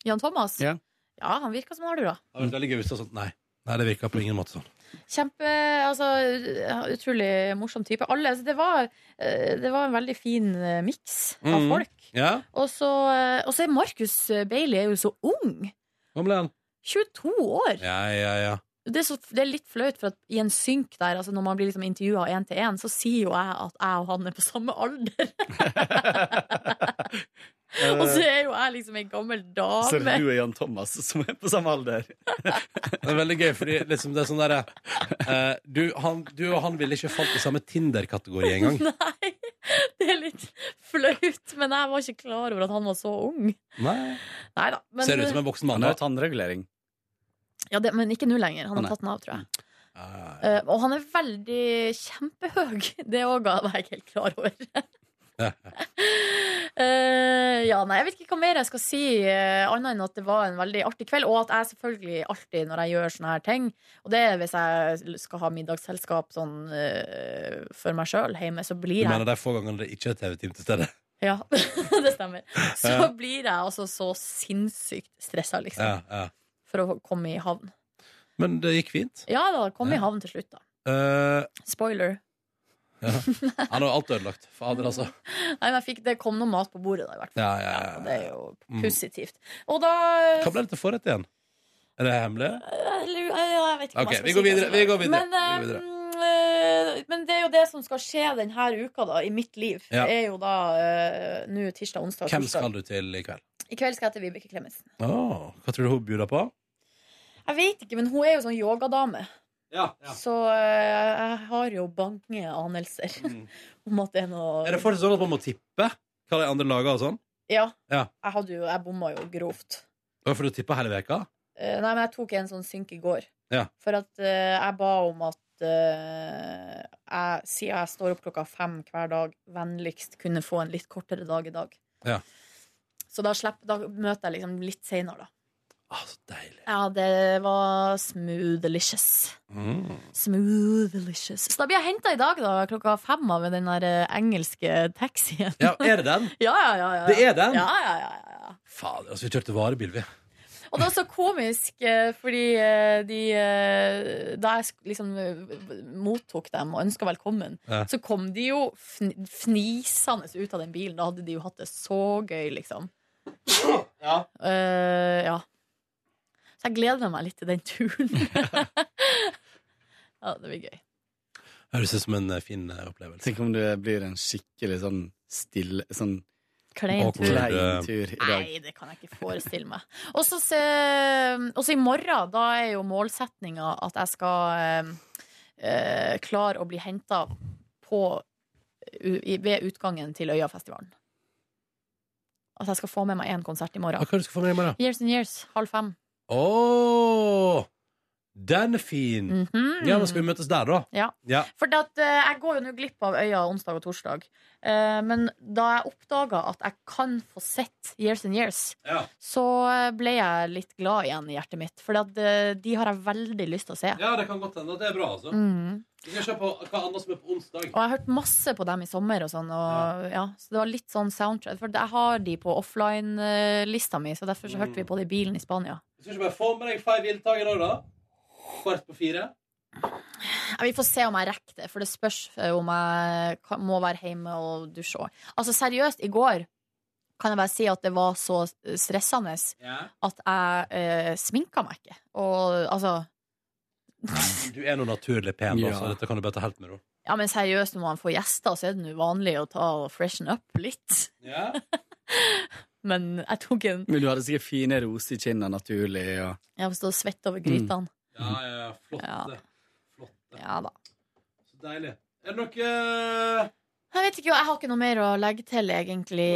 C: Jan Thomas?
I: Ja.
C: Ja, han virka som han har det bra.
D: Det hadde vært veldig gøy hvis det var sånn Nei. Nei, det virka på ingen måte sånn.
C: Kjempe, altså ut- Utrolig morsom type. Alle, altså, det, var, eh, det var en veldig fin eh, miks av
D: Mhm.
C: folk.
D: Ja?
C: Og så, eh, og så er Markus Bailey er jo så ung.
D: Hva ble han?
C: 22 år!
D: Ja, ja, ja.
C: Det, er så, det er litt flaut, for at i en synk der, altså når man blir liksom intervjua én til én, så sier jo jeg at jeg og han er på samme alder. og så er jo jeg liksom ei gammel
I: Så
C: dame.
I: du er Jan Thomas, som er på samme alder.
D: Det er veldig gøy, fordi liksom det er sånn derre eh, du, han- du og han ville ikke falt i samme Tinder-kategori engang.
C: <laughs> Nei, det er litt flaut, men jeg var ikke klar over at han var så ung.
D: <laughs> Nei.
C: Nei da. Men,
D: Ser ut som en voksen mann.
I: Han har jo
D: da.
I: tannregulering.
C: ja, det, men ikke nå lenger. Han
I: Å, nei.
C: har tatt den av, tror jeg.
D: Ah.
C: Eh, og han er veldig kjempehøy. <laughs> Det òg var jeg ikke helt klar
D: <laughs>
C: over. Eh, ja, nei, Jeg vet ikke hva mer jeg skal si, eh, annet enn at det var en veldig artig kveld. Og at jeg selvfølgelig alltid, når jeg gjør sånne her ting, og det er hvis jeg skal ha middagsselskap sånn eh, for meg sjøl hjemme, så
D: Du
C: blir jeg
D: mener de få gangene det ikke er TV-team til stede?
C: Ja, <laughs> det stemmer.
D: Ja.
C: Så blir jeg altså så sinnssykt stressa, liksom,
D: Ja, ja.
C: for å komme i havn.
D: Men det gikk fint.
C: Ja da, kom i havn til slutt, da.
D: Eh,
C: Spoiler.
D: han har alt ødelagt. Fader, altså.
C: Nei, men jeg fikk, Det kom noe mat på bordet, da, i hvert fall.
D: Ja, ja, ja.
C: Og det er jo
D: Mm.
C: positivt. Og da
D: Hva ble det til forrett igjen? Er det hemmelig?
C: eh, Eller, ja, Jeg vet
D: Ok,
C: ikke hva jeg skal
D: vi går
C: si,
D: videre,
C: altså.
D: vi går videre,
C: Men,
D: vi går
C: eh, men det er jo det som skal skje denne uka, da, i mitt liv.
D: Ja.
C: Det er jo da eh, nå tirsdag, onsdag,
D: Hvem
C: torsdag.
D: skal du til i kveld?
C: I kveld skal jeg til Vibeke Klemetsen.
D: Åh, hva tror du hun bjuder på?
C: Jeg vet ikke, men hun er jo sånn yogadame.
D: Ja,
C: Så eh, jeg har jo bange anelser <laughs> om at det er noe
D: Mm. Er det fortsatt sånn at man må tippe hva de andre lager og sånn?
C: Ja.
D: Ja.
C: Jeg, hadde jo, jeg bomma jo grovt.
D: Hvorfor du tippa hele veka?
C: Eh, nei, men jeg tok en sånn synk i går.
D: Ja.
C: For at eh, jeg ba om at eh, jeg, siden jeg står opp klokka fem hver dag, vennligst kunne få en litt kortere dag i dag.
D: Ja.
C: Så da, slipp, da møter jeg liksom litt seinere, da.
D: Ah, så deilig.
C: Ja, det var smooth-licious.
D: Mm.
C: Smooth-licious. Så da blir jeg henta i dag, da, klokka fem av den der eh, engelske taxien.
D: Ja, er det den?
C: <laughs> Ja, ja, ja, ja.
D: Det er den?
C: Ja, ja, ja, ja, ja.
D: Fader, altså, vi kjørte varebil, vi.
C: Og det var så komisk, eh, fordi eh, de eh, Da jeg sk- liksom eh, mottok dem og ønska velkommen,
D: Ja.
C: så kom de jo fn fnisende ut av den bilen. Da hadde de jo hatt det så gøy, liksom.
D: Ja.
C: Eh, ja. Så jeg gleder meg litt til den turen. ja, det blir gøy.
D: Høres ut som en eh, fin eh, opplevelse.
I: Tenk om det blir en skikkelig sånn stille Sånn
C: Klein tur.
D: Awkward.
I: klein tur i dag.
C: Nei, det kan jeg ikke forestille meg. Og så se- og så i morgen, da er jo målsetninga at jeg skal eh, eh, klare å bli henta på u- i- ved utgangen til Øyafestivalen. At jeg skal få med meg én konsert i
D: Hva
C: morgen.
D: skal du få med i morgen?
C: Years and Years, halv fem.
D: Åh, den er fin!
C: Mhm.
D: Ja, men skal vi møtes der, da?
C: Ja.
D: Ja.
C: For at, eh, jeg går jo nå glipp av Øya onsdag og torsdag. Eh, men da jeg oppdaga at jeg kan få sett Years and Years,
D: Ja.
C: så eh, ble jeg litt glad igjen i hjertet mitt. For at, eh, de har jeg veldig lyst til å se.
D: Ja, det kan godt hende. Det er bra, altså.
C: Mm.
D: Vi skal se på hva annet som er på onsdag.
C: Og jeg har hørt masse på dem i sommer, og sånn, og, ja, så det var litt sånn soundtrack. For jeg har de på offline-lista mi, så derfor så hørte vi på det i bilen i Spania.
D: Vi skal ikke bare få med deg Feiv Ildtag i dag, da. Kvart på fire.
C: Ja, vi får se om jeg rekker det, for det spørs eh, om jeg kan- må være hjemme og dusje òg. Altså seriøst, i går kan jeg bare si at det var så stressende at jeg eh, sminka meg ikke. Og altså
D: Du er nå naturlig pen, da, så
I: Ja.
D: dette kan du bare ta helt med ro.
C: Ja, men seriøst, når man får gjester, så er det nå vanlig å ta og freshen up litt. Men jeg tok en
I: Men du hadde sikkert fine roser i kinna, naturlig. Ja.
C: Jeg får stå og svette over grytene.
D: Ja, ja, ja. Flott. det.
C: Ja da.
D: Så deilig. Er det noe eh,
C: Jeg vet ikke, jeg har ikke noe mer å legge til, egentlig,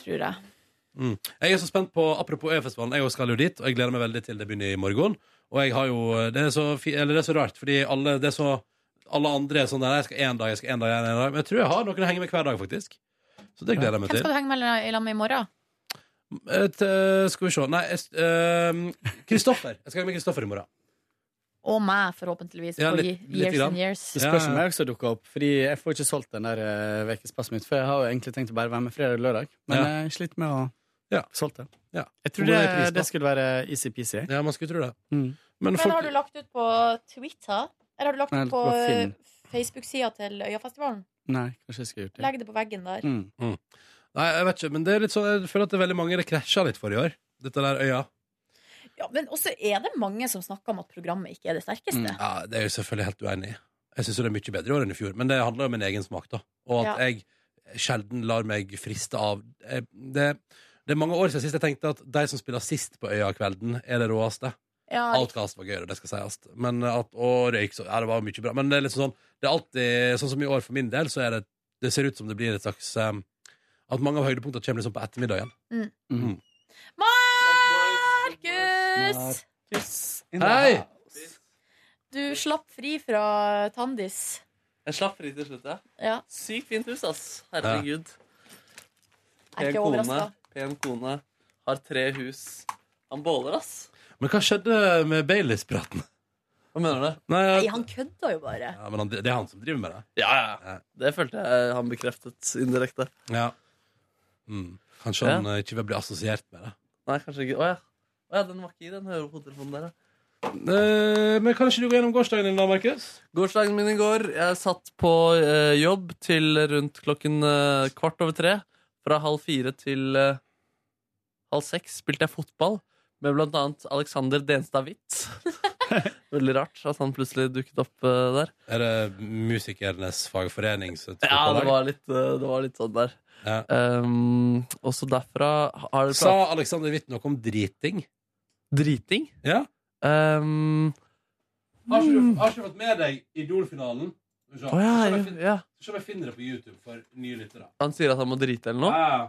C: tror jeg.
D: Mm. Jeg er så spent på, apropos Øyafestivalen, jeg også skal jo dit, og jeg gleder meg veldig til det begynner i morgen. Og jeg har jo, eh, det er så, fi- eller det er så rart, fordi alle, det er så, alle andre er sånn der, jeg skal en dag, jeg skal en dag, en dag, men jeg tror jeg har noen å henge med hver dag, faktisk. Så det gleder jeg meg
C: Hvem
D: til.
C: skal du henge med i lag med i morgen?
D: Et, eh, skal vi se, nei, jeg s- eh, Kristoffer. Jeg skal henge med Kristoffer i morgen.
C: Og meg, forhåpentligvis.
I: Ja,
C: for
I: litt-
C: ye-
I: lite
C: years
I: grann.
C: and years.
I: Det spørs om jeg også dukker opp, Fordi jeg får ikke solgt den der eh, ukespasset mitt. For jeg har jo egentlig tenkt å bare være med fredag og lørdag, men
D: Ja.
I: jeg sliter med å få solgt den.
D: Ja.
I: Jeg tror
D: Hvor
I: det,
D: er prisen, da?
I: det skulle være easy-peasy.
D: Ja, man skulle tro det.
C: Men, har du lagt ut på Twitter? Eller har du lagt
I: Nei,
C: ut på,
I: på Finn.
C: eh, Facebook-sida til Øyafestivalen?
I: Nei, kanskje jeg skal gjort det.
C: Legg det på veggen der.
D: Mm. Nei, jeg vet ikke, men det er litt sånn, jeg føler at det er veldig mange det krasjer litt for i år. Dette der øya.
C: Ja, men også er det mange som snakker om at programmet ikke er det sterkeste.
I: Mm.
D: Ja, det er jeg selvfølgelig helt uenig i. Jeg syns det er mye bedre i år enn i fjor, men det handler om min egen smak, da. Og at
C: Ja.
D: jeg sjelden lar meg friste av eh, det, det er mange år siden sist jeg tenkte at de som spiller sist på Øya-kvelden, er det råeste.
C: Ja,
D: Outcast var gøyere, det skal sies. Men at, og røyk, så Ja, det var mye bra. Men det er litt sånn Det er alltid Sånn som i år, for min del, så er det Det ser ut som det blir et slags eh, At mange av høydepunktene kommer liksom på ettermiddagen.
C: Mm.
D: Mm.
C: Markus!
D: Hei!
C: Du slapp fri fra Tandis.
B: Jeg slapp fri til slutt, ja.
C: Ja.
B: Sykt fint hus, ass. Herregud.
C: Jeg er ikke
B: Pen kone,
C: overrasket.
B: Pen kone. Har tre hus. Han båler, ass.
D: Men hva skjedde med Baileys-praten?
B: Hva mener du?
D: Nei,
C: Nei, han kødda jo bare. <laughs>
D: ja, men han, det er han som driver med det.
B: Ja, ja, ja. Det følte jeg han bekreftet indirekte.
D: Ja. Mm. Kanskje han eh, ikke vil bli assosiert med det.
B: Nei, kanskje ikke. Å ja. Å, ja den var ikke i den hodetelefonen der, ja.
D: Eh, men kan ikke du gå gjennom gårsdagen din, da, Markus?
B: Gårsdagen min i går Jeg satt på eh, jobb til rundt klokken eh, kvart over tre. Fra halv fire til eh, halv seks spilte jeg fotball med blant annet Alexander Denstad <laughs> Witt. Veldig rart at han plutselig dukket opp eh, der.
D: Er det Musikernes fagforening? som-
B: Ja, det var litt, eh, det var litt sånn der.
D: Ja.
B: Um, og så derfra har det
D: Sa Alexander Witt noe om driting?
B: driting.
D: Ja.
B: Um,
D: Har ikke du, har ikke du fått med deg Idol-finalen? Skal vi se.
B: Å, ja,
D: Skal vi finne-
B: ja.
D: skal vi finne det på YouTube for nye lyttere.
B: han sier at han må drite eller noe.
D: Ja, ja.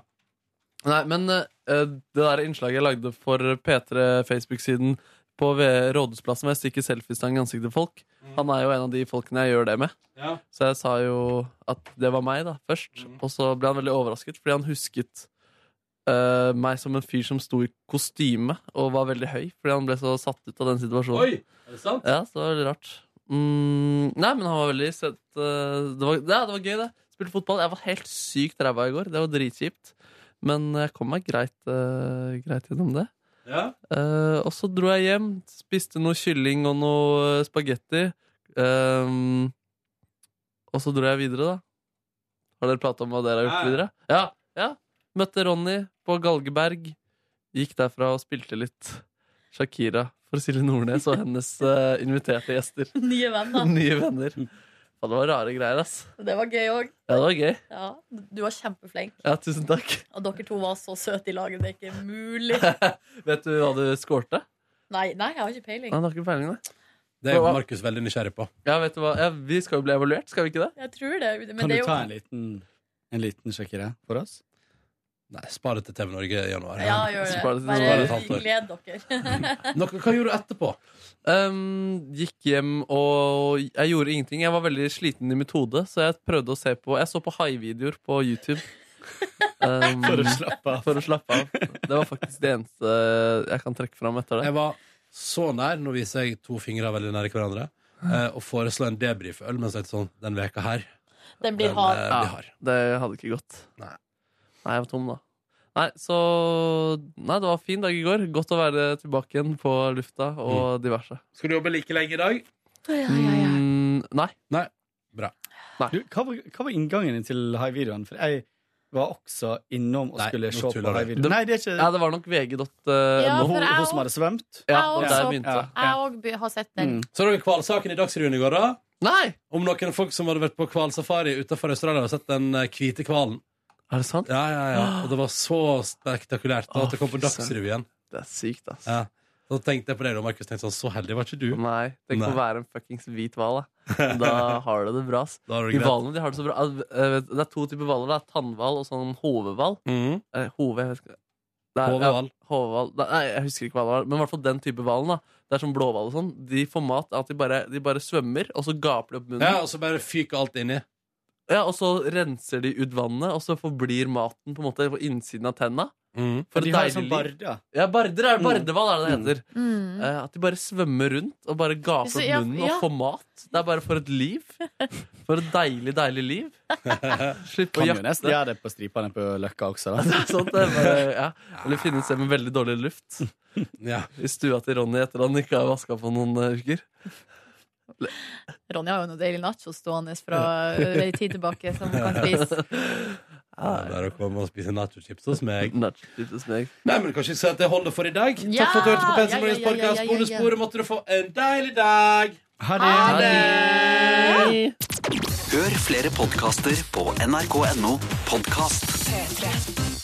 B: Nei, men eh, det der innslaget jeg lagde for P3 Facebook-siden på V- Rådhusplassen, hvor jeg stikker selfiestang i ansiktet til folk, han er jo en av de folkene jeg gjør det med.
D: Ja.
B: Så jeg sa jo at det var meg, da, først. Og så ble han veldig overrasket, fordi han husket eh, meg som en fyr som sto i kostyme og var veldig høy, fordi han ble så satt ut av den situasjonen.
D: Oi, er det sant?
B: Ja, så det var veldig rart. Mm, nei, men han var veldig søt. eh, Det var, ja, det var gøy, det. Spilte fotball. Jeg var helt sykt ræva i går. Det var dritkjipt. Men jeg kom meg greit, eh, greit gjennom det.
D: Ja.
B: Eh, og så dro jeg hjem, spiste noe kylling og noe eh, spagetti. Ehm, og så dro jeg videre, da. Har dere prata om hva dere har gjort
D: Ja.
B: videre? Ja, ja. Møtte Ronny på Galgeberg. Gikk derfra og spilte litt Shakira for Silje Nordnes og hennes eh, inviterte gjester.
C: Nye venner.
B: Nye venner. Ja, det var rare greier, ass.
C: Det var gøy òg.
B: Ja, det var gøy.
C: Ja, du var kjempeflink.
B: Ja, tusen takk. <laughs>
C: Og dere to var så søte i laget. Det er ikke mulig.
B: Vet du hva du skårte?
C: Nei, nei jeg har ikke peiling.
B: Nei, du har ikke peiling, nei.
D: Det er Markus veldig nysgjerrig på.
B: Ja, vet du hva? Ja, vi skal jo bli evaluert, skal vi ikke det?
C: Jeg tror det. Men
I: Kan
C: det er
I: du
C: jo...
I: ta en liten, en liten Shakira for oss?
D: Nei, spar det til TV Norge i januar.
C: Ja, gjør
B: Spar det
C: det.
B: til
D: noe. Spar
C: Bare
D: det til
C: gled dere.
D: Noe, hva gjorde du etterpå?
B: Um, gikk hjem og Jeg gjorde ingenting. Jeg var veldig sliten i mitt hode, så jeg prøvde å se på Jeg så på haivideoer på YouTube. Um,
I: For å slappe av.
B: for å slappe av. Det var faktisk det eneste jeg kan trekke fram etter det.
D: Jeg var så nær, nå viser jeg to fingre veldig nære hverandre, eh, og foreslå en debrief-øl, men så er det sånn, den veka her,
C: Den
D: den
C: blir
D: eh,
C: hard.
D: blir hard.
B: Det hadde ikke gått.
D: Nei.
B: Nei, jeg var tom, da. Nei, så Nei, det var en fin dag i går. Godt å være tilbake igjen på lufta
D: Mm.
B: og diverse.
D: Skal du jobbe like lenge i dag?
B: Mm, nei.
D: Nei. Bra.
I: Du, hva, var, hva var inngangen din til high-videoen? For jeg var også innom og
B: Nei,
I: skulle
B: nå
I: se på
B: tuller du.
I: Heivind.
B: Det-
I: Nei, det er ikke
B: Ja, det var nok eh, vg.no.
C: Ja, for
I: hun,
C: jeg
I: hun
C: også-
I: som hadde svømt.
C: Jeg
I: og
C: også- Jeg òg be- har sett den.
D: Så dere hvalsaken i Dagsrevyen i går, da?
B: Nei!
D: Om noen folk som hadde vært på hvalsafari utenfor Australia og sett den eh, hvite hvalen.
B: Er det sant?
D: Ja, ja, ja. Og det var så spektakulært da, at det kom på
B: Å, fy søren.
D: Dagsrevyen.
B: Det er sykt, ass.
D: Ja. Da tenkte jeg på deg, da, Markus. Tenkte sånn, så heldig var ikke du.
B: Nei, Tenk å være en fuckings hvit hval. Da Da har du det bra. ass.
D: Da har du det
B: De
D: greit.
B: hvalene de har det så bra. Ah, eh, vet du, Det er to typer hvaler. Det er tannhval og sånn hovehval.
D: Mm.
B: Eh, hove, jeg vet ikke. Det er-
D: Hovehval.
B: ja, hovehval. Da- Nei, jeg husker ikke hva det var. Men i hvert fall den type hvalen. da Det er sånn blåhval og sånn. De får mat av at de bare, de bare svømmer, og så gaper de opp munnen.
D: Ja, altså- og så bare fyker alt inni.
B: Ja, og så renser de ut vannet, og så forblir maten på en måte på innsiden av tenna.
D: Mm.
B: For
I: de
B: et
I: har
B: deilig liv.
I: sånn bard, ja.
B: Ja, barder er
I: Mm.
B: bardehval, er det det heter.
C: Mm.
B: Eh, at de bare svømmer rundt og bare gaper
C: Så,
B: opp
C: ja,
B: munnen
C: ja.
B: og får mat. Det er bare for et liv. For et deilig,
M: <laughs>
B: deilig liv. Slipp å
M: Kan jo
B: jakte.
M: nesten gjøre det på stripene på Løkka også.
B: <laughs> Det er sånn, det er bare,
M: <laughs>
B: ja. Eller finne et sted med veldig dårlig luft.
D: Ja.
B: I stua til Ronny etter han ikke har vaska på noen eh, uker.
C: Ronja har jo noen deilige nachos stående fra eh, ei tid tilbake som hun kan spise.
D: Ja, det er å komme og spise nachochips hos meg.
B: Nachochips hos meg.
D: Nei, men kanskje så at det holder for i dag.
C: Ja!
D: Takk for at du hørte på
C: Ja, ja,
D: Pensel Morgens
C: ja, ja, ja,
D: podcast.
C: ja, ja.
D: Bonussporet måtte du få en deilig dag.
I: Ha det!
N: Hør flere podkaster på nrk.no podkast.
O: P3.